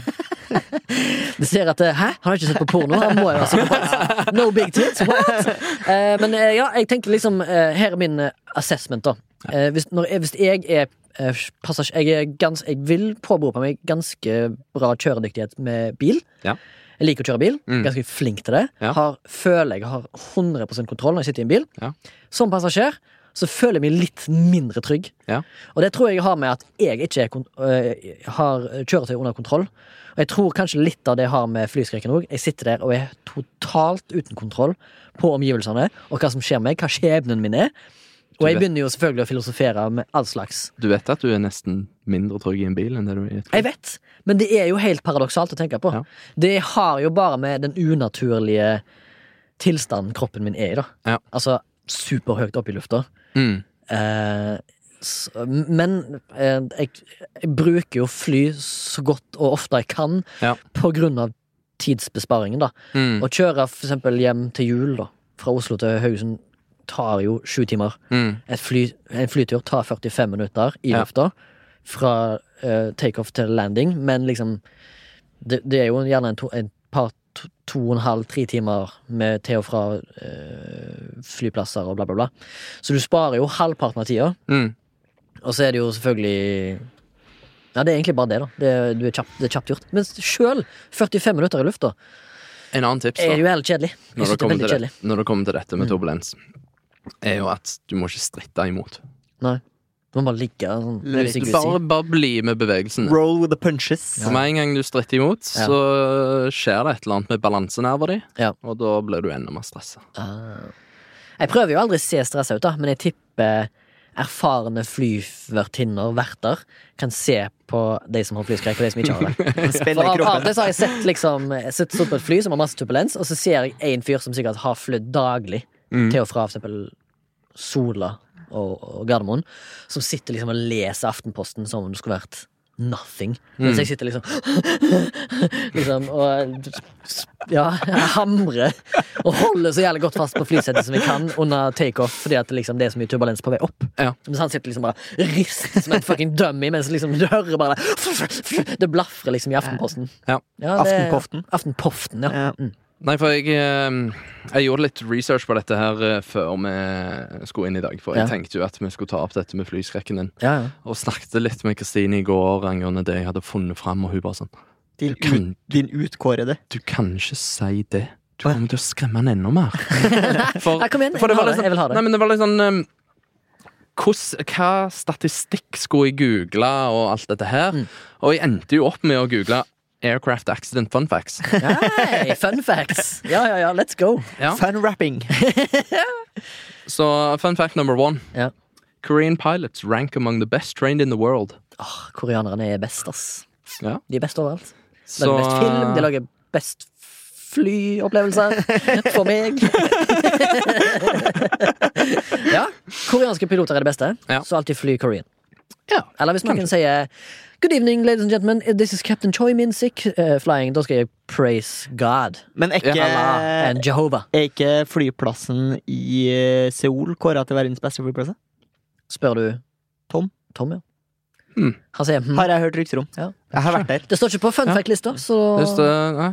[SPEAKER 2] <laughs> Du ser at eh, Hæ, han har ikke sett på porno? Han må jo ha sett på porno. No big tits,
[SPEAKER 3] <laughs>
[SPEAKER 2] what? Eh, men eh, ja, jeg tenker liksom eh, Her er min eh, assessment, da. Eh, hvis, når, jeg- hvis jeg er eh, passasj... Jeg, er gans, jeg vil påberope meg ganske bra kjøredyktighet med bil.
[SPEAKER 3] Ja.
[SPEAKER 2] Jeg liker å kjøre bil,
[SPEAKER 3] Mm.
[SPEAKER 2] ganske flink til det.
[SPEAKER 3] Ja.
[SPEAKER 2] Har, føler jeg har 100 kontroll når jeg sitter i en bil.
[SPEAKER 3] Ja.
[SPEAKER 2] Som passasjer så føler jeg meg litt mindre trygg.
[SPEAKER 3] Ja.
[SPEAKER 2] Og det tror jeg har med at jeg ikke er kon- øh, har kjøretøy under kontroll. Og jeg tror kanskje litt av det jeg har med flyskrekken òg. Jeg sitter der og er totalt uten kontroll på omgivelsene og hva som skjer med meg, hva skjebnen min er. Og
[SPEAKER 3] Du
[SPEAKER 2] jeg
[SPEAKER 3] vet-
[SPEAKER 2] begynner jo selvfølgelig å filosofere med all slags.
[SPEAKER 3] Du vet at du er nesten mindre trygg i en bil enn det du er i et fly?
[SPEAKER 2] Jeg vet, men det er jo helt paradoksalt å tenke på.
[SPEAKER 3] Ja.
[SPEAKER 2] Det har jo bare med den unaturlige tilstanden kroppen min er i, da.
[SPEAKER 3] Ja.
[SPEAKER 2] Altså superhøyt opp i lufta.
[SPEAKER 3] Mm.
[SPEAKER 2] Eh, s- men eh, jeg, jeg bruker jo fly så godt og ofte jeg kan
[SPEAKER 3] Ja.
[SPEAKER 2] på grunn av tidsbesparingen, da.
[SPEAKER 3] Mm.
[SPEAKER 2] Å kjøre for eksempel hjem til jul, da, fra Oslo til Haugesund, tar jo sju timer.
[SPEAKER 3] Mm.
[SPEAKER 2] Et fly, en flytur tar 45 minutter i
[SPEAKER 3] Ja.
[SPEAKER 2] lufta. Fra eh, takeoff til landing. Men liksom Det, det er jo gjerne en, to, en par to, to og en halv, tre timer med til og fra eh, flyplasser og bla, bla, bla. Så du sparer jo halvparten av tida.
[SPEAKER 3] Mm.
[SPEAKER 2] Og så er det jo selvfølgelig Ja, det er egentlig bare det, da. Det, er- du er kjapt, det er kjapt gjort. Men sjøl 45 minutter i lufta
[SPEAKER 3] En annen tips, da.
[SPEAKER 2] er jo helt kjedelig. Jeg
[SPEAKER 3] når
[SPEAKER 2] synes det
[SPEAKER 3] det,
[SPEAKER 2] er
[SPEAKER 3] kommer
[SPEAKER 2] veldig
[SPEAKER 3] til
[SPEAKER 2] kjedelig. Mm.
[SPEAKER 3] det, når det kommer til dette med turbulens, er jo at du må ikke stritte imot.
[SPEAKER 2] Nei. Du må bare ligge sånn.
[SPEAKER 1] Litt
[SPEAKER 2] Sikkert
[SPEAKER 3] Bare,
[SPEAKER 2] si.
[SPEAKER 3] bare bli med
[SPEAKER 2] Mm.
[SPEAKER 3] bevegelsen.
[SPEAKER 1] Roll with the punches.
[SPEAKER 3] For meg en gang du stritter imot, så skjer det et eller annet med balansenerver di,
[SPEAKER 2] Ja.
[SPEAKER 3] og da blir du enda mer stressa.
[SPEAKER 2] Ah. Jeg prøver jo aldri å se stressa ut, da, men jeg tipper erfarne flyvertinner, verter, kan se på de som har flyskrekk, og de som ikke har det. For
[SPEAKER 1] Spenner
[SPEAKER 2] av, av
[SPEAKER 1] kroppen.
[SPEAKER 2] det så har jeg sett liksom jeg har sett sittet på et fly som har masse turbulens, og så ser jeg en fyr som sikkert har flydd daglig til og fra for eksempel Sola og, og Gardermoen, som sitter liksom og leser Aftenposten som om det skulle vært nothing. Mens jeg sitter liksom Liksom og Ja, jeg hamrer og holder så jævlig godt fast på flysettet som jeg kan under takeoff, fordi at liksom det er så mye turbulens på vei opp.
[SPEAKER 3] Ja.
[SPEAKER 2] Mens han sitter liksom bare rister som en fucking dummy, mens liksom du hører bare det- Det blafrer liksom i Aftenposten.
[SPEAKER 3] Ja.
[SPEAKER 2] det-
[SPEAKER 1] Aftenpoften.
[SPEAKER 2] Aftenpoften, ja. Mm.
[SPEAKER 1] Ja.
[SPEAKER 3] Nei, for jeg, eh, jeg gjorde litt research på dette her eh, før vi skulle inn i dag. For jeg
[SPEAKER 2] Ja.
[SPEAKER 3] tenkte jo at vi skulle ta opp dette med flyskrekken din.
[SPEAKER 2] ja, ja.
[SPEAKER 3] Og snakket litt med Kristine i går angående det jeg hadde funnet fram, og hun bare sånn
[SPEAKER 1] Din,
[SPEAKER 3] Du kan,
[SPEAKER 1] ut, din utkårede.
[SPEAKER 3] du kan ikke si det. Du kommer til å skremme henne enda mer. For,
[SPEAKER 2] Nei, kom igjen,
[SPEAKER 3] for
[SPEAKER 2] jeg vil
[SPEAKER 3] det var
[SPEAKER 2] ha
[SPEAKER 3] litt
[SPEAKER 2] det,
[SPEAKER 3] sånn-
[SPEAKER 2] jeg vil ha det.
[SPEAKER 3] Nei, men det var litt sånn um, hvordan- Hva statistikk skulle jeg google, og alt dette her? Og jeg endte jo opp med å google Aircraft Accident Fun Facts.
[SPEAKER 2] Hei, fun facts! Ja, ja, ja, let's go.
[SPEAKER 3] Ja.
[SPEAKER 1] Fan rapping.
[SPEAKER 3] Så fun fact number one.
[SPEAKER 2] Ja.
[SPEAKER 3] Korean pilots rank among the best trained in the world.
[SPEAKER 2] Åh, koreanerne er best, ass.
[SPEAKER 3] Ja.
[SPEAKER 2] De er best overalt. De
[SPEAKER 3] Så
[SPEAKER 2] lager best film, de lager best flyopplevelser. For
[SPEAKER 3] <laughs>
[SPEAKER 2] meg. ja. Koreanske piloter er det beste,
[SPEAKER 3] Ja.
[SPEAKER 2] så alltid fly Korean.
[SPEAKER 3] Ja,
[SPEAKER 2] Eller hvis noen sier Good evening, ladies and gentlemen. This is Captain Choi Min-sik eh, flying. Da skal jeg praise God.
[SPEAKER 1] Men er ikke,
[SPEAKER 3] Ah.
[SPEAKER 2] Allah and Jehovah.
[SPEAKER 1] er ikke flyplassen i eh, Seoul kåra til verdens beste flyplass?
[SPEAKER 2] Spør du
[SPEAKER 1] Tom?
[SPEAKER 2] Tom, ja.
[SPEAKER 3] Hmm.
[SPEAKER 2] Han sier hm.
[SPEAKER 1] Har jeg hørt rykter om.
[SPEAKER 2] Ja.
[SPEAKER 1] Jeg har vært der.
[SPEAKER 2] Det står ikke på fun
[SPEAKER 3] Ja.
[SPEAKER 2] fact-lista, så
[SPEAKER 3] det er stø- nei,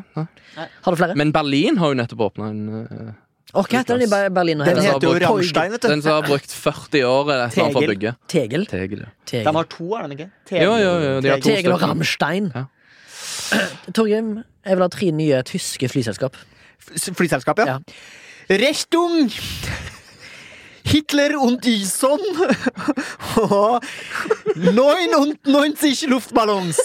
[SPEAKER 3] nei.
[SPEAKER 2] Har du flere?
[SPEAKER 3] Men Berlin har jo nettopp åpna en eh,
[SPEAKER 2] Åh, hva heter den i Ber- Berlin? og
[SPEAKER 1] Den
[SPEAKER 2] hele-
[SPEAKER 3] heter
[SPEAKER 1] heter jo
[SPEAKER 3] bare-
[SPEAKER 1] Rammstein, vet
[SPEAKER 3] Den
[SPEAKER 1] du.
[SPEAKER 3] som har brukt 40 år eller et eller annet for å
[SPEAKER 1] Tegel.
[SPEAKER 3] bygge.
[SPEAKER 2] Tegel?
[SPEAKER 3] Tegel, ja.
[SPEAKER 2] Tegel.
[SPEAKER 1] De har to, er de ikke? Tegel.
[SPEAKER 3] Jo, jo, jo, de har to
[SPEAKER 2] Tegel og
[SPEAKER 3] stykker.
[SPEAKER 2] Rammstein.
[SPEAKER 3] Ja.
[SPEAKER 2] <clears throat> Torgrim, jeg vil ha tre nye tyske flyselskap.
[SPEAKER 1] F- Flyselskap, ja.
[SPEAKER 2] Ja.
[SPEAKER 1] Rechtung! Hitler und <laughs> Ison og 99 luftballons.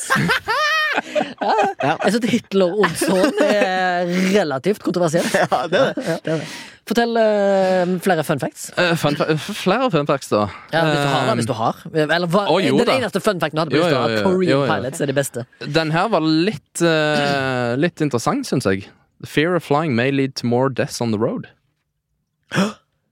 [SPEAKER 2] Jeg synes Hitler og Olsson er relativt
[SPEAKER 3] <laughs>
[SPEAKER 2] kontroversielt.
[SPEAKER 1] Ja, det er det. det, er det.
[SPEAKER 2] Fortell eh, flere fun facts.
[SPEAKER 3] Eh, fun fa- f- flere fun facts, da.
[SPEAKER 2] Ja, hvis du har
[SPEAKER 3] Eh,
[SPEAKER 2] det, hvis du har. Eller hva,
[SPEAKER 3] Å, jo
[SPEAKER 2] den
[SPEAKER 3] da.
[SPEAKER 2] eneste fun facten du hadde på
[SPEAKER 3] Jo,
[SPEAKER 2] lista,
[SPEAKER 3] jo,
[SPEAKER 2] at
[SPEAKER 3] jo,
[SPEAKER 2] Korean
[SPEAKER 3] jo, jo.
[SPEAKER 2] pilots er de beste.
[SPEAKER 3] Eh, Den her var litt, eh, litt interessant, syns jeg. The fear of flying may lead to more deaths on the road.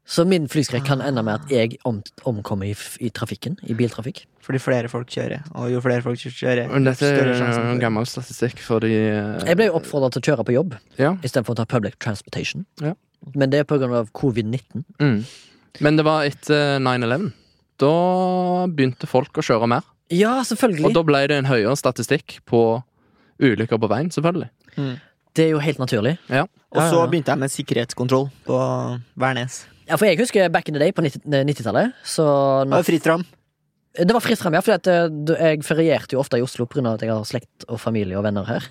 [SPEAKER 2] Så min flyskrekk kan ende med at jeg om, omkommer i, f- i trafikken. I biltrafikk.
[SPEAKER 1] Fordi flere folk kjører, og jo flere folk kjører,
[SPEAKER 3] Men dette er
[SPEAKER 1] større sjanse.
[SPEAKER 3] en gammel statistikk for de eh,
[SPEAKER 2] Jeg ble jo oppfordra til å kjøre på jobb
[SPEAKER 3] ja.
[SPEAKER 2] istedenfor å ta public transportation.
[SPEAKER 3] Ja.
[SPEAKER 2] Men det er på grunn av covid-19.
[SPEAKER 3] mm. Men det var etter 9-11. Da begynte folk å kjøre mer.
[SPEAKER 2] Ja,
[SPEAKER 3] Og
[SPEAKER 2] selvfølgelig.
[SPEAKER 3] da ble det en høyere statistikk på ulykker på veien, selvfølgelig.
[SPEAKER 2] Det er jo helt naturlig.
[SPEAKER 3] Ja.
[SPEAKER 1] Og
[SPEAKER 2] Ja, ja,
[SPEAKER 1] så
[SPEAKER 2] ja.
[SPEAKER 1] begynte jeg med sikkerhetskontroll på Værnes.
[SPEAKER 2] Ja, for jeg husker back in the day på 90 90-tallet. Så
[SPEAKER 1] Det
[SPEAKER 2] når,
[SPEAKER 1] var fritt fram.
[SPEAKER 2] det var fritt frem, ja. For at, eh, du- jeg ferierte jo ofte i Oslo pga. at jeg har slekt og familie og venner her.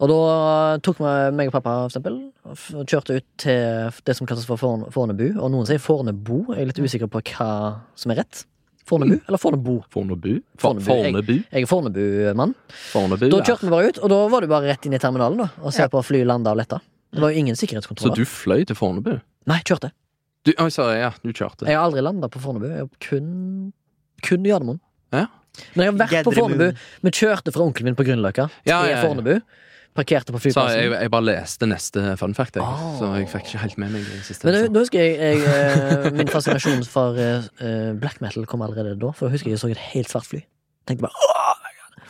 [SPEAKER 2] Og da tok vi meg og pappa for eksempel, og f- og kjørte ut til det som kalles for Forn- Fornebu. Og noen sier Fornebu. Jeg er litt usikker på hva som er rett. Fornebu eller Fornebu?
[SPEAKER 3] Fornebu. For-
[SPEAKER 2] Fornebu.
[SPEAKER 3] Fornebu.
[SPEAKER 2] Jeg er Fornebu-mann.
[SPEAKER 3] Fornebu
[SPEAKER 2] Da
[SPEAKER 3] ja.
[SPEAKER 2] kjørte vi bare ut, og da var det bare rett inn i terminalen da, og se på fly landa og letta. Det var jo ingen
[SPEAKER 3] Så
[SPEAKER 2] sikkerhetskontroller.
[SPEAKER 3] du fløy til Fornebu?
[SPEAKER 2] Nei, kjørte.
[SPEAKER 3] Du, oi, sorry, ja, du kjørte.
[SPEAKER 2] Jeg har aldri landa på Fornebu. Jeg har kun, kun Gardermoen.
[SPEAKER 3] Ja.
[SPEAKER 2] Men jeg har vært på
[SPEAKER 1] Gedremun.
[SPEAKER 2] Fornebu. Vi kjørte fra onkelen min på Grünerløkka til
[SPEAKER 3] Ja, ja, ja.
[SPEAKER 2] Fornebu. Parkerte på
[SPEAKER 3] Så jeg,
[SPEAKER 2] flyplassen.
[SPEAKER 3] jeg bare leste neste fun fact, jeg.
[SPEAKER 2] Ah.
[SPEAKER 3] så jeg fikk ikke helt med meg det siste. altså.
[SPEAKER 2] Men
[SPEAKER 3] du
[SPEAKER 2] da- da husker jeg, jeg eh, min fascinasjon for eh, eh, black metal kom allerede da. For jeg husker jeg så et helt svart fly. Tenkte bare Åh! oh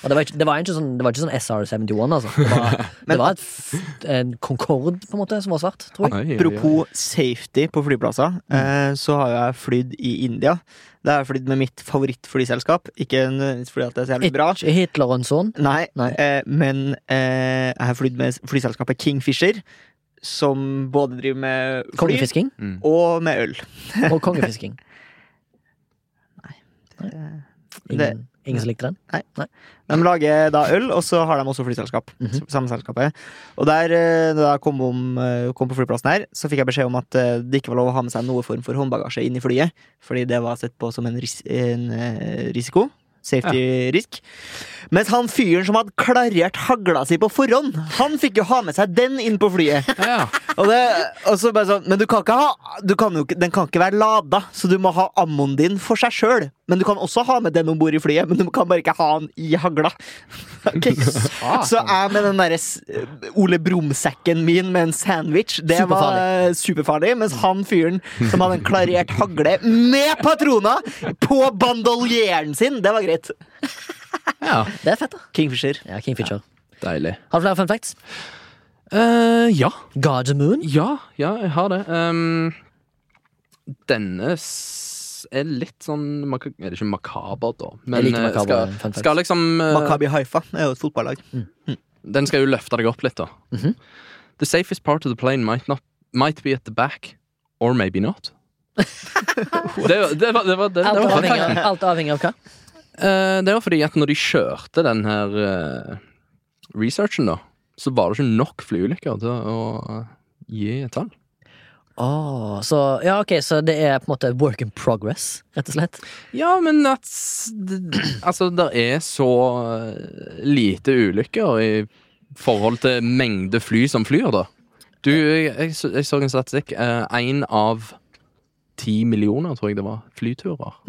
[SPEAKER 2] Og det var, ikke, det, var ikke sånn, det var ikke sånn SR-71, altså. Det var, det
[SPEAKER 1] Men-
[SPEAKER 2] var et, f- en Concorde, på en måte, som var svart, tror jeg.
[SPEAKER 1] Apropos safety på flyplasser,
[SPEAKER 2] Mm.
[SPEAKER 1] eh, så har jo jeg flydd i India. Da har jeg flydd med mitt favorittflyselskap. Ikke nødvendigvis fordi at det er så jævlig bra.
[SPEAKER 2] Ikke Hitler og en sånn.
[SPEAKER 1] Nei,
[SPEAKER 2] Nei.
[SPEAKER 1] Eh, men eh, jeg har flydd med flyselskapet Kingfisher, som både driver med fly
[SPEAKER 2] Kongefisking
[SPEAKER 1] og med øl.
[SPEAKER 2] og kongefisking.
[SPEAKER 1] Det,
[SPEAKER 2] Ingen Ingen som likte den?
[SPEAKER 1] De lager da øl, og så har de også flyselskap.
[SPEAKER 2] Mhm.
[SPEAKER 1] Samme selskapet. Og der, eh, da jeg kom, om, eh, kom på flyplassen her, så fikk jeg beskjed om at eh, det ikke var lov å ha med seg noe form for håndbagasje inn i flyet. Fordi det var sett på som en, ris en eh, risiko. Safety risk. Mens han fyren som hadde klarert hagla si på forhånd, han fikk jo ha med seg den inn på flyet.
[SPEAKER 3] Ja.
[SPEAKER 1] Og, det, og så bare sånn Men du kan ikke ha du kan jo, ikke- Den kan ikke være lada, så du må ha ammoen din for seg sjøl. Men du kan også ha med den om bord i flyet, men du kan bare ikke ha den i hagla. <laughs> Ok. Så jeg med den derre s- Ole Brumm-sekken min med en sandwich, det var eh, superfarlig. Mens han fyren som hadde en klarert hagle med patroner på bandoljeren sin, det var greit.
[SPEAKER 3] ja.
[SPEAKER 2] Det er fett, da.
[SPEAKER 1] Kingfisher.
[SPEAKER 2] Ja, Kingfisher.
[SPEAKER 3] Deilig.
[SPEAKER 2] Har du flere fun facts?
[SPEAKER 3] eh ja.
[SPEAKER 2] Gardermoon?
[SPEAKER 3] ja. Ja, jeg har det. Ehm, denne s er litt sånn maka- Er det ikke makaber, da? Men
[SPEAKER 2] Jeg liker
[SPEAKER 3] eh,
[SPEAKER 2] makaber fun
[SPEAKER 3] skal,
[SPEAKER 2] facts.
[SPEAKER 3] skal liksom eh,
[SPEAKER 1] Makabi Haifa er jo et fotballag.
[SPEAKER 3] Den skal jo løfte deg opp litt, da.
[SPEAKER 2] Mhm.
[SPEAKER 3] The safest part of the plane might, not, might be at the back, or
[SPEAKER 2] <laughs>
[SPEAKER 3] maybe not. det, var- det var det. Var, det, det,
[SPEAKER 2] Alt
[SPEAKER 3] var fun
[SPEAKER 2] avhengig, av,
[SPEAKER 3] facten.
[SPEAKER 2] alt avhengig av hva?
[SPEAKER 3] Eh, det var fordi at når de kjørte den her eh, researchen, da, så var det ikke nok flyulykker til å eh, gi et tall.
[SPEAKER 2] Åh, så, ja, ok, så det er på en måte work in progress, rett og slett?
[SPEAKER 3] Ja, men at s- det, Altså, det er så eh, lite ulykker i forhold til mengde fly som flyr, da. Du, jeg, jeg, så- jeg så en statistikk. Én av ti millioner, tror jeg det var, flyturer.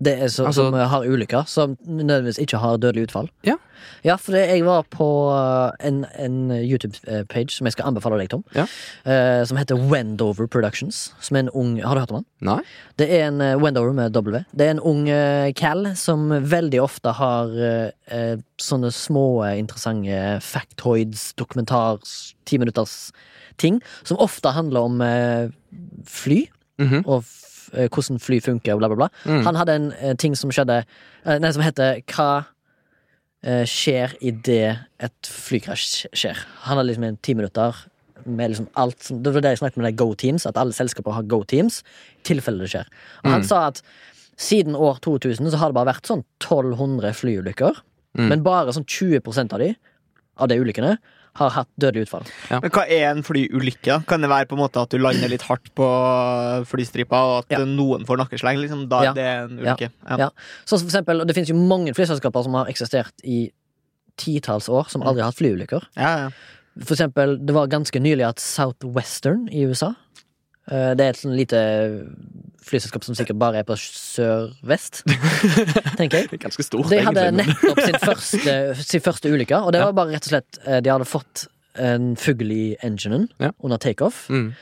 [SPEAKER 2] Det er så,
[SPEAKER 3] Altså-
[SPEAKER 2] som har ulykker, som nødvendigvis ikke har dødelig utfall.
[SPEAKER 3] Ja.
[SPEAKER 2] ja for det, jeg var på eh, en, en YouTube-page som jeg skal anbefale deg, Tom.
[SPEAKER 3] Ja.
[SPEAKER 2] eh, som heter Wendover Productions. Som er en ung, Har du hørt om han?
[SPEAKER 3] Nei?
[SPEAKER 2] Det er en eh, Wendover med W. Det er en ung eh, cal som veldig ofte har eh, eh, sånne små eh, interessante factoids, dokumentar, timinutters ting, som ofte handler om eh, fly
[SPEAKER 3] Mhm.
[SPEAKER 2] og f eh, hvordan fly funker, og bla, bla, bla.
[SPEAKER 3] Mm.
[SPEAKER 2] Han hadde en eh, ting som skjedde eh, Nei, som heter Hva eh, skjer idet et flykrasj skjer? Han hadde liksom en ti minutter med liksom alt som Det var det jeg snakket med de Go Teams, at alle selskaper har Go Teams i tilfelle det skjer. Og han sa at siden år 2000 så har det bare vært sånn 1200 flyulykker,
[SPEAKER 3] Mm.
[SPEAKER 2] men bare sånn 20 av de, av de ulykkene, har hatt dødelig utfall.
[SPEAKER 1] Men hva er en flyulykke? da? Kan det være på en måte at du lander litt hardt på flystripa, og at
[SPEAKER 2] Ja.
[SPEAKER 1] noen får nakkesleng? Liksom, da
[SPEAKER 2] Ja.
[SPEAKER 1] det er en ulykke. Ja.
[SPEAKER 2] Ja. Så for eksempel, og det finnes jo mange flyselskaper som har eksistert i titalls år, som aldri har hatt flyulykker.
[SPEAKER 1] Ja, ja.
[SPEAKER 2] For eksempel, det var ganske nylig at Southwestern i USA eh, Det er et sånn lite flyselskap som sikkert bare er på
[SPEAKER 3] <laughs>
[SPEAKER 2] sør-vest, tenker jeg.
[SPEAKER 3] Det er ganske stort,
[SPEAKER 2] De hadde nettopp sin første, sin første ulykke, og det var bare rett og slett eh, De hadde fått en fugl i enginen
[SPEAKER 3] Ja.
[SPEAKER 2] under takeoff,
[SPEAKER 3] Mm.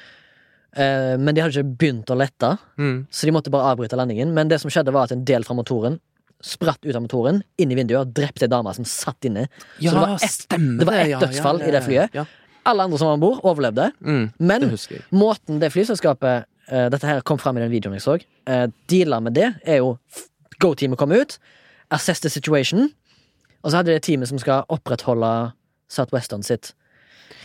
[SPEAKER 2] eh, men de hadde ikke begynt å lette.
[SPEAKER 3] Mm.
[SPEAKER 2] Så de måtte bare avbryte landingen. Men det som skjedde var at en del fra motoren spratt ut av motoren, inn i vinduet og drepte ei dame som satt inne.
[SPEAKER 3] Ja,
[SPEAKER 2] det var ett-
[SPEAKER 3] stemmer
[SPEAKER 2] det var ett
[SPEAKER 3] ja,
[SPEAKER 2] dødsfall i det flyet.
[SPEAKER 3] Ja.
[SPEAKER 2] Alle andre som var om bord, overlevde.
[SPEAKER 3] Mm. Det
[SPEAKER 2] Men
[SPEAKER 3] husker jeg.
[SPEAKER 2] måten det flyselskapet eh, Dette her kom fram i den videoen jeg så. Uh, deala med det er jo f- Go-teamet kom ut, assess the situation, og så hadde det teamet som skal opprettholde Southwestern sitt.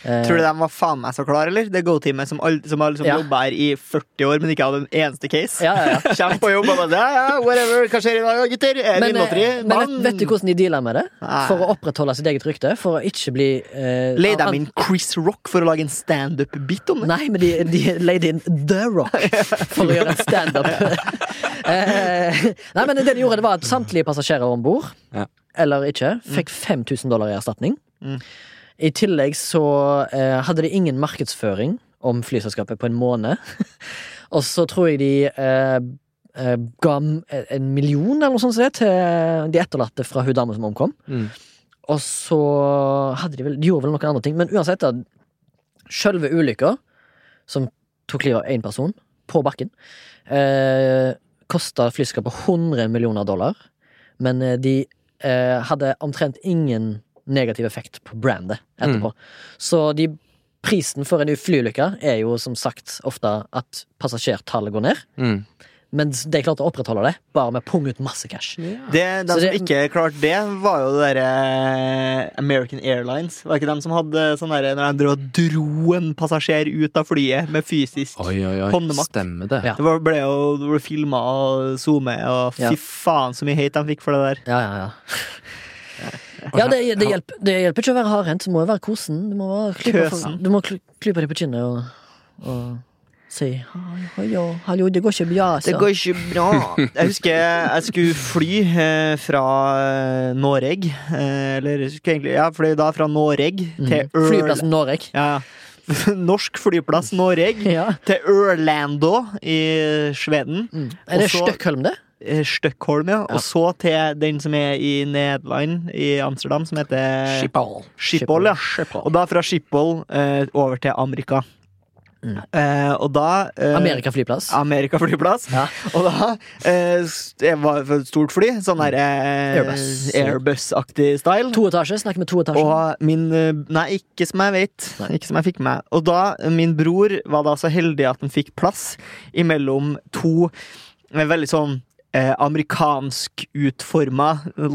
[SPEAKER 2] eh,
[SPEAKER 1] Tror du de var faen meg så klar, eller? Det Go-teamet som, all- som, alle som
[SPEAKER 2] Ja.
[SPEAKER 1] jobba her i 40 år, men ikke hadde en eneste case.
[SPEAKER 2] ja, ja, ja.
[SPEAKER 1] <laughs> Kjem på jobb og bare ja, ja, whatever, hva skjer i dag, da, gutter? Er det
[SPEAKER 2] Men,
[SPEAKER 1] Vinlotteri?
[SPEAKER 2] eh, men
[SPEAKER 1] Bang!
[SPEAKER 2] vet, vet du hvordan de dealer med det?
[SPEAKER 1] Nei.
[SPEAKER 2] For å opprettholde sitt eget rykte? For å ikke bli uh,
[SPEAKER 1] Leide de inn Chris Rock for å lage en standup-bit om det?
[SPEAKER 2] Nei, men de, de leide inn The Rock for å gjøre en standup. <laughs> Eh, Nei, men det de gjorde, det var at samtlige passasjerer om bord,
[SPEAKER 3] Ja.
[SPEAKER 2] eller ikke, fikk 5000 dollar i erstatning.
[SPEAKER 1] Mm.
[SPEAKER 2] I tillegg så eh, hadde de ingen markedsføring om flyselskapet på en måned. <laughs> Og så tror jeg de eh, eh, ga m- en million eller noe sånt som det, til de etterlatte fra hun damen som omkom.
[SPEAKER 3] Mm.
[SPEAKER 2] Og så hadde de vel, de gjorde vel noen andre ting, men uansett, da, sjølve ulykka, som tok livet av én person, på bakken, eh, kosta flyselskapet 100 millioner dollar, men eh, de eh, hadde omtrent ingen negativ effekt på brandet etterpå. Så de, prisen for en flyulykke er jo som sagt ofte at passasjertallet går ned.
[SPEAKER 3] Mm.
[SPEAKER 2] Men de klarte å opprettholde det, bare med å punge ut masse cash.
[SPEAKER 1] Det, de
[SPEAKER 2] Så
[SPEAKER 1] som
[SPEAKER 2] det-
[SPEAKER 1] ikke klarte det, var jo det derre eh, American Airlines. Var ikke dem som hadde sånn derre når de drev og dro en passasjer ut av flyet med fysisk
[SPEAKER 3] Oi, oi, oi.
[SPEAKER 1] Håndemakt.
[SPEAKER 3] Stemmer det.
[SPEAKER 2] Ja.
[SPEAKER 1] Det var, ble jo det ble filma og zoome, og fy
[SPEAKER 2] Ja.
[SPEAKER 1] faen så mye hate de fikk for det der.
[SPEAKER 2] Ja, ja, ja.
[SPEAKER 1] <laughs>
[SPEAKER 2] Ja, det, det, hjelper, det hjelper ikke å være hardhendt. Det må jo være kosen. Du må, være- klype,
[SPEAKER 1] Køsen.
[SPEAKER 2] du må kly- klype deg på kinnet og, og si «Hei, hallo, hallo, det går ikke bra.
[SPEAKER 1] Det
[SPEAKER 2] så».
[SPEAKER 1] går ikke bra. <laughs> Jeg husker jeg skulle fly eh, fra eh, Noreg eh, Eller jeg skulle egentlig Ja, fløy da fra Noreg til Øl...
[SPEAKER 2] Mm. Flyplassen
[SPEAKER 1] <laughs>
[SPEAKER 2] Norek.
[SPEAKER 1] Ja. Norsk flyplass Noreg
[SPEAKER 2] Ja.
[SPEAKER 1] til Ørlando i Sveden.
[SPEAKER 2] Mm. Er det
[SPEAKER 1] Og så-
[SPEAKER 2] Støkkholm, det?
[SPEAKER 1] Eh, Stockholm, ja. Og så til den som er i Nederland, i Amsterdam, som heter
[SPEAKER 3] Skipper.
[SPEAKER 1] Schiphol. Ja. Og da fra Schiphol eh, over til Amerika.
[SPEAKER 2] Mm.
[SPEAKER 1] Eh, og da eh,
[SPEAKER 2] Amerika flyplass.
[SPEAKER 1] Amerika flyplass.
[SPEAKER 2] Ja.
[SPEAKER 1] Og da eh, s- det var for et stort fly, sånn der eh,
[SPEAKER 2] Airbus.
[SPEAKER 1] Airbus-aktig style.
[SPEAKER 2] To etasje. Snakk med to etasjer.
[SPEAKER 1] Og min eh, Nei, ikke som jeg vet.
[SPEAKER 2] Nei.
[SPEAKER 1] Ikke som jeg fikk med. Og da, eh, min bror var da så heldig at han fikk plass imellom to eh, veldig sånn eh, amerikansk utforma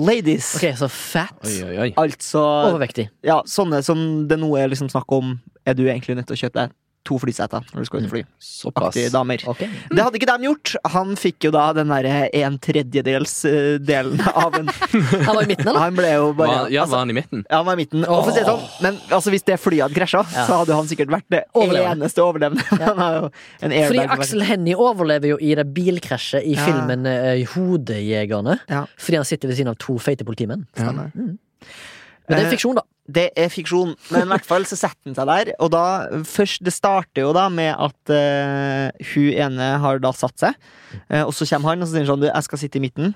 [SPEAKER 1] ladies.
[SPEAKER 2] Ok, så fat.
[SPEAKER 3] Oi, oi, oi.
[SPEAKER 1] Altså
[SPEAKER 2] Overvektig.
[SPEAKER 1] ja, sånne som det nå er liksom snakk om Er du egentlig nødt til å kjøpe deg to flyseter når du skal ut og fly?
[SPEAKER 3] Såpass.
[SPEAKER 1] Aktige damer.
[SPEAKER 2] Ok.
[SPEAKER 1] Det hadde ikke de gjort. Han fikk jo da den derre en tredjedels eh, delen av en
[SPEAKER 2] Han var i midten,
[SPEAKER 1] <laughs>
[SPEAKER 2] eller?
[SPEAKER 1] Han ble jo bare
[SPEAKER 3] Var, ja,
[SPEAKER 1] altså,
[SPEAKER 3] var han i midten?
[SPEAKER 1] ja, han var i midten. Og for å si det sånn, men altså, hvis det flyet hadde krasja,
[SPEAKER 2] Ja.
[SPEAKER 1] så hadde han sikkert vært det
[SPEAKER 2] Overlevende.
[SPEAKER 1] eneste overlevende. <laughs> Han har jo en
[SPEAKER 2] Fordi
[SPEAKER 1] airbag.
[SPEAKER 2] Aksel Hennie overlever jo i det bilkrasjet i
[SPEAKER 1] Ja.
[SPEAKER 2] filmen eh, Hodejegerne.
[SPEAKER 1] Ja.
[SPEAKER 2] Fordi han sitter ved siden av to feite politimenn.
[SPEAKER 3] Ja.
[SPEAKER 2] Men det
[SPEAKER 1] Eh,
[SPEAKER 2] er fiksjon, da.
[SPEAKER 1] Det er fiksjon, men i hvert fall så setter han seg der. Og da, først, det starter jo da med at eh, hun ene har da satt seg, Eh, og så kommer han og så sier han sånn du, 'Jeg skal sitte i midten',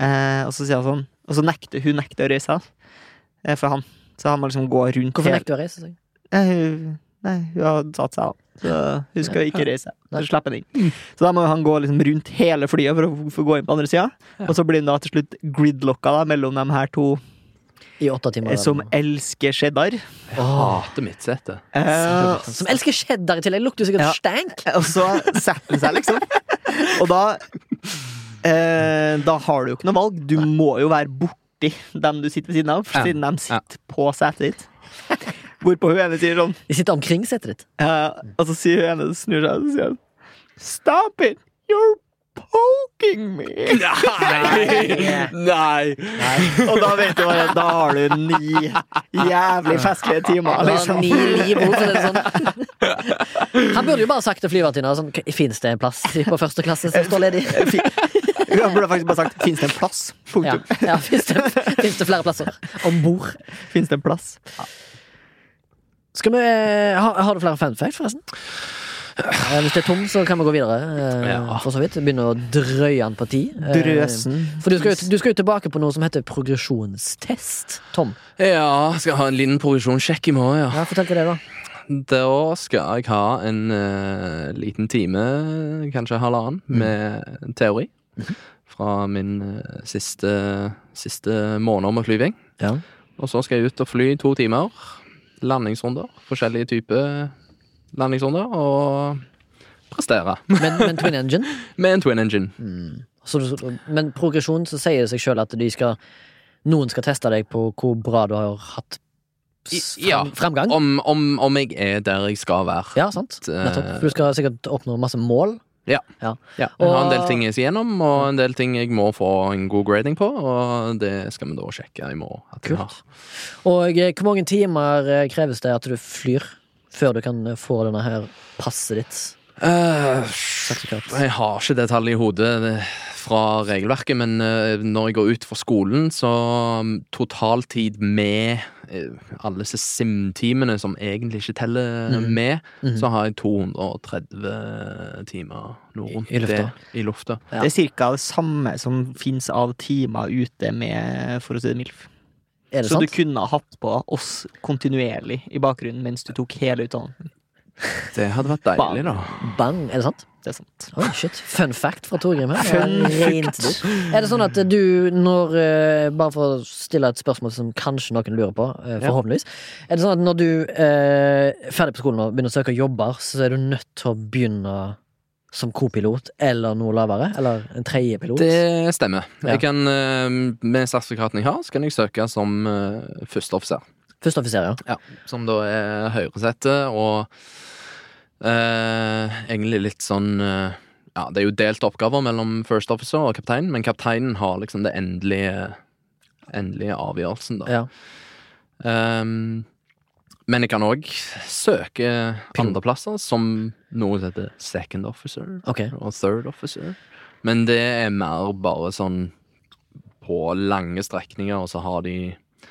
[SPEAKER 1] Eh, og så sier han sånn Og så nekter hun nekter å reise seg eh, for han. Så han må liksom gå rundt
[SPEAKER 2] Hvorfor
[SPEAKER 1] hele-
[SPEAKER 2] nekter du å reise seg?
[SPEAKER 1] Eh, hun- Nei, hun har satt seg, da. Så hun skal ikke reise.
[SPEAKER 2] Nei.
[SPEAKER 1] Så slipper han inn. Så da må jo han gå liksom rundt hele flyet for å få gå inn på andre sida. Og så blir han da til slutt gridlocka da, mellom de her to
[SPEAKER 2] I åtte timer.
[SPEAKER 1] eh, som
[SPEAKER 2] eller noe.
[SPEAKER 1] elsker cheddar.
[SPEAKER 3] Hater midtsetet.
[SPEAKER 1] Eh,
[SPEAKER 2] som elsker cheddar i tillegg. Lukter jo sikkert
[SPEAKER 1] Ja.
[SPEAKER 2] stank.
[SPEAKER 1] og så setter han seg, liksom. Og da eh, Da har du jo ikke noe valg. Du må jo være borti dem du sitter ved siden av,
[SPEAKER 3] Ja.
[SPEAKER 1] siden de sitter på setet ditt. Hvorpå hun ene sier sånn
[SPEAKER 2] De sitter omkring setet ditt.
[SPEAKER 1] eh, Og så sier hun ene snur seg og så sier hun, Stop it! You're poking me!
[SPEAKER 3] Nei! Nei!
[SPEAKER 1] Og da vet du bare Da har du ni jævlig festlige timer,
[SPEAKER 2] Han har sånn
[SPEAKER 1] liksom.
[SPEAKER 2] ni liv sånn. også, så det er sånn. <laughs> Han burde jo bare sagt til flyvertinna sånn, Fins det en plass på første klasse som står ledig?
[SPEAKER 1] <laughs> Fin- Hun burde faktisk bare sagt 'Fins det en plass?'
[SPEAKER 2] Ja,
[SPEAKER 1] Punktum.
[SPEAKER 2] ja Fins det, finnes det flere plasser om bord?
[SPEAKER 1] Finnes det en plass?
[SPEAKER 2] Skal vi, eh, ha, har du flere fun facts, forresten? Eh, Hvis det er tom, så kan vi gå videre. eh,
[SPEAKER 3] Ja.
[SPEAKER 2] For så vidt Begynne å drøye den på ti. Eh,
[SPEAKER 1] Drøsen.
[SPEAKER 2] For du skal, jo, du skal jo tilbake på noe som heter progresjonstest, Tom.
[SPEAKER 3] Ja, skal jeg ha en liten provisjonssjekk i morgen, ja.
[SPEAKER 2] Ja, Fortell hva det er, da.
[SPEAKER 3] Da skal jeg ha en eh, liten time, kanskje halvannen, med teori. Fra min eh, siste, siste måned med flyving.
[SPEAKER 2] Ja.
[SPEAKER 3] Og så skal jeg ut og fly i to timer. Landingsrunder. Forskjellige typer landingsrunder. Og prestere.
[SPEAKER 2] Men, men Twin Engine
[SPEAKER 3] Med en twin engine.
[SPEAKER 2] så, du- Men progresjon, så sier det seg sjøl at de skal noen skal teste deg på hvor bra du har hatt s-
[SPEAKER 3] I- ja.
[SPEAKER 2] fram, framgang.
[SPEAKER 3] Om, om, om jeg er der jeg skal være.
[SPEAKER 2] Ja, sant? Nettopp. For du skal sikkert oppnå masse mål.
[SPEAKER 3] Ja, jeg har en del
[SPEAKER 2] Og-
[SPEAKER 3] ting jeg skal gjennom, og en del ting jeg må få en god grading på. Og det skal vi da sjekke i morgen. At jeg
[SPEAKER 2] Kult.
[SPEAKER 3] har.
[SPEAKER 2] Og eh, hvor mange timer eh, kreves det at du flyr før du kan eh, få denne her passet ditt?
[SPEAKER 3] Eh,
[SPEAKER 2] Sertifikat.
[SPEAKER 3] jeg har ikke det tallet i hodet eh, fra regelverket, men eh, når jeg går ut fra skolen, så mm, totaltid med eh, alle disse SIM-timene som egentlig ikke teller
[SPEAKER 2] Mm.
[SPEAKER 3] med,
[SPEAKER 2] Mm-hmm.
[SPEAKER 3] så har jeg 230 eh, timer nå rundt
[SPEAKER 2] I- i lufta.
[SPEAKER 3] det. I lufta.
[SPEAKER 2] Ja.
[SPEAKER 1] Det er ca. det samme som fins av timer ute med For å si det MILF.
[SPEAKER 2] Er det
[SPEAKER 1] Så du
[SPEAKER 2] sant?
[SPEAKER 1] kunne ha hatt på oss kontinuerlig i bakgrunnen mens du tok hele utdannelsen.
[SPEAKER 3] Det hadde vært deilig, da.
[SPEAKER 2] Bang, er det sant?
[SPEAKER 1] Det er sant.
[SPEAKER 2] Oi, shit. Fun fact fra Torgrim her.
[SPEAKER 1] Fun
[SPEAKER 2] Rent
[SPEAKER 1] fact.
[SPEAKER 2] dumt. Er det sånn at du, når eh, Bare for å stille et spørsmål som kanskje noen lurer på, eh,
[SPEAKER 1] Ja.
[SPEAKER 2] forhåpentligvis. Er det sånn at når du eh, er ferdig på skolen og begynner å søke jobber, så er du nødt til å begynne som kopilot eller noe lavere? Eller en tredjepilot?
[SPEAKER 3] Det stemmer.
[SPEAKER 2] Ja.
[SPEAKER 3] Jeg kan, eh, med sertifikaten jeg har, så kan jeg søke som eh, førsteoffiser.
[SPEAKER 2] Førsteoffiser, ja.
[SPEAKER 3] Som da er høyresette og eh, egentlig litt sånn eh, Ja, det er jo delte oppgaver mellom first officer og kaptein, men kapteinen har liksom det endelige Endelige avgjørelsen, da.
[SPEAKER 2] ja.
[SPEAKER 3] Ehm, men jeg kan òg søke andreplasser, som noe som heter second officer
[SPEAKER 2] Ok.
[SPEAKER 3] og third officer. Men det er mer bare sånn på lange strekninger, og så har de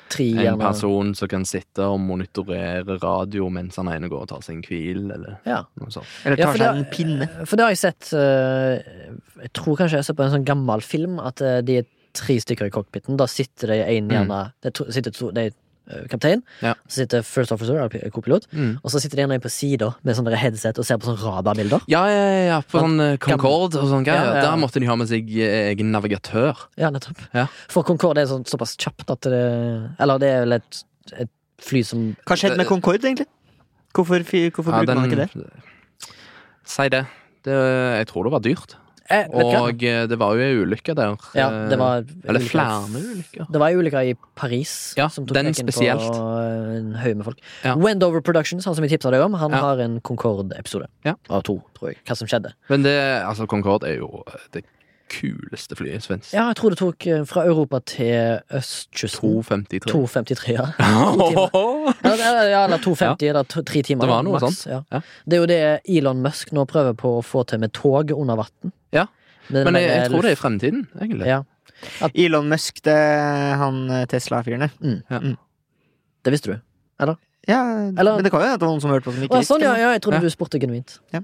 [SPEAKER 2] Tre gjerne.
[SPEAKER 3] en person som kan sitte og monitorere radio mens han ene går og tar seg en hvil, eller
[SPEAKER 2] Ja.
[SPEAKER 3] noe sånt.
[SPEAKER 1] Eller
[SPEAKER 2] Ja,
[SPEAKER 1] tar
[SPEAKER 2] for det-
[SPEAKER 1] seg en pinne.
[SPEAKER 2] For det har jeg sett eh, Jeg tror kanskje jeg så på en sånn gammel film at eh, de er tre stykker i cockpiten. Da sitter det en gjerne Det er to, sitter to, det er eh, kaptein,
[SPEAKER 3] Mm. Ja.
[SPEAKER 2] så sitter first officer, eller pi- kopilot, og så sitter det gjerne en på sida med sånn der headset og ser på sånne radarbilder.
[SPEAKER 3] Ja, ja, ja, ja, på
[SPEAKER 2] At-
[SPEAKER 3] sånn eh, Concorde og sånn greier.
[SPEAKER 2] Ja, ja.
[SPEAKER 3] Der måtte de ha med seg eh, egen navigatør.
[SPEAKER 2] Ja, nettopp.
[SPEAKER 3] Ja.
[SPEAKER 2] For Concorde er sånn, såpass kjapt at det Eller det er vel et, et fly som
[SPEAKER 1] Hva skjedde med Concorde, egentlig? Hvorfor, fi- hvorfor
[SPEAKER 3] Ja,
[SPEAKER 1] bruker man ikke det?
[SPEAKER 3] den- Si det. det. Jeg tror det var dyrt.
[SPEAKER 2] eh, vet du hva?
[SPEAKER 3] Og eh, det var jo ei ulykke der.
[SPEAKER 2] Ja, det var
[SPEAKER 3] Eh, Eller
[SPEAKER 2] ulykker.
[SPEAKER 3] flere ulykker.
[SPEAKER 2] Det var ei ulykke i Paris
[SPEAKER 3] Ja,
[SPEAKER 2] som tok
[SPEAKER 3] den
[SPEAKER 2] knekken
[SPEAKER 3] spesielt.
[SPEAKER 2] på eh, en haug med folk.
[SPEAKER 3] Ja.
[SPEAKER 2] Wendover Productions, han som jeg tipsa deg om, han
[SPEAKER 3] Ja.
[SPEAKER 2] har en Concorde-episode.
[SPEAKER 3] Ja.
[SPEAKER 2] Av to, tror jeg. Hva som skjedde.
[SPEAKER 3] Men det, altså, Concorde er jo det kuleste flyet som finnes.
[SPEAKER 2] Ja, jeg tror det tok eh, fra Europa til østkysten.
[SPEAKER 3] 253.
[SPEAKER 2] 2.53,
[SPEAKER 3] <laughs>
[SPEAKER 2] ja.
[SPEAKER 3] Åhåhå!
[SPEAKER 2] Ja, det er- ja, eller 2.50, eller to- tre timer.
[SPEAKER 3] Det var noe
[SPEAKER 2] maks,
[SPEAKER 3] sånt.
[SPEAKER 2] Ja.
[SPEAKER 3] Ja.
[SPEAKER 2] Det er jo det Elon Musk nå prøver på å få til med tog under vann.
[SPEAKER 3] Ja. <laughs> Men jeg, jeg tror det er i fremtiden, egentlig.
[SPEAKER 2] Ja,
[SPEAKER 1] Elon Musk, det er han eh, Tesla-fyren der.
[SPEAKER 2] det visste du.
[SPEAKER 1] Ja,
[SPEAKER 2] Eller-
[SPEAKER 1] men det kan jo hende at det var noen som hørte på som
[SPEAKER 2] Å,
[SPEAKER 1] ikke
[SPEAKER 2] ja, sånn, ja,
[SPEAKER 1] det.
[SPEAKER 2] ja, jeg trodde
[SPEAKER 3] Ja.
[SPEAKER 2] du spurte genuint.
[SPEAKER 1] Nei,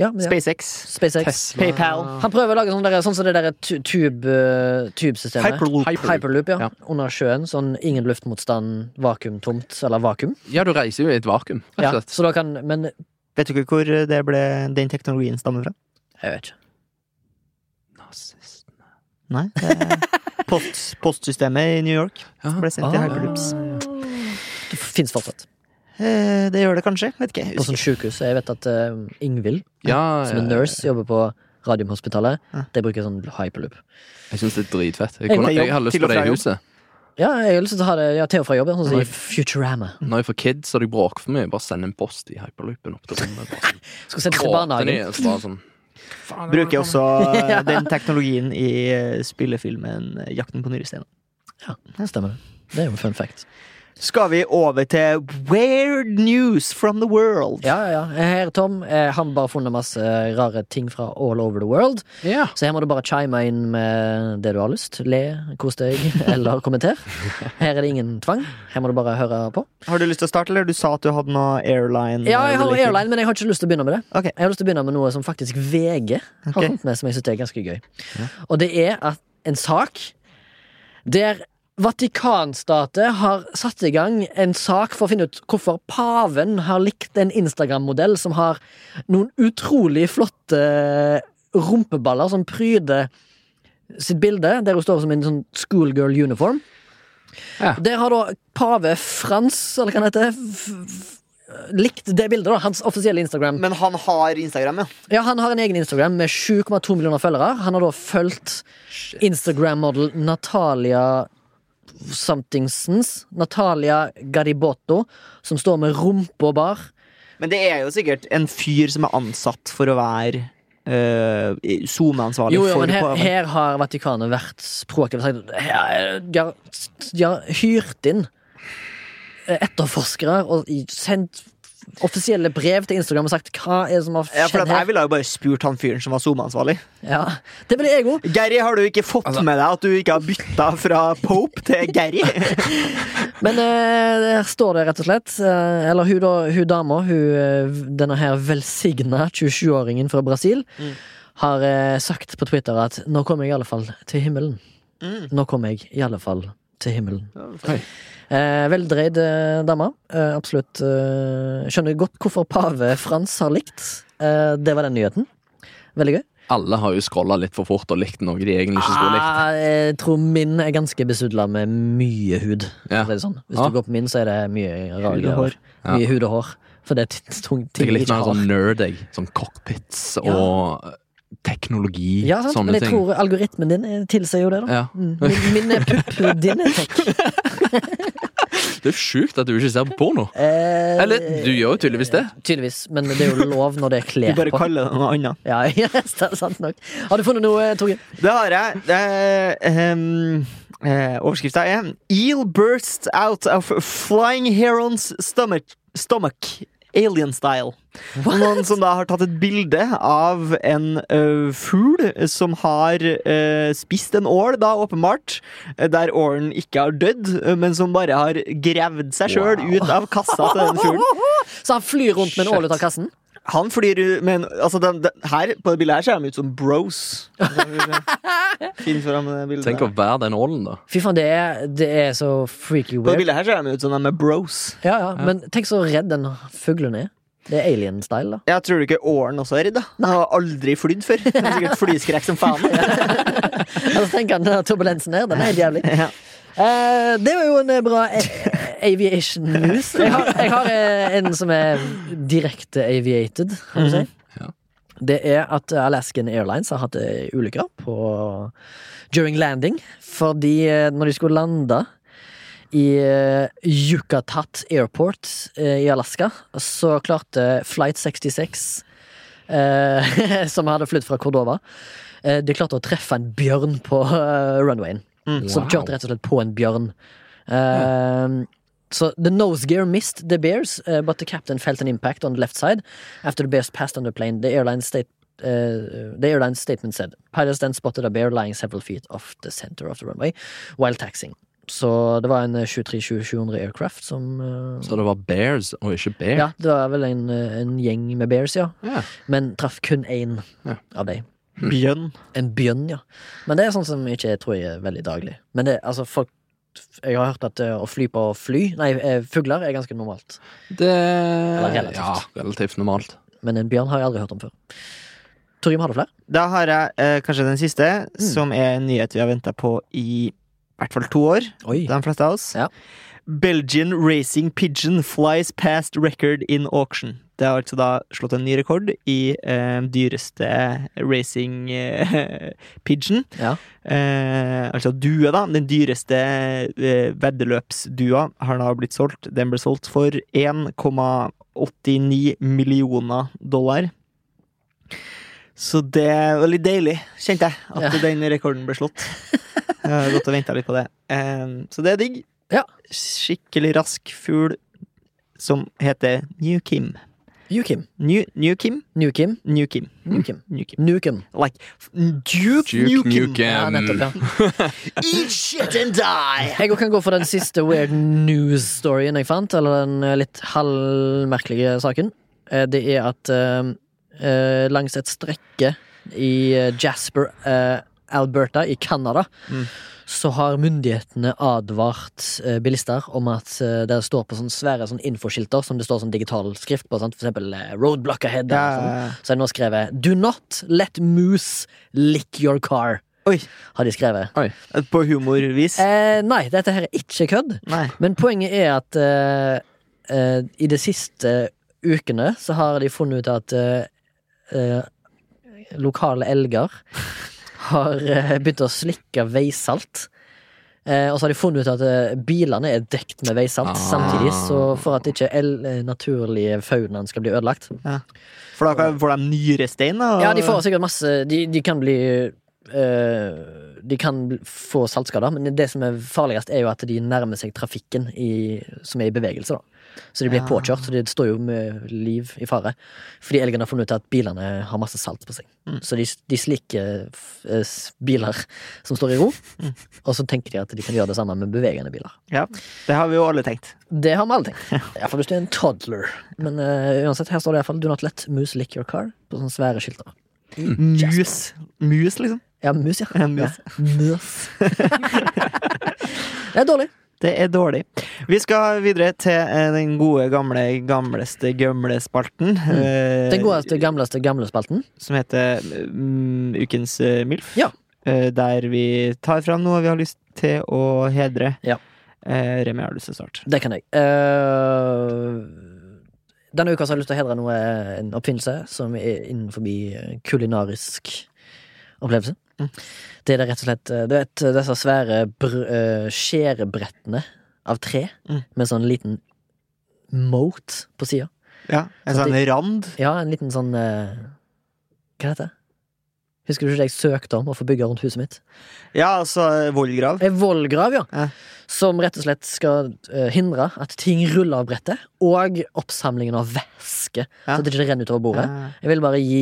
[SPEAKER 2] Ja, men ja.
[SPEAKER 1] SpaceX.
[SPEAKER 2] SpaceX.
[SPEAKER 3] Tesla
[SPEAKER 1] PayPal.
[SPEAKER 2] Han prøver å lage sånn, der, sånn som det derre tu- tube, eh, tubesystemet.
[SPEAKER 1] Hyperloop.
[SPEAKER 3] Hyperloop.
[SPEAKER 2] Hyperloop, ja.
[SPEAKER 3] Ja.
[SPEAKER 2] Under sjøen. Sånn ingen luftmotstand, vakuumtomt, eller vakuum.
[SPEAKER 3] Ja, du reiser jo i et vakuum, rett
[SPEAKER 2] Ja,
[SPEAKER 3] og slett.
[SPEAKER 2] så da kan Men jeg
[SPEAKER 1] Vet du ikke hvor eh, det ble, den teknologien stammer fra?
[SPEAKER 2] vet ikke.
[SPEAKER 3] Nazist.
[SPEAKER 1] Nei. det er <laughs> Post, postsystemet i New York
[SPEAKER 3] Ja.
[SPEAKER 1] ble sendt til Hyperloops.
[SPEAKER 2] Det fins fortsatt.
[SPEAKER 1] Eh, Det gjør det kanskje. Vet ikke. jeg
[SPEAKER 2] På sånn
[SPEAKER 1] Husker.
[SPEAKER 2] sjukehus. Jeg vet at eh, Ingvild,
[SPEAKER 3] Ja, eh,
[SPEAKER 2] som er nurse, jobber på Radiumhospitalet.
[SPEAKER 1] Ja.
[SPEAKER 2] De bruker sånn hyperloop.
[SPEAKER 3] jeg syns det er dritfett. Jeg,
[SPEAKER 2] Jeg
[SPEAKER 3] kunne,
[SPEAKER 1] tar
[SPEAKER 3] jeg har
[SPEAKER 1] jobb
[SPEAKER 3] lyst
[SPEAKER 1] til
[SPEAKER 3] på
[SPEAKER 1] og
[SPEAKER 3] det
[SPEAKER 1] fra
[SPEAKER 3] i
[SPEAKER 1] jobb.
[SPEAKER 3] huset.
[SPEAKER 2] Ja, jeg har lyst til å ha det ja, til og fra jobb. ja, Sånn som
[SPEAKER 3] Nei.
[SPEAKER 2] i Futurama.
[SPEAKER 3] Når jeg får kids og de bråker for mye, bare send en post i hyperloopen opp til rommet. Bare sånn.
[SPEAKER 2] Skal sende <laughs> til
[SPEAKER 3] Gråter de,
[SPEAKER 2] barnehagen.
[SPEAKER 3] så bare sånn Faen, det
[SPEAKER 1] Bruker
[SPEAKER 3] var-
[SPEAKER 1] også eh, den teknologien i eh, spillefilmen eh, 'Jakten på nyresteinen'.
[SPEAKER 2] Ja, det stemmer. det. Det er jo en fun fact.
[SPEAKER 1] Skal vi over til weird news from the world?
[SPEAKER 2] Ja, ja, ja. Her, Tom, eh, han bare funnet masse eh, rare ting fra all over the world.
[SPEAKER 3] Ja.
[SPEAKER 2] Så her må du bare chime inn med det du har lyst. Le, kos
[SPEAKER 1] <laughs>
[SPEAKER 2] deg, eller kommenter. Her er det ingen tvang. Her må du bare høre på.
[SPEAKER 1] Har du lyst til å starte, eller? Du sa at du hadde noe airline. eh,
[SPEAKER 2] Ja, jeg har
[SPEAKER 1] related.
[SPEAKER 2] airline, men jeg har ikke lyst til å begynne med det.
[SPEAKER 1] Ok.
[SPEAKER 2] Jeg har lyst til å begynne med noe som faktisk VG har
[SPEAKER 1] Ok.
[SPEAKER 2] kommet med, som jeg syns er ganske gøy. Og det er at en sak der Vatikanstatet har satt i gang en sak for å finne ut hvorfor paven har likt en Instagram-modell som har noen utrolig flotte rumpeballer som pryder sitt bilde, der hun står som en sånn schoolgirl uniform.
[SPEAKER 3] Ja.
[SPEAKER 2] Der har da pave Frans, eller hva han heter, f- f- likt det bildet, da. Hans offisielle Instagram.
[SPEAKER 1] Men han har Instagram, ja.
[SPEAKER 2] Ja, Han har en egen Instagram med 7,2 millioner følgere. Han har da fulgt Instagram-modell Natalia Sometingsens. Natalia Garibotto, som står med rumpa bar.
[SPEAKER 1] Men det er jo sikkert en fyr som er ansatt for å være øh, SoMe-ansvarlig
[SPEAKER 2] Jo, jo,
[SPEAKER 1] for
[SPEAKER 2] men her,
[SPEAKER 1] Paven.
[SPEAKER 2] her har Vatikanet vært proaktive og sagt her er- De har- de har hyrt inn eh, etterforskere og i- sendt offisielle brev til Instagram og sagt hva er det som har
[SPEAKER 1] Ja, for
[SPEAKER 2] skjedd
[SPEAKER 1] at jeg
[SPEAKER 2] her.
[SPEAKER 1] ville jo bare spurt han fyren som var SoMe-ansvarlig.
[SPEAKER 2] Ja, det blir jeg òg.
[SPEAKER 1] Gary, har du ikke fått
[SPEAKER 2] Altså-
[SPEAKER 1] med deg at du ikke har bytta fra Pope til Gary?
[SPEAKER 2] <laughs> Men eh, der står det rett og slett eh, Eller hun, da, hun dama, hun, eh, denne her velsigna 27-åringen fra Brasil,
[SPEAKER 1] Mm.
[SPEAKER 2] har eh, sagt på Twitter at 'nå kommer jeg i alle fall til himmelen'. Nå kommer jeg i alle fall til himmelen.
[SPEAKER 3] Oi.
[SPEAKER 2] Eh, veldreid eh, dame. Eh, absolutt. Eh, skjønner godt hvorfor pave Frans har likt. Eh, det var den nyheten. Veldig gøy.
[SPEAKER 3] Alle har jo scrolla litt for fort og likt noe de egentlig ikke skulle likt.
[SPEAKER 2] Ah, jeg tror min er ganske besudla med mye hud.
[SPEAKER 3] Ja.
[SPEAKER 2] for å si Det sånn. Hvis
[SPEAKER 3] Ja.
[SPEAKER 2] du går på min, så er det mye rare
[SPEAKER 1] Hud og
[SPEAKER 2] greier.
[SPEAKER 1] hår.
[SPEAKER 2] Mye hud og hår. For det er t- tung- ting
[SPEAKER 3] Jeg er
[SPEAKER 2] jeg
[SPEAKER 3] litt
[SPEAKER 2] ikke
[SPEAKER 3] mer
[SPEAKER 2] har.
[SPEAKER 3] sånn nerd, jeg. Sånn cockpits
[SPEAKER 2] Ja.
[SPEAKER 3] og eh, teknologi.
[SPEAKER 2] Ja, sant?
[SPEAKER 3] sånne
[SPEAKER 2] Men jeg
[SPEAKER 3] ting.
[SPEAKER 2] tror algoritmen din eh, tilsier jo det, da.
[SPEAKER 3] Ja.
[SPEAKER 2] Mm. Min, min er pupp, din er tech.
[SPEAKER 3] Det er sjukt at du ikke ser på porno.
[SPEAKER 2] Eh,
[SPEAKER 3] Eller du gjør jo tydeligvis det.
[SPEAKER 2] Tydeligvis, men det er jo lov når det er
[SPEAKER 1] Du
[SPEAKER 2] klær
[SPEAKER 1] bare
[SPEAKER 2] på.
[SPEAKER 1] kaller det noe annet.
[SPEAKER 2] Ja, <laughs> ja, det er sant nok. Har du funnet noe, Torgeir?
[SPEAKER 1] Det har jeg. Eh, ehm, eh, Overskrifta er Eel bursts out of flying heron's stomach, stomach alien style. Noen som da har tatt et bilde av en eh, fugl som har eh, spist en ål, da åpenbart. eh, Der ålen ikke har dødd, eh, men som bare har gravd seg sjøl
[SPEAKER 3] Wow.
[SPEAKER 1] ut av kassa til den fuglen.
[SPEAKER 2] Så han flyr rundt med en ål
[SPEAKER 3] Shit.
[SPEAKER 2] ut av kassen?
[SPEAKER 1] Han flyr ut med en altså den, den, her, På det bildet her ser de ut som bros. Finn fram det bildet.
[SPEAKER 3] Tenk
[SPEAKER 1] der.
[SPEAKER 3] å være den ålen, da.
[SPEAKER 2] Fy faen, det er, det er så freaky
[SPEAKER 1] På det
[SPEAKER 2] weird.
[SPEAKER 1] bildet her ser de ut som de er bros.
[SPEAKER 2] Ja, ja, men tenk så redd den fuglen er. Det er alien-style, da. <laughs>
[SPEAKER 1] Jeg tror du ikke åren også er redd, da? Han har aldri flydd før. Han er sikkert flyskrekk som faen. <laughs>
[SPEAKER 2] Altså, tenk han den turbulensen her, den er helt jævlig.
[SPEAKER 1] Ja.
[SPEAKER 2] Eh, det var jo en eh, bra eh, aviation news. Jeg har, jeg har eh, en som er direkte aviated, kan du si.
[SPEAKER 3] Ja.
[SPEAKER 2] Det er at Alaskan Airlines har hatt eh, ulykker på during landing. Fordi eh, når de skulle lande i eh, Yucatan Airport eh, i Alaska, så klarte Flight 66, eh, <laughs> som hadde flydd fra Cordova, eh, de klarte å treffe en bjørn på eh, runwayen. Som
[SPEAKER 3] Wow.
[SPEAKER 2] kjørte rett og slett på en bjørn. Eh, So the nose gear missed the bears, eh, but the captain felt an impact on the left side after the bears passed on the plane. The airline state uh, the airline's statement said pilots then spotted a bear lying several feet off the center of the runway while taxing. Så det var en eh, 737-700 aircraft som eh,
[SPEAKER 3] Så det var bears og ikke bear.
[SPEAKER 2] Ja, det var vel en, eh, en gjeng med bears, ja.
[SPEAKER 3] Ja.
[SPEAKER 2] Men traff kun én
[SPEAKER 3] Ja.
[SPEAKER 2] av dem.
[SPEAKER 1] Bjønn.
[SPEAKER 2] En bjønn, ja. Men det er sånn som ikke jeg tror jeg er veldig daglig. Men det, altså, folk Jeg har hørt at eh, å fly på fly, nei, eh, fugler, er ganske normalt.
[SPEAKER 3] Det Eller
[SPEAKER 2] relativt.
[SPEAKER 3] Ja, relativt normalt.
[SPEAKER 2] Men en bjørn har jeg aldri hørt om før. Torgrim, har du flere?
[SPEAKER 1] Da har jeg eh, kanskje den siste, som er en nyhet vi har venta på i i hvert fall to år.
[SPEAKER 2] Oi.
[SPEAKER 1] De fleste av oss.
[SPEAKER 2] Ja.
[SPEAKER 1] Belgian racing pigeon flies past record in auction. Det har altså da slått en ny rekord i eh, dyreste racing eh, <laughs> pigeon.
[SPEAKER 2] Ja.
[SPEAKER 1] Eh, altså due, da. Den dyreste eh, veddeløpsdua har da blitt solgt. Den ble solgt for 1,89 millioner dollar. Så det var litt deilig, kjente jeg, at
[SPEAKER 2] Ja.
[SPEAKER 1] den rekorden ble slått. Jeg har gått og venta litt på det. Eh, så det er digg.
[SPEAKER 2] Ja.
[SPEAKER 1] Skikkelig rask fugl som heter New Kim.
[SPEAKER 2] Nukim.
[SPEAKER 1] New, New Kim?
[SPEAKER 2] Nukim.
[SPEAKER 1] New Kim.
[SPEAKER 2] Nukim.
[SPEAKER 1] New Kim.
[SPEAKER 2] Nukim.
[SPEAKER 1] Like Duke,
[SPEAKER 3] Duke
[SPEAKER 1] Nukem.
[SPEAKER 3] Nukem.
[SPEAKER 2] Ja, nettopp, ja.
[SPEAKER 1] Eat shit and die!
[SPEAKER 2] Jeg kan gå for den siste weird news-storyen jeg fant, eller den eh, litt halvmerkelige saken. Eh, Det er at eh, eh, langs et strekke i eh, Jasper, eh, Alberta i Canada,
[SPEAKER 1] Mm.
[SPEAKER 2] så har myndighetene advart eh, bilister om at eh, det står på sånne svære sånn infoskilter som det står sånn digital skrift på, sant? for eksempel eh, roadblock ahead.
[SPEAKER 1] Ja,
[SPEAKER 2] eller sånn. Så er det nå skrevet 'Do not let moose lick your car',
[SPEAKER 1] Oi.
[SPEAKER 2] har de skrevet.
[SPEAKER 1] På humorvis?
[SPEAKER 2] Eh, nei, dette her er ikke kødd.
[SPEAKER 1] Nei.
[SPEAKER 2] Men poenget er at eh, eh, i de siste ukene så har de funnet ut at eh, eh, lokale elger har eh, begynt å slikke veisalt. Eh, og så har de funnet ut at eh, bilene er dekt med veisalt
[SPEAKER 3] Ah.
[SPEAKER 2] samtidig, så for at ikke el eh, naturlige faunaen skal bli ødelagt.
[SPEAKER 1] For da kan- får de nyrestein? Og...
[SPEAKER 2] Ja, de får sikkert masse De, de kan bli eh, De kan bli- få saltskader, men det som er farligst, er jo at de nærmer seg trafikken i, som er i bevegelse. da Så de blir
[SPEAKER 1] Ja.
[SPEAKER 2] påkjørt, så de står jo med liv i fare. Fordi elgen har funnet ut at bilene har masse salt på seg. Så de, de slikker f- eh, s- biler som står i ro, og så tenker de at de kan gjøre det samme med bevegende biler.
[SPEAKER 1] Ja, Det har vi jo alle tenkt.
[SPEAKER 2] Det har vi alle tenkt. Iallfall hvis du er en toddler. Men eh, uansett, her står det iallfall 'Do not let moose lick your car' på sånne svære skilter.
[SPEAKER 1] Mus. Mus, liksom.
[SPEAKER 2] Ja, mus, ja.
[SPEAKER 1] Ja, mus.
[SPEAKER 2] Ja, mus. <laughs> det er dårlig.
[SPEAKER 1] Det er dårlig. Vi skal videre til eh, den gode, gamle, gamleste gømlespalten. Mm.
[SPEAKER 2] Den godeste, gamleste gamlespalten.
[SPEAKER 1] Som heter mm, Ukens eh, MILF.
[SPEAKER 2] Ja.
[SPEAKER 1] Eh, der vi tar fram noe vi har lyst til å hedre.
[SPEAKER 2] Ja.
[SPEAKER 1] Eh, Remi, har du lyst til å starte?
[SPEAKER 2] Det kan jeg. Eh, Denne uka så har jeg lyst til å hedre noe, eh, en oppfinnelse som er innenfor kulinarisk opplevelse.
[SPEAKER 1] Mm.
[SPEAKER 2] Det er det rett og slett eh, Du vet eh, disse svære br- eh, skjærebrettene av tre
[SPEAKER 1] Mm.
[SPEAKER 2] med sånn liten moat på sida?
[SPEAKER 1] Ja, En
[SPEAKER 2] Så
[SPEAKER 1] sånn rand.
[SPEAKER 2] Ja, en liten sånn eh, Hva heter det? Husker du ikke det jeg søkte om å få bygge rundt huset mitt?
[SPEAKER 1] Ja, altså vollgrav.
[SPEAKER 2] En vollgrav, ja.
[SPEAKER 1] Ja.
[SPEAKER 2] Som rett og slett skal eh, hindre at ting ruller av brettet, og oppsamlingen av væske.
[SPEAKER 1] Ja.
[SPEAKER 2] Så at det ikke renner utover bordet.
[SPEAKER 1] Ja.
[SPEAKER 2] Jeg vil bare gi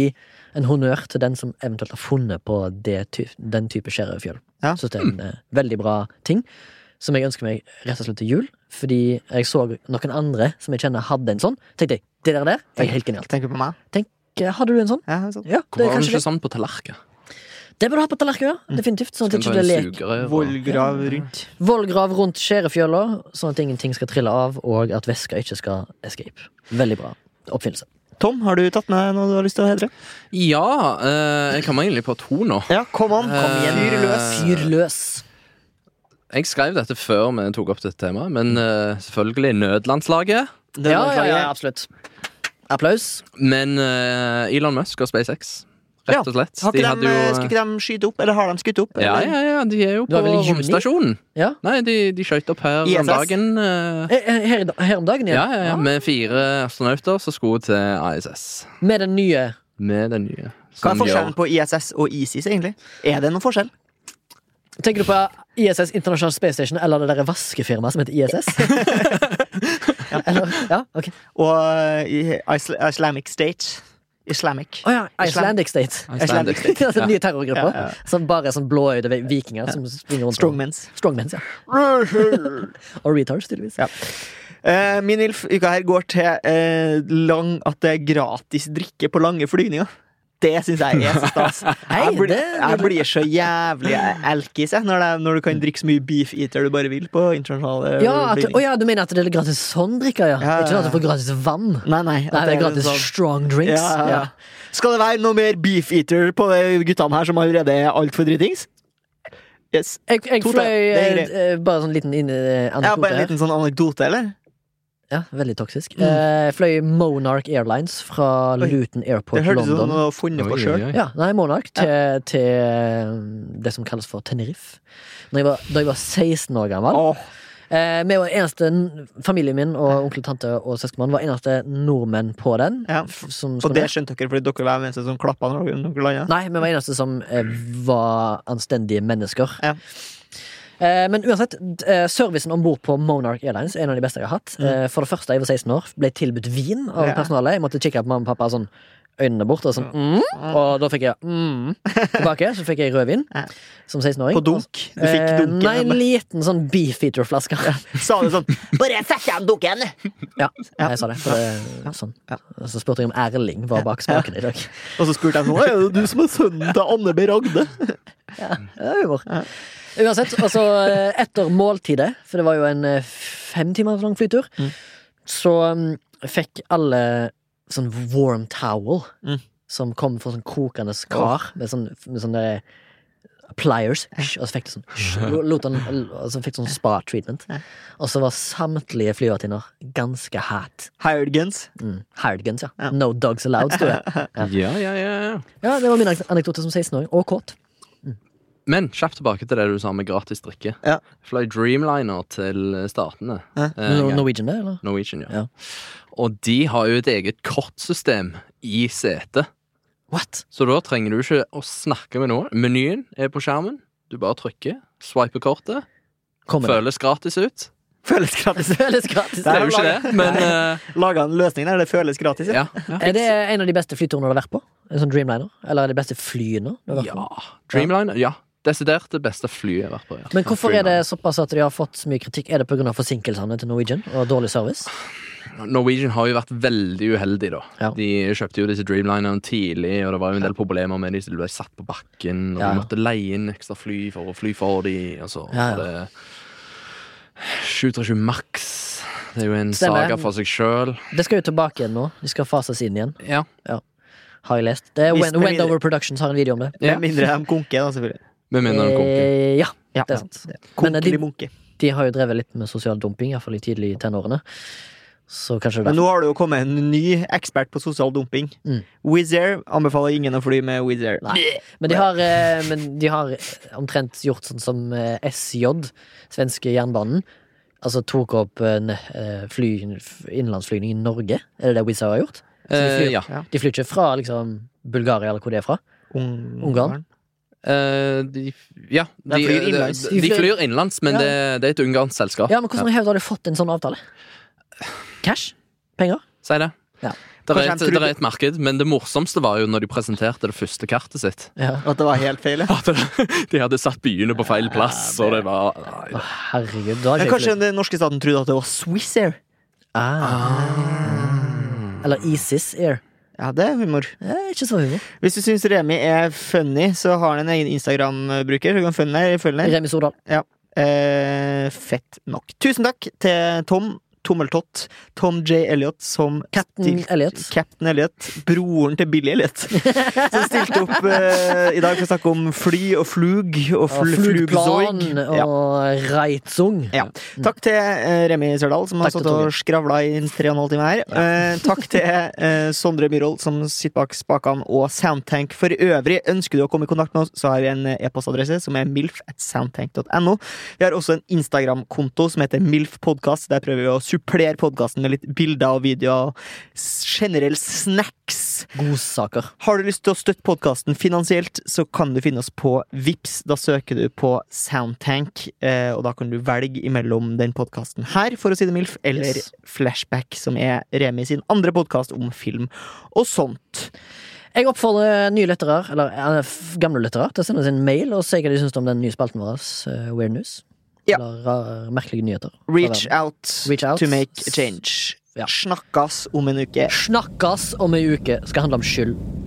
[SPEAKER 2] en honnør til den som eventuelt har funnet på det ty den type skjærefjøl.
[SPEAKER 1] Ja.
[SPEAKER 2] Så det er en eh, veldig bra ting som jeg ønsker meg rett og slett til jul. Fordi jeg så noen andre som jeg kjenner hadde en sånn. Tenkte jeg, det der, der er helt genialt.
[SPEAKER 1] Tenker du på meg?
[SPEAKER 2] Eh, Hadde du en sånn?
[SPEAKER 1] Ja, sånn.
[SPEAKER 2] Ja, det er
[SPEAKER 3] Hvorfor har du
[SPEAKER 2] kanskje
[SPEAKER 3] ikke
[SPEAKER 2] det.
[SPEAKER 3] sånn på tallerken?
[SPEAKER 2] Det bør du ha på tallerkenen, ja. Definitivt. Sånn at
[SPEAKER 3] Skal
[SPEAKER 2] ikke
[SPEAKER 3] du ha
[SPEAKER 2] det
[SPEAKER 3] en
[SPEAKER 2] leker
[SPEAKER 3] sugerør? og-
[SPEAKER 1] Vollgrav rundt.
[SPEAKER 2] Vollgrav rundt skjærefjøla, sånn at ingenting skal trille av, og at væska ikke skal escape. Veldig bra oppfinnelse.
[SPEAKER 1] Tom, har du tatt med noe du har lyst til å hedre?
[SPEAKER 3] Ja, eh, jeg kommer egentlig på to nå.
[SPEAKER 1] Ja, kom an.
[SPEAKER 3] Kom igjen.
[SPEAKER 1] Fyr løs.
[SPEAKER 2] Fyr løs.
[SPEAKER 3] Jeg skrev dette før vi tok opp dette temaet,
[SPEAKER 1] Mm.
[SPEAKER 3] men eh, selvfølgelig nødlandslaget.
[SPEAKER 1] Det
[SPEAKER 2] Ja,
[SPEAKER 1] må
[SPEAKER 2] ja,
[SPEAKER 1] jeg-
[SPEAKER 2] ja, absolutt. Applaus.
[SPEAKER 3] Men eh, Elon Musk og SpaceX,
[SPEAKER 1] Ja,
[SPEAKER 3] rett og slett.
[SPEAKER 1] Har ikke de,
[SPEAKER 3] jo-
[SPEAKER 1] skulle ikke de skyte opp, eller har de skutt opp?
[SPEAKER 3] Ja,
[SPEAKER 1] eller?
[SPEAKER 3] ja, ja, de er jo
[SPEAKER 2] Det var
[SPEAKER 3] på
[SPEAKER 2] vel i juni?
[SPEAKER 3] romstasjonen.
[SPEAKER 2] Ja.
[SPEAKER 3] Nei, de, de skøyt opp her
[SPEAKER 1] ISS?
[SPEAKER 3] om dagen. eh,
[SPEAKER 2] Eh, eh, Her, i da- her om dagen,
[SPEAKER 3] ja,
[SPEAKER 2] ja.
[SPEAKER 3] ja, ja, med fire astronauter som skulle til ISS.
[SPEAKER 2] Med den nye
[SPEAKER 3] Med den nye.
[SPEAKER 1] Hva er
[SPEAKER 3] som
[SPEAKER 1] forskjellen
[SPEAKER 3] gjør-
[SPEAKER 1] på ISS og ISIS, egentlig? Er det noen forskjell?
[SPEAKER 2] Tenker du på ISS, International Space Station, eller det derre vaskefirmaet som heter ISS? eller, ja, ok.
[SPEAKER 1] Og eh, i- Isl Islamic State. Islamic.
[SPEAKER 2] Å ja, Icelandic State. <laughs>
[SPEAKER 3] Icelandic State,
[SPEAKER 2] Altså, Den
[SPEAKER 3] ja.
[SPEAKER 2] nye terrorgruppa
[SPEAKER 1] Ja, ja.
[SPEAKER 2] som bare er sånn blåøyde vikinger som springer rundt.
[SPEAKER 1] Strongmans.
[SPEAKER 2] Strongmans, ja. Og retards, tydeligvis.
[SPEAKER 1] Ja. Eh, min ilf uka her går til eh, lang, at det er gratis drikke på lange flygninger. Det syns jeg er så stas.
[SPEAKER 2] <laughs> Hei,
[SPEAKER 1] Jeg, blir-
[SPEAKER 2] det er
[SPEAKER 1] jeg blir så
[SPEAKER 2] <gasps>
[SPEAKER 1] jævlig elkis jeg, når, det, når du kan drikke så mye beef eater du bare vil på internasjonale
[SPEAKER 2] Ja, at,
[SPEAKER 1] flygninger.
[SPEAKER 2] å ja, du mener at det er gratis sånn drikke, ja?
[SPEAKER 1] Ja, ja,
[SPEAKER 2] Ikke sånn at du
[SPEAKER 1] ja.
[SPEAKER 2] får gratis vann?
[SPEAKER 1] Nei, nei. at
[SPEAKER 2] Nei, det er
[SPEAKER 1] en
[SPEAKER 2] gratis
[SPEAKER 1] sånn-
[SPEAKER 2] strong drinks.
[SPEAKER 1] ja, ja, ja. Skal det være noe mer beef eater på de guttene her som allerede er altfor dritings? Yes.
[SPEAKER 2] Jeg, jeg
[SPEAKER 1] To
[SPEAKER 2] fløy
[SPEAKER 1] til. Det er
[SPEAKER 2] eh, eh, bare sånn liten inn, eh,
[SPEAKER 1] Ja,
[SPEAKER 2] anekdote
[SPEAKER 1] bare en
[SPEAKER 2] her.
[SPEAKER 1] liten sånn anekdote, eller?
[SPEAKER 2] Ja, veldig toksisk. Eh, Jeg fløy Monarch Airlines fra
[SPEAKER 1] Oi.
[SPEAKER 2] Luton Airport,
[SPEAKER 1] Det hørtes ut som
[SPEAKER 2] London.
[SPEAKER 1] noe funnet på sjøl.
[SPEAKER 2] Ja, nei, Monarch til, til eh, det som kalles for Tenerife. Når jeg var, da jeg var 16 år gammel. Eh, vi var eneste, Familien min og onkel, tante og søskenbarn var eneste nordmenn på den.
[SPEAKER 1] Ja.
[SPEAKER 2] f- som-
[SPEAKER 1] Og
[SPEAKER 2] som
[SPEAKER 1] det skjønte dere, fordi dere var sånn de eneste som klappa når dere når dere landa?
[SPEAKER 2] Nei, vi var eneste som eh, var anstendige mennesker.
[SPEAKER 1] Ja.
[SPEAKER 2] Eh, Men uansett, d- eh, servicen om bord på Monarch Airlines er en av de beste jeg har hatt. Eh, For det første, jeg var 16 år, ble tilbudt vin av
[SPEAKER 1] Mm. Ja.
[SPEAKER 2] personalet. Jeg måtte kikke på mamma og pappa sånn øynene bort, og sånn mm. Og da fikk jeg mm tilbake. Så fikk jeg rødvin
[SPEAKER 1] Ja.
[SPEAKER 2] som 16-åring.
[SPEAKER 1] På dunk? Du fikk
[SPEAKER 2] Eh,
[SPEAKER 1] dunken?
[SPEAKER 2] Nei, en
[SPEAKER 1] men-
[SPEAKER 2] liten sånn beefeater-flaske.
[SPEAKER 1] <laughs> Sa du sånn 'Bare sett igjen dunken!'
[SPEAKER 2] Ja,
[SPEAKER 1] Ja.
[SPEAKER 2] jeg sa det. For det sånn.
[SPEAKER 1] Ja.
[SPEAKER 2] Så spurte jeg om Erling var bak spaken i dag.
[SPEAKER 1] Og så spurte jeg sånn 'Er det du som er sønnen til Anne B. Ragde?'
[SPEAKER 2] Det er humor. Uansett, altså eh, etter måltidet, for det var jo en eh, fem timer lang flytur,
[SPEAKER 1] Mm.
[SPEAKER 2] så mm, fikk alle sånn warm towel
[SPEAKER 1] Mm.
[SPEAKER 2] som kom fra sånn kokende kar med sånn, med sånne pliers, hysj, og så fikk det sånn hysj, lot han, og så fikk det sånn spa-treatment.
[SPEAKER 1] Ja.
[SPEAKER 2] Og så var samtlige flyvertinner ganske hat.
[SPEAKER 1] Haugens.
[SPEAKER 2] Mm. Hired guns, ja.
[SPEAKER 1] Ja.
[SPEAKER 2] No dogs allowed, sto
[SPEAKER 1] <laughs>
[SPEAKER 2] det.
[SPEAKER 3] Ja, ja, ja, ja.
[SPEAKER 2] Ja, det var min anekdote som 16-åring. Og kåt.
[SPEAKER 3] Men kjapt tilbake til det du sa med gratis drikke.
[SPEAKER 1] Ja.
[SPEAKER 3] Fløy Dreamliner til Statene.
[SPEAKER 1] Ja.
[SPEAKER 3] Eh,
[SPEAKER 2] No-
[SPEAKER 3] ja.
[SPEAKER 2] Norwegian, det, eller?
[SPEAKER 3] Norwegian, ja.
[SPEAKER 2] Ja.
[SPEAKER 3] Og de har jo et eget kortsystem i setet.
[SPEAKER 2] What?
[SPEAKER 3] Så da trenger du ikke å snakke med noen. Menyen er på skjermen. Du bare trykker. Swiper kortet.
[SPEAKER 2] Kommer det?
[SPEAKER 3] Føles gratis ut.
[SPEAKER 1] Føles
[SPEAKER 2] <laughs>
[SPEAKER 1] gratis.
[SPEAKER 2] Det føles gratis.
[SPEAKER 3] Det
[SPEAKER 1] Der
[SPEAKER 3] er jo
[SPEAKER 1] har
[SPEAKER 3] ikke
[SPEAKER 1] laget-
[SPEAKER 3] det, men eh,
[SPEAKER 1] Laga en løsning der det føles gratis.
[SPEAKER 3] ja. ja.
[SPEAKER 2] <laughs> Er det en av de beste flyturene du har vært på? En sånn Dreamliner? Eller er det beste flyene? du har vært
[SPEAKER 3] ja. Dreamliner, ja. Desidert det beste flyet jeg har vært på. Ja.
[SPEAKER 2] på? Men hvorfor er det såpass at de har fått så mye kritikk? Er det pga. forsinkelsene til Norwegian og dårlig service?
[SPEAKER 3] Norwegian har jo vært veldig uheldig, da.
[SPEAKER 2] Ja.
[SPEAKER 3] De kjøpte jo disse Dreamlinerne tidlig, og det var jo en del problemer med de som ble satt på bakken, og
[SPEAKER 2] Ja,
[SPEAKER 3] de
[SPEAKER 2] ja.
[SPEAKER 3] måtte leie inn ekstra fly for å fly for de, og så
[SPEAKER 2] Ja, ja.
[SPEAKER 3] var det 737 Max. Det er jo en
[SPEAKER 2] Stemmer.
[SPEAKER 3] saga for seg sjøl.
[SPEAKER 2] Det skal jo tilbake igjen nå. De skal fases inn igjen,
[SPEAKER 3] Ja.
[SPEAKER 2] har jeg lest. Det er
[SPEAKER 1] Hvis
[SPEAKER 2] Wen-
[SPEAKER 1] det blir-
[SPEAKER 2] Wendover Productions har en video om det.
[SPEAKER 1] Med mindre de konker, da, selvfølgelig.
[SPEAKER 3] Med mindre den konker.
[SPEAKER 2] Eh, ja,
[SPEAKER 1] Ja.
[SPEAKER 2] det er sant. Men er
[SPEAKER 1] Konker
[SPEAKER 2] de-
[SPEAKER 1] i munke.
[SPEAKER 2] De har jo drevet litt med sosial dumping, iallfall i tidlig i tenårene. Så kanskje det
[SPEAKER 1] Men
[SPEAKER 2] er
[SPEAKER 1] nå har det jo kommet en ny ekspert på sosial dumping.
[SPEAKER 2] Mm.
[SPEAKER 1] Wizz Air anbefaler ingen å fly med Wizz Air.
[SPEAKER 2] Nei. Men de, har, eh, men de har omtrent gjort sånn som eh, SJ, svenske jernbanen. Altså tok opp eh, ne- eh, fly, f- innenlandsflygning i Norge. Er det det Wizz Air har gjort? Så de
[SPEAKER 3] Eh,
[SPEAKER 2] flyr-
[SPEAKER 3] ja.
[SPEAKER 2] De flyr ikke fra liksom, Bulgaria eller hvor det er fra.
[SPEAKER 1] Ung-
[SPEAKER 2] Ungarn?
[SPEAKER 3] Eh, de, ja,
[SPEAKER 1] De flyr innenlands.
[SPEAKER 3] De, de flyr innenlands, men
[SPEAKER 2] Ja.
[SPEAKER 3] det, det er et ungarsk selskap.
[SPEAKER 2] Ja, men Hvordan i hodet har de fått en sånn avtale? Cash? Penger?
[SPEAKER 3] Si det.
[SPEAKER 2] Ja.
[SPEAKER 3] Det,
[SPEAKER 1] Kanskje
[SPEAKER 3] er
[SPEAKER 1] han
[SPEAKER 3] et,
[SPEAKER 1] trodde-
[SPEAKER 3] der er et marked, men det morsomste var jo når de presenterte det første kartet sitt.
[SPEAKER 2] Ja.
[SPEAKER 1] At <laughs> det var helt feil, ja.
[SPEAKER 3] At de hadde satt byene på feil plass, og det var
[SPEAKER 2] Å, herregud, da har
[SPEAKER 1] Men
[SPEAKER 2] ikke jeg
[SPEAKER 1] kanskje
[SPEAKER 2] flytt.
[SPEAKER 1] den norske staten trodde at det var Swiss Air?
[SPEAKER 2] Ah.
[SPEAKER 1] Ah.
[SPEAKER 2] Eller ISIS Air.
[SPEAKER 1] Ja, det er humor.
[SPEAKER 2] Eh, ikke så humor.
[SPEAKER 1] Hvis du syns Remi er funny, så har han en egen Instagram-bruker. Du kan følge den der, følge den der.
[SPEAKER 2] Remi Sordal.
[SPEAKER 1] Eh, fett nok. Tusen takk til Tom Tommeltott, Tom J. Elliot, som
[SPEAKER 2] Captain
[SPEAKER 1] stilte-
[SPEAKER 2] Elliot.
[SPEAKER 1] Captain Elliot, broren til
[SPEAKER 2] <laughs>
[SPEAKER 1] Billy Elliot, som stilte opp eh, i dag for å snakke om fly og flug og
[SPEAKER 2] Og
[SPEAKER 1] fl
[SPEAKER 2] Flugplan
[SPEAKER 1] flugzorg.
[SPEAKER 2] og
[SPEAKER 1] Ja.
[SPEAKER 2] Reitzung.
[SPEAKER 1] Ja. Takk til eh, Remi Sørdal, som
[SPEAKER 2] Mm.
[SPEAKER 1] har
[SPEAKER 2] Takk til
[SPEAKER 1] stått og
[SPEAKER 2] Torgeir.
[SPEAKER 1] skravla i tre og en halv time her. Eh, takk til eh, Sondre Myhrvold, som sitter bak spakene, og Soundtank for øvrig. Ønsker du å komme i kontakt med oss, så har vi en eh, e-postadresse som er milf.soundtank.no. Vi har også en Instagram-konto som heter milfpodkast. Der prøver vi å supplere podkasten med litt bilder og videoer. S- Generell snacks.
[SPEAKER 2] Godsaker.
[SPEAKER 1] Har du lyst til å støtte podkasten finansielt, så kan du finne oss på Vips. Da søker du på Soundtank, eh, og da kan du velge imellom den podkasten her, for å si det mildt, eller
[SPEAKER 2] Yes.
[SPEAKER 1] Flashback, som er Remi sin andre podkast om film og sånn. sånt.
[SPEAKER 2] Jeg oppfordrer nye lyttere, eller eh, f- gamle lyttere, til å sende oss en mail og si hva de syns om den nye spalten vår, eh, Weird News.
[SPEAKER 1] Ja.
[SPEAKER 2] Eller rar, merkelige nyheter. fra
[SPEAKER 1] Reach
[SPEAKER 2] verden.
[SPEAKER 1] out,
[SPEAKER 2] Reach out.
[SPEAKER 1] to make a change.
[SPEAKER 2] Ja.
[SPEAKER 1] Snakkes om en uke.
[SPEAKER 2] Snakkes om ei uke skal handle om skyld